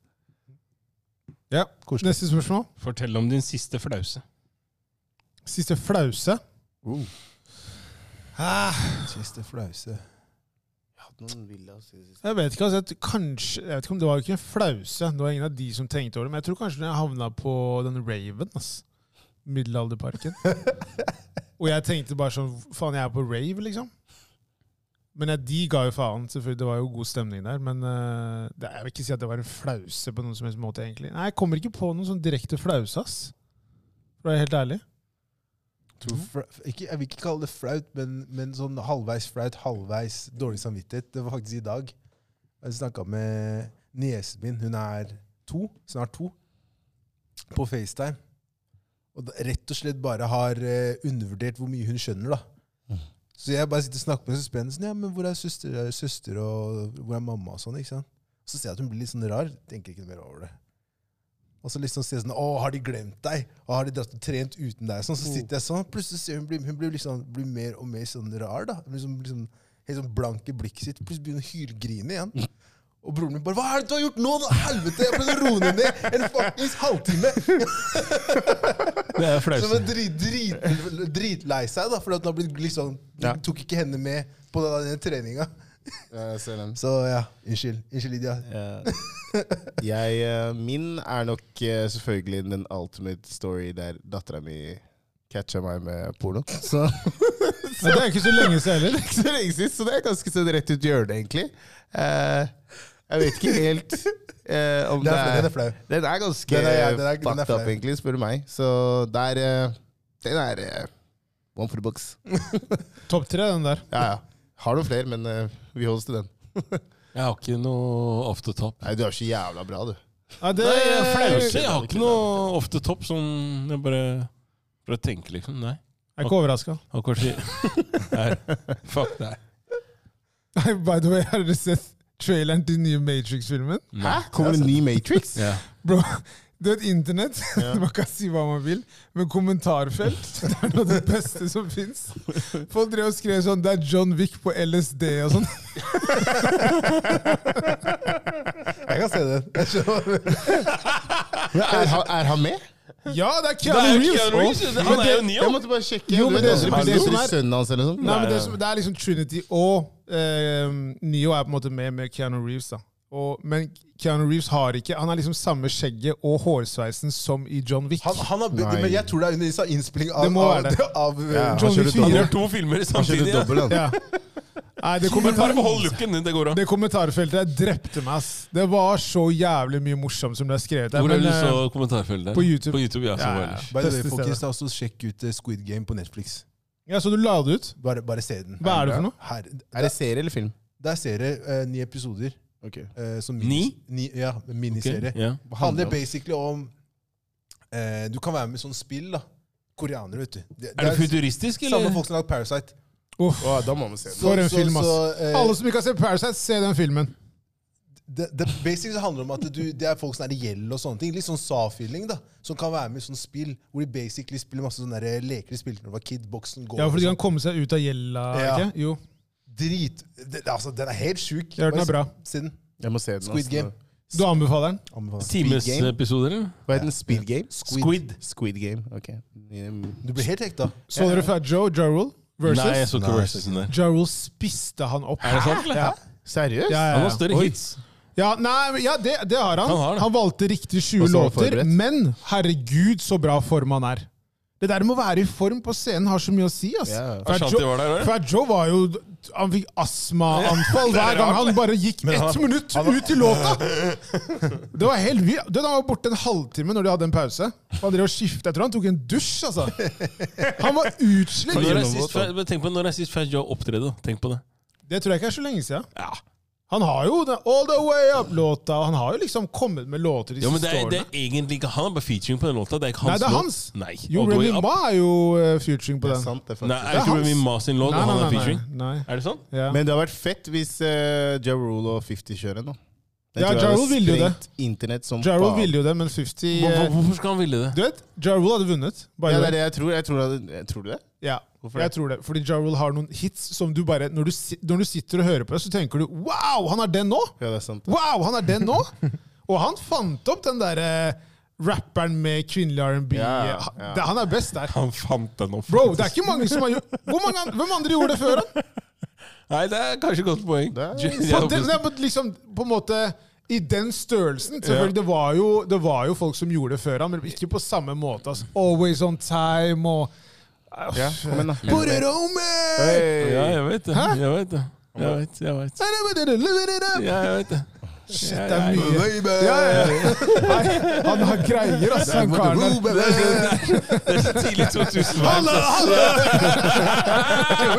Speaker 2: Ja, Neste spørsmål.
Speaker 4: Fortell om din siste flause.
Speaker 2: Siste flause. Ah,
Speaker 3: Siste flause.
Speaker 1: Jeg hadde noen ville å si det siste.
Speaker 2: Jeg vet ikke, altså, jeg t- kanskje, jeg vet ikke om det var jo ikke en flause. Det var ingen av de som tenkte over det. Men jeg tror kanskje når jeg havna på den Raven, ass.
Speaker 4: [LAUGHS]
Speaker 2: Middelalderparken. Og jeg tenkte bare sånn Faen, jeg er på rave, liksom. Men jeg, de ga jo faen. selvfølgelig, Det var jo god stemning der. Men eh, det, jeg vil ikke si at det var en flause på noen som helst måte, egentlig. Nei, jeg kommer ikke på noen sånn direkte flause, ass. For å være helt ærlig.
Speaker 3: Tror fra- Ikke, jeg vil ikke kalle det flaut, men, men sånn halvveis flaut, halvveis dårlig samvittighet. Det var faktisk i dag. Jeg snakka med niesen min. Hun er to, snart to, på FaceTime. Og da, rett og slett bare har eh, undervurdert hvor mye hun skjønner, da. Så jeg bare sitter og snakker med henne så spennende. Sånn, ja, men hvor er søster, er det søster og hvor er mamma og sånn? ikke sant? Så ser jeg at hun blir litt sånn rar. Tenker ikke noe mer over det. Og så liksom sier jeg sånn Å, har de glemt deg? Og har de dratt og trent uten deg? Sånn, så sitter jeg sånn. Plutselig ser hun, blir- hun blir, liksom, blir mer og mer sånn rar, da. Liksom, liksom, helt sånn blank i blikket sitt. Plutselig begynner hun å hylgrine [LAUGHS] igjen. Og broren min bare 'Hva er det du har gjort nå, da? Helvete!' Jeg prøvde å roe henne ned en fuckings [LAUGHS] halvtime.
Speaker 4: [LAUGHS] Det er
Speaker 3: Som
Speaker 4: flause.
Speaker 3: er drit, drit, dritlei seg, da, fordi at hun har blitt liksom
Speaker 1: Ja.
Speaker 3: Tok ikke henne med på den, den treninga.
Speaker 1: Jeg ser den.
Speaker 3: Så ja, unnskyld. Unnskyld, Lydia.
Speaker 1: Eh, jeg, eh, min er nok eh, selvfølgelig den ultimate story der dattera mi catcha meg med porno. [LAUGHS] Så
Speaker 2: Men det er jo ikke så lenge siden heller.
Speaker 1: ikke så lenge siden, så det er ganske sånn rett ut hjørnet, egentlig. Eh, jeg vet ikke helt eh, om
Speaker 3: Den
Speaker 1: det
Speaker 3: er, flau,
Speaker 1: er
Speaker 3: den er flau.
Speaker 1: Den er ganske
Speaker 3: Den er- ja, den er- den er
Speaker 1: fucked up,
Speaker 3: flau.
Speaker 1: egentlig, spør du meg. Så der eh, Den er eh, one for the books.
Speaker 2: Topp tre, den der.
Speaker 1: Ja, ja. Har noen flere, men eh, vi holder oss til den.
Speaker 4: Jeg har ikke noe off the top.
Speaker 1: Nei, du er så jævla bra, du.
Speaker 2: Ja, det
Speaker 4: Nei, jeg,
Speaker 2: er
Speaker 4: jeg,
Speaker 2: flaut.
Speaker 4: jeg har ikke noe off the top. Sånn, jeg bare prøver å tenke, liksom. Nei.
Speaker 2: Jeg er ikke overraska.
Speaker 4: Og [LAUGHS] kanskje Nei. Fuck deg.
Speaker 2: By the way, har dere sett traileren til den nye Matrix-filmen?
Speaker 1: Hæ? Altså, Kommer det en ny Matrix?
Speaker 4: Ja.
Speaker 2: Bro, du vet internett, [LAUGHS] man kan si hva man vil, men kommentarfelt [LAUGHS] det er noe av det beste som fins. Folk drev og skrev sånn 'Det er John Wick på LSD' og sånn.
Speaker 3: Jeg kan se det. Jeg skjønner.
Speaker 1: Men [LAUGHS] er, han- er han med?
Speaker 2: Ja, det er
Speaker 4: Det er
Speaker 2: Keanu
Speaker 4: jo Keanu
Speaker 2: Reeves!
Speaker 4: Reeves, det- Han er jo
Speaker 1: Jeg
Speaker 4: Neo.
Speaker 1: måtte bare sjekke.
Speaker 2: Jo,
Speaker 1: Du
Speaker 2: men
Speaker 1: vet
Speaker 2: det-
Speaker 1: aldri,
Speaker 2: men det
Speaker 1: leser
Speaker 2: som
Speaker 1: i
Speaker 2: er-
Speaker 1: sønnen hans eller sånn?
Speaker 2: Nei, men det, er som, det er liksom Trinity og eh, Neo er på en måte med med Keanu Reeves. da. Og, men Keanu Reeves har ikke Han har liksom samme skjegget og hårsveisen som i John Wick.
Speaker 3: Han, han har,
Speaker 1: Nei.
Speaker 3: men jeg tror det er under innspilling av,
Speaker 2: Det må
Speaker 3: av,
Speaker 2: være det.
Speaker 3: av eh,
Speaker 1: Ja.
Speaker 2: John
Speaker 1: han
Speaker 2: Wick
Speaker 1: kjører
Speaker 4: Han
Speaker 2: 4.
Speaker 4: har to filmer
Speaker 1: Han kjører
Speaker 4: samtidig. Ja.
Speaker 1: dobbel, han.
Speaker 2: Ja. Nei, det
Speaker 4: Men bare
Speaker 2: kommentar,
Speaker 4: behold looken din. Det går an.
Speaker 2: det kommentarfeltet der drepte meg. ass. Det var så jævlig mye morsomt som det er skrevet der.
Speaker 4: Hvor er
Speaker 2: men,
Speaker 4: du
Speaker 2: eh,
Speaker 4: så kommentarfeltet? der?
Speaker 2: på YouTube.
Speaker 4: På YouTube, ja,
Speaker 2: Ja,
Speaker 4: som
Speaker 2: ja.
Speaker 4: ellers.
Speaker 3: By the way,
Speaker 2: Beste
Speaker 3: folkens, da også sjekk ut eh, Squid Game på Netflix.
Speaker 2: Ja, Så du la det ut?
Speaker 3: Bare, bare se den.
Speaker 2: Hva er det for noe?
Speaker 3: Her,
Speaker 1: Er det serie eller film?
Speaker 3: der ser dere eh, ni episoder.
Speaker 1: Ok.
Speaker 3: eh, som
Speaker 4: Ni?
Speaker 3: ni? Ja, en miniserie.
Speaker 4: Ok, Ja.
Speaker 3: Det handler basically om eh, Du kan være med i sånn spill, da. Koreanere, vet du. Det,
Speaker 4: Er det futuristisk, eller?
Speaker 3: Samme folk som har lagd Parasite.
Speaker 2: Uff.
Speaker 1: Å, da må man se den.
Speaker 2: For en film, ass.
Speaker 3: eh,
Speaker 2: Alle som ikke har sett Parasite, se den filmen.
Speaker 3: det, det basically så handler det om at du, det er folk som er i gjeld og sånne ting. Litt sånn SA-feeling, da. Som kan være med i sånn spill hvor de basically spiller masse sånne der leker de spilte da de var kid. Boksen, golf
Speaker 2: Ja,
Speaker 3: og
Speaker 2: For de
Speaker 3: sånn.
Speaker 2: kan komme seg ut av gjelda,
Speaker 3: Ja.
Speaker 2: ikke? Jo.
Speaker 3: Drit det, Altså, den er helt sjuk.
Speaker 2: Ja, den er bra.
Speaker 3: Se den.
Speaker 1: Jeg må se den.
Speaker 3: Squid
Speaker 1: altså.
Speaker 3: Game.
Speaker 2: Du anbefaler den?
Speaker 3: Anbefaler.
Speaker 1: Speed Game?
Speaker 4: Timesepisoder, eller?
Speaker 1: Hva heter den? Speed Game?
Speaker 3: Squid.
Speaker 1: Squid Game, ok. Mm.
Speaker 3: Du blir helt hekta.
Speaker 2: Så dere fra Joe Jarul versus?
Speaker 4: Nei, jeg så ikke
Speaker 3: Nei,
Speaker 4: versusen der.
Speaker 2: Jarul spiste han opp.
Speaker 4: Er det sant, eller?
Speaker 2: Ja.
Speaker 1: Seriøst?
Speaker 2: Ja, ja,
Speaker 4: Han har
Speaker 2: ja.
Speaker 4: større
Speaker 1: Oi.
Speaker 4: hits.
Speaker 2: ja, nei, men ja det, det har han.
Speaker 4: Han har det.
Speaker 2: valgte riktig 20
Speaker 1: Og så var han
Speaker 2: låter,
Speaker 1: forberedt.
Speaker 2: men herregud, så bra form han er. Det der med å være i form på scenen har så mye å si. ass.
Speaker 1: Ja.
Speaker 2: For
Speaker 4: Ashanti
Speaker 2: Joe,
Speaker 4: var der, eller?
Speaker 2: for Joe var jo Han fikk astmaanfall
Speaker 4: [LAUGHS]
Speaker 2: hver gang han bare gikk ett minutt ut i låta! Det var helt vilt. Du, Han var borte en halvtime når de hadde en pause. Han drev og skiftet. Jeg tror han tok en dusj, altså. Han var utslitt.
Speaker 4: Når er sist, Fat- men tenk på når er sist Fat Joe opptredde. da. Tenk på det.
Speaker 2: Det tror jeg ikke er så lenge siden. Han har jo den All The Way Up-låta, og han har jo liksom kommet med låter de
Speaker 4: Ja, men
Speaker 2: siste
Speaker 4: det er, det
Speaker 2: årene.
Speaker 4: er egentlig ikke han. er bare featuring på den låta. Det er ikke
Speaker 2: Nei,
Speaker 4: hans
Speaker 2: det er
Speaker 4: låt.
Speaker 2: hans.
Speaker 4: Nei.
Speaker 2: Jo,
Speaker 4: All the way
Speaker 2: Remy
Speaker 4: up.
Speaker 2: Ma er jo eh, featuring på
Speaker 1: Det er
Speaker 2: den.
Speaker 1: sant, det,
Speaker 4: Nei,
Speaker 1: faktisk.
Speaker 4: er det ikke
Speaker 2: hans.
Speaker 4: Remy Ma sin låt, og han er
Speaker 2: nei.
Speaker 4: featuring?
Speaker 2: nei.
Speaker 4: Er det sånn?
Speaker 2: Ja.
Speaker 1: Men det har vært fett hvis uh, Ja Rule og 50 kjører nå.
Speaker 2: Ja, Ja Rule ville jo det.
Speaker 1: internett som
Speaker 2: Ja Rule
Speaker 1: faen.
Speaker 2: ville jo det, men 50
Speaker 4: Hvor- hvor-
Speaker 2: eh,
Speaker 4: Hvorfor skal han ville det?
Speaker 2: Du vet, Ja Rule hadde vunnet. By
Speaker 1: Ja,
Speaker 2: the
Speaker 1: det
Speaker 2: way.
Speaker 1: er det jeg tror. Jeg tror, at- jeg tror du det?
Speaker 2: Ja,
Speaker 1: Hvorfor
Speaker 2: jeg tror det. Fordi Ja Rule har noen hits som du bare Når du, si- når du sitter og hører på det, så tenker du Wow, han er den nå!
Speaker 1: Ja, det er sant.
Speaker 2: Wow, han er den nå! og han fant opp den derre rapperen med kvinnelig R&B.
Speaker 1: Ja, ja.
Speaker 2: Han- eh, det- Han er best der.
Speaker 4: Han fant den opp.
Speaker 2: Bro, det er ikke mange som har gjort Hvor mange, an- Hvem andre gjorde det før han?
Speaker 4: Nei, det er kanskje et godt poeng.
Speaker 1: Det er-
Speaker 4: Jeg-
Speaker 2: På, den, nei, men liksom, på en måte i den størrelsen. Selvfølgelig, det, var jo, det var jo folk som gjorde det før han, men ikke på samme måte. Altså. Always on time og
Speaker 1: Ja, kom igjen, da.
Speaker 2: Put it on me!
Speaker 1: Hey!
Speaker 4: Ja, jeg vet det.
Speaker 2: Hæ?
Speaker 4: Jeg vet det. Jeg vet, jeg vet. Ja, jeg vet det.
Speaker 2: Shit, det er mye. Ja, ja, ja. Nei, han har greier, altså, han karen der.
Speaker 4: Det er så- det er så tidlig 2000
Speaker 2: Hallo, hallo!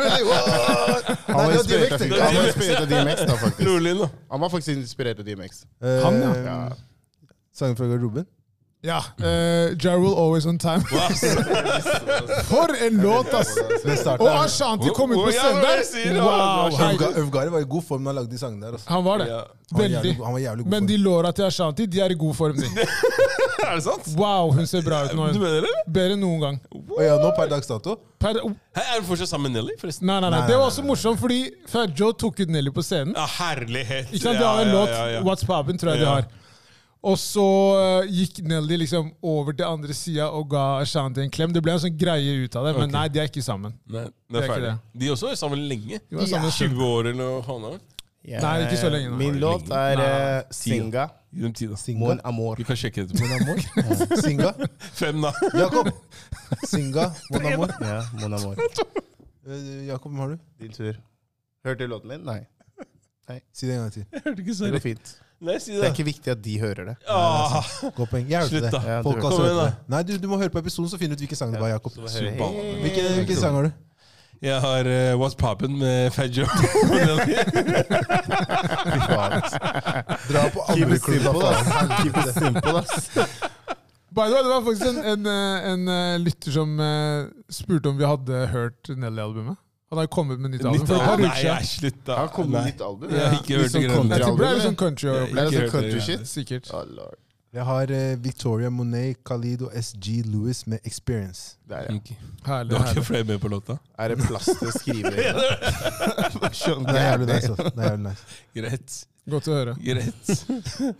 Speaker 1: Han var
Speaker 3: Nei, det var
Speaker 1: inspirert av
Speaker 3: DMX,
Speaker 4: det var DMX.
Speaker 1: DMX, han var inspirert av DMX da, faktisk.
Speaker 4: Rolig nå.
Speaker 1: Han var faktisk inspirert av DMX.
Speaker 3: Eh,
Speaker 2: Han, ja.
Speaker 1: Ja.
Speaker 3: Sangen fra garderoben?
Speaker 2: Ja. Uh, Jarul Always On Time. [LAUGHS] For en låt, ass!
Speaker 3: Det startet
Speaker 2: Og Ashanti kom ut
Speaker 4: Å,
Speaker 2: på
Speaker 4: ja,
Speaker 2: scenen
Speaker 4: det var det jeg sier,
Speaker 2: der!
Speaker 4: ja.
Speaker 2: Wow, hei.
Speaker 3: Øvga- Øvgare var i god form da han lagde de sangene der. Altså.
Speaker 2: Han var det.
Speaker 4: Ja.
Speaker 3: Han, var
Speaker 2: Veldig.
Speaker 3: jævlig, han var jævlig god
Speaker 2: Men
Speaker 3: form.
Speaker 2: de låra til Ashanti de er i god form. de.
Speaker 4: Er det sant?
Speaker 2: Wow, hun ser bra ut nå. hun.
Speaker 4: Du mener det?
Speaker 2: Bedre enn noen gang.
Speaker 3: Og ja, nå per dags dato
Speaker 2: Per, oh,
Speaker 4: Hæ, Er du fortsatt sammen med Nelly, forresten?
Speaker 2: nei, nei, nei. Det var også morsomt, fordi før Joe tok ut Nelly på scenen
Speaker 4: Ja, herlighet.
Speaker 2: Ikke sant, De har en
Speaker 4: Ja,
Speaker 2: låt,
Speaker 4: ja, ja, ja.
Speaker 2: What's Poppin', tror jeg de
Speaker 4: Ja.
Speaker 2: har. Og så eh, gikk Nelly liksom over til andre sida og ga Ashanti en klem. Det ble en sånn greie ut av det, men nei, de er ikke sammen.
Speaker 4: Nei, det
Speaker 2: Det
Speaker 4: er
Speaker 2: er ikke
Speaker 4: ferdig. De også er sammen lenge.
Speaker 2: De var sammen en stund.
Speaker 4: 20 år eller noe faen har vært.
Speaker 2: Nei, ikke så lenge nå.
Speaker 1: Min låt er eh, Singa.
Speaker 4: Gi dem tid, da.
Speaker 3: Singa.
Speaker 1: Mon Amor.
Speaker 4: Vi kan sjekke etterpå.
Speaker 3: Mon
Speaker 1: [LAUGHS]
Speaker 3: Amor. Singa.
Speaker 4: Fem, da. [LAUGHS]
Speaker 3: Jakob. Singa. Mon Amor.
Speaker 1: Ja, Mon Amor.
Speaker 3: Eh, Jakob, hvem har du?
Speaker 1: Din tur. Hørte du låten min? Nei.
Speaker 3: Si det en gang til.
Speaker 4: Jeg hørte ikke
Speaker 1: Det
Speaker 4: sorry.
Speaker 1: går fint.
Speaker 4: Nei, si
Speaker 1: Det
Speaker 4: det.
Speaker 1: er ikke viktig at de hører det.
Speaker 4: Ah,
Speaker 3: Godt poeng. Jeg hørte
Speaker 4: Slutt,
Speaker 3: det.
Speaker 4: da.
Speaker 1: Ja, du
Speaker 3: Folk
Speaker 1: hører
Speaker 3: har
Speaker 4: Kom
Speaker 3: hørt
Speaker 4: igjen,
Speaker 3: det. Nei, du, du må høre på episoden, så finner du ut hvilken sang det var, Jakob.
Speaker 1: det.
Speaker 4: Super.
Speaker 1: Hey.
Speaker 3: Hvilken, hvilken sang har du?
Speaker 4: Jeg har eh, What's Poppin' med Fat Joe. Den-
Speaker 3: Fy faen. ass. Dra på andre klubber, da.
Speaker 1: Simple, ass.
Speaker 2: By the way, det var faktisk en, en, eh, en eh, lytter som eh, spurte om vi hadde hørt Nelly-albumet. Han har jo kommet med nytt album.
Speaker 4: Nytt
Speaker 2: for et par
Speaker 4: album?
Speaker 2: uker
Speaker 4: Nei,
Speaker 2: siden.
Speaker 4: jeg slutta.
Speaker 1: Han kom med
Speaker 4: Nei.
Speaker 1: nytt album.
Speaker 4: Jeg har ikke
Speaker 1: Litt
Speaker 4: hørt
Speaker 1: sånn
Speaker 4: det greiene
Speaker 2: Jeg
Speaker 4: der.
Speaker 2: tror det er
Speaker 1: Country-albumet.
Speaker 2: litt sånn country
Speaker 4: Jeg-
Speaker 2: album.
Speaker 1: Det er
Speaker 4: Ikke
Speaker 1: sånn
Speaker 4: hørt det
Speaker 1: country
Speaker 4: greiene.
Speaker 1: shit.
Speaker 2: Sikkert.
Speaker 1: Å, lord.
Speaker 3: Jeg har eh, Victoria Monet, Khalid og SG Lewis med Experience.
Speaker 1: Der, ja.
Speaker 4: Ok. Du
Speaker 2: Herlig,
Speaker 4: har ikke
Speaker 2: herlig.
Speaker 4: flere med på låta?
Speaker 1: Er det plass til å [LAUGHS] skrive? Skjønner
Speaker 3: Det er jævlig
Speaker 1: jeg.
Speaker 3: nice. ass. Det er jævlig nice.
Speaker 4: Greit.
Speaker 2: Godt å høre.
Speaker 4: Greit.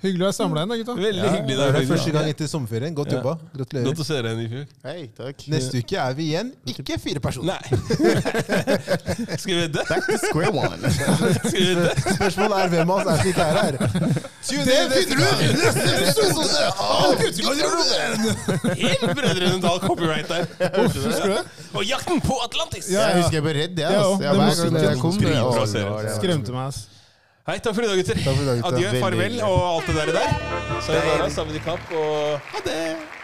Speaker 2: Hyggelig å være samla igjen, da, gutta.
Speaker 4: Veldig hyggelig.
Speaker 3: Det er
Speaker 4: David.
Speaker 3: første gang etter sommerferien. Godt
Speaker 4: Ja.
Speaker 3: jobba.
Speaker 4: Godt
Speaker 3: Gratulerer.
Speaker 4: å se deg igjen i fjor.
Speaker 1: Hei, takk.
Speaker 3: Neste uke er vi igjen ikke fire personer.
Speaker 4: Nei. [LAUGHS] Skal vi vedde?
Speaker 1: Back to square one.
Speaker 4: Skal vi vedde?
Speaker 3: Spørsmålet er hvem av oss er som ikke er her.
Speaker 1: Det finner du ut i neste episode av Guttegarderoben!
Speaker 4: Helt Brødrene Dal copyright der. Og jakten på Atlantis!
Speaker 1: Jeg husker jeg ble redd, jeg.
Speaker 2: Ja,
Speaker 1: ass.
Speaker 2: det
Speaker 1: Jeg, hver
Speaker 2: må
Speaker 1: gang jeg
Speaker 2: skrive-
Speaker 1: kom
Speaker 4: skrive
Speaker 1: å,
Speaker 4: fra serien.
Speaker 1: lord, jeg var-
Speaker 2: Skremte meg, ass.
Speaker 4: Hei, takk for i dag, gutter.
Speaker 3: Takk for i dag, gutta.
Speaker 4: Adjø,
Speaker 1: Veldig
Speaker 4: farvel
Speaker 1: hyggelig.
Speaker 4: og alt det der. der. Sayonara, sammenikapp og ha det!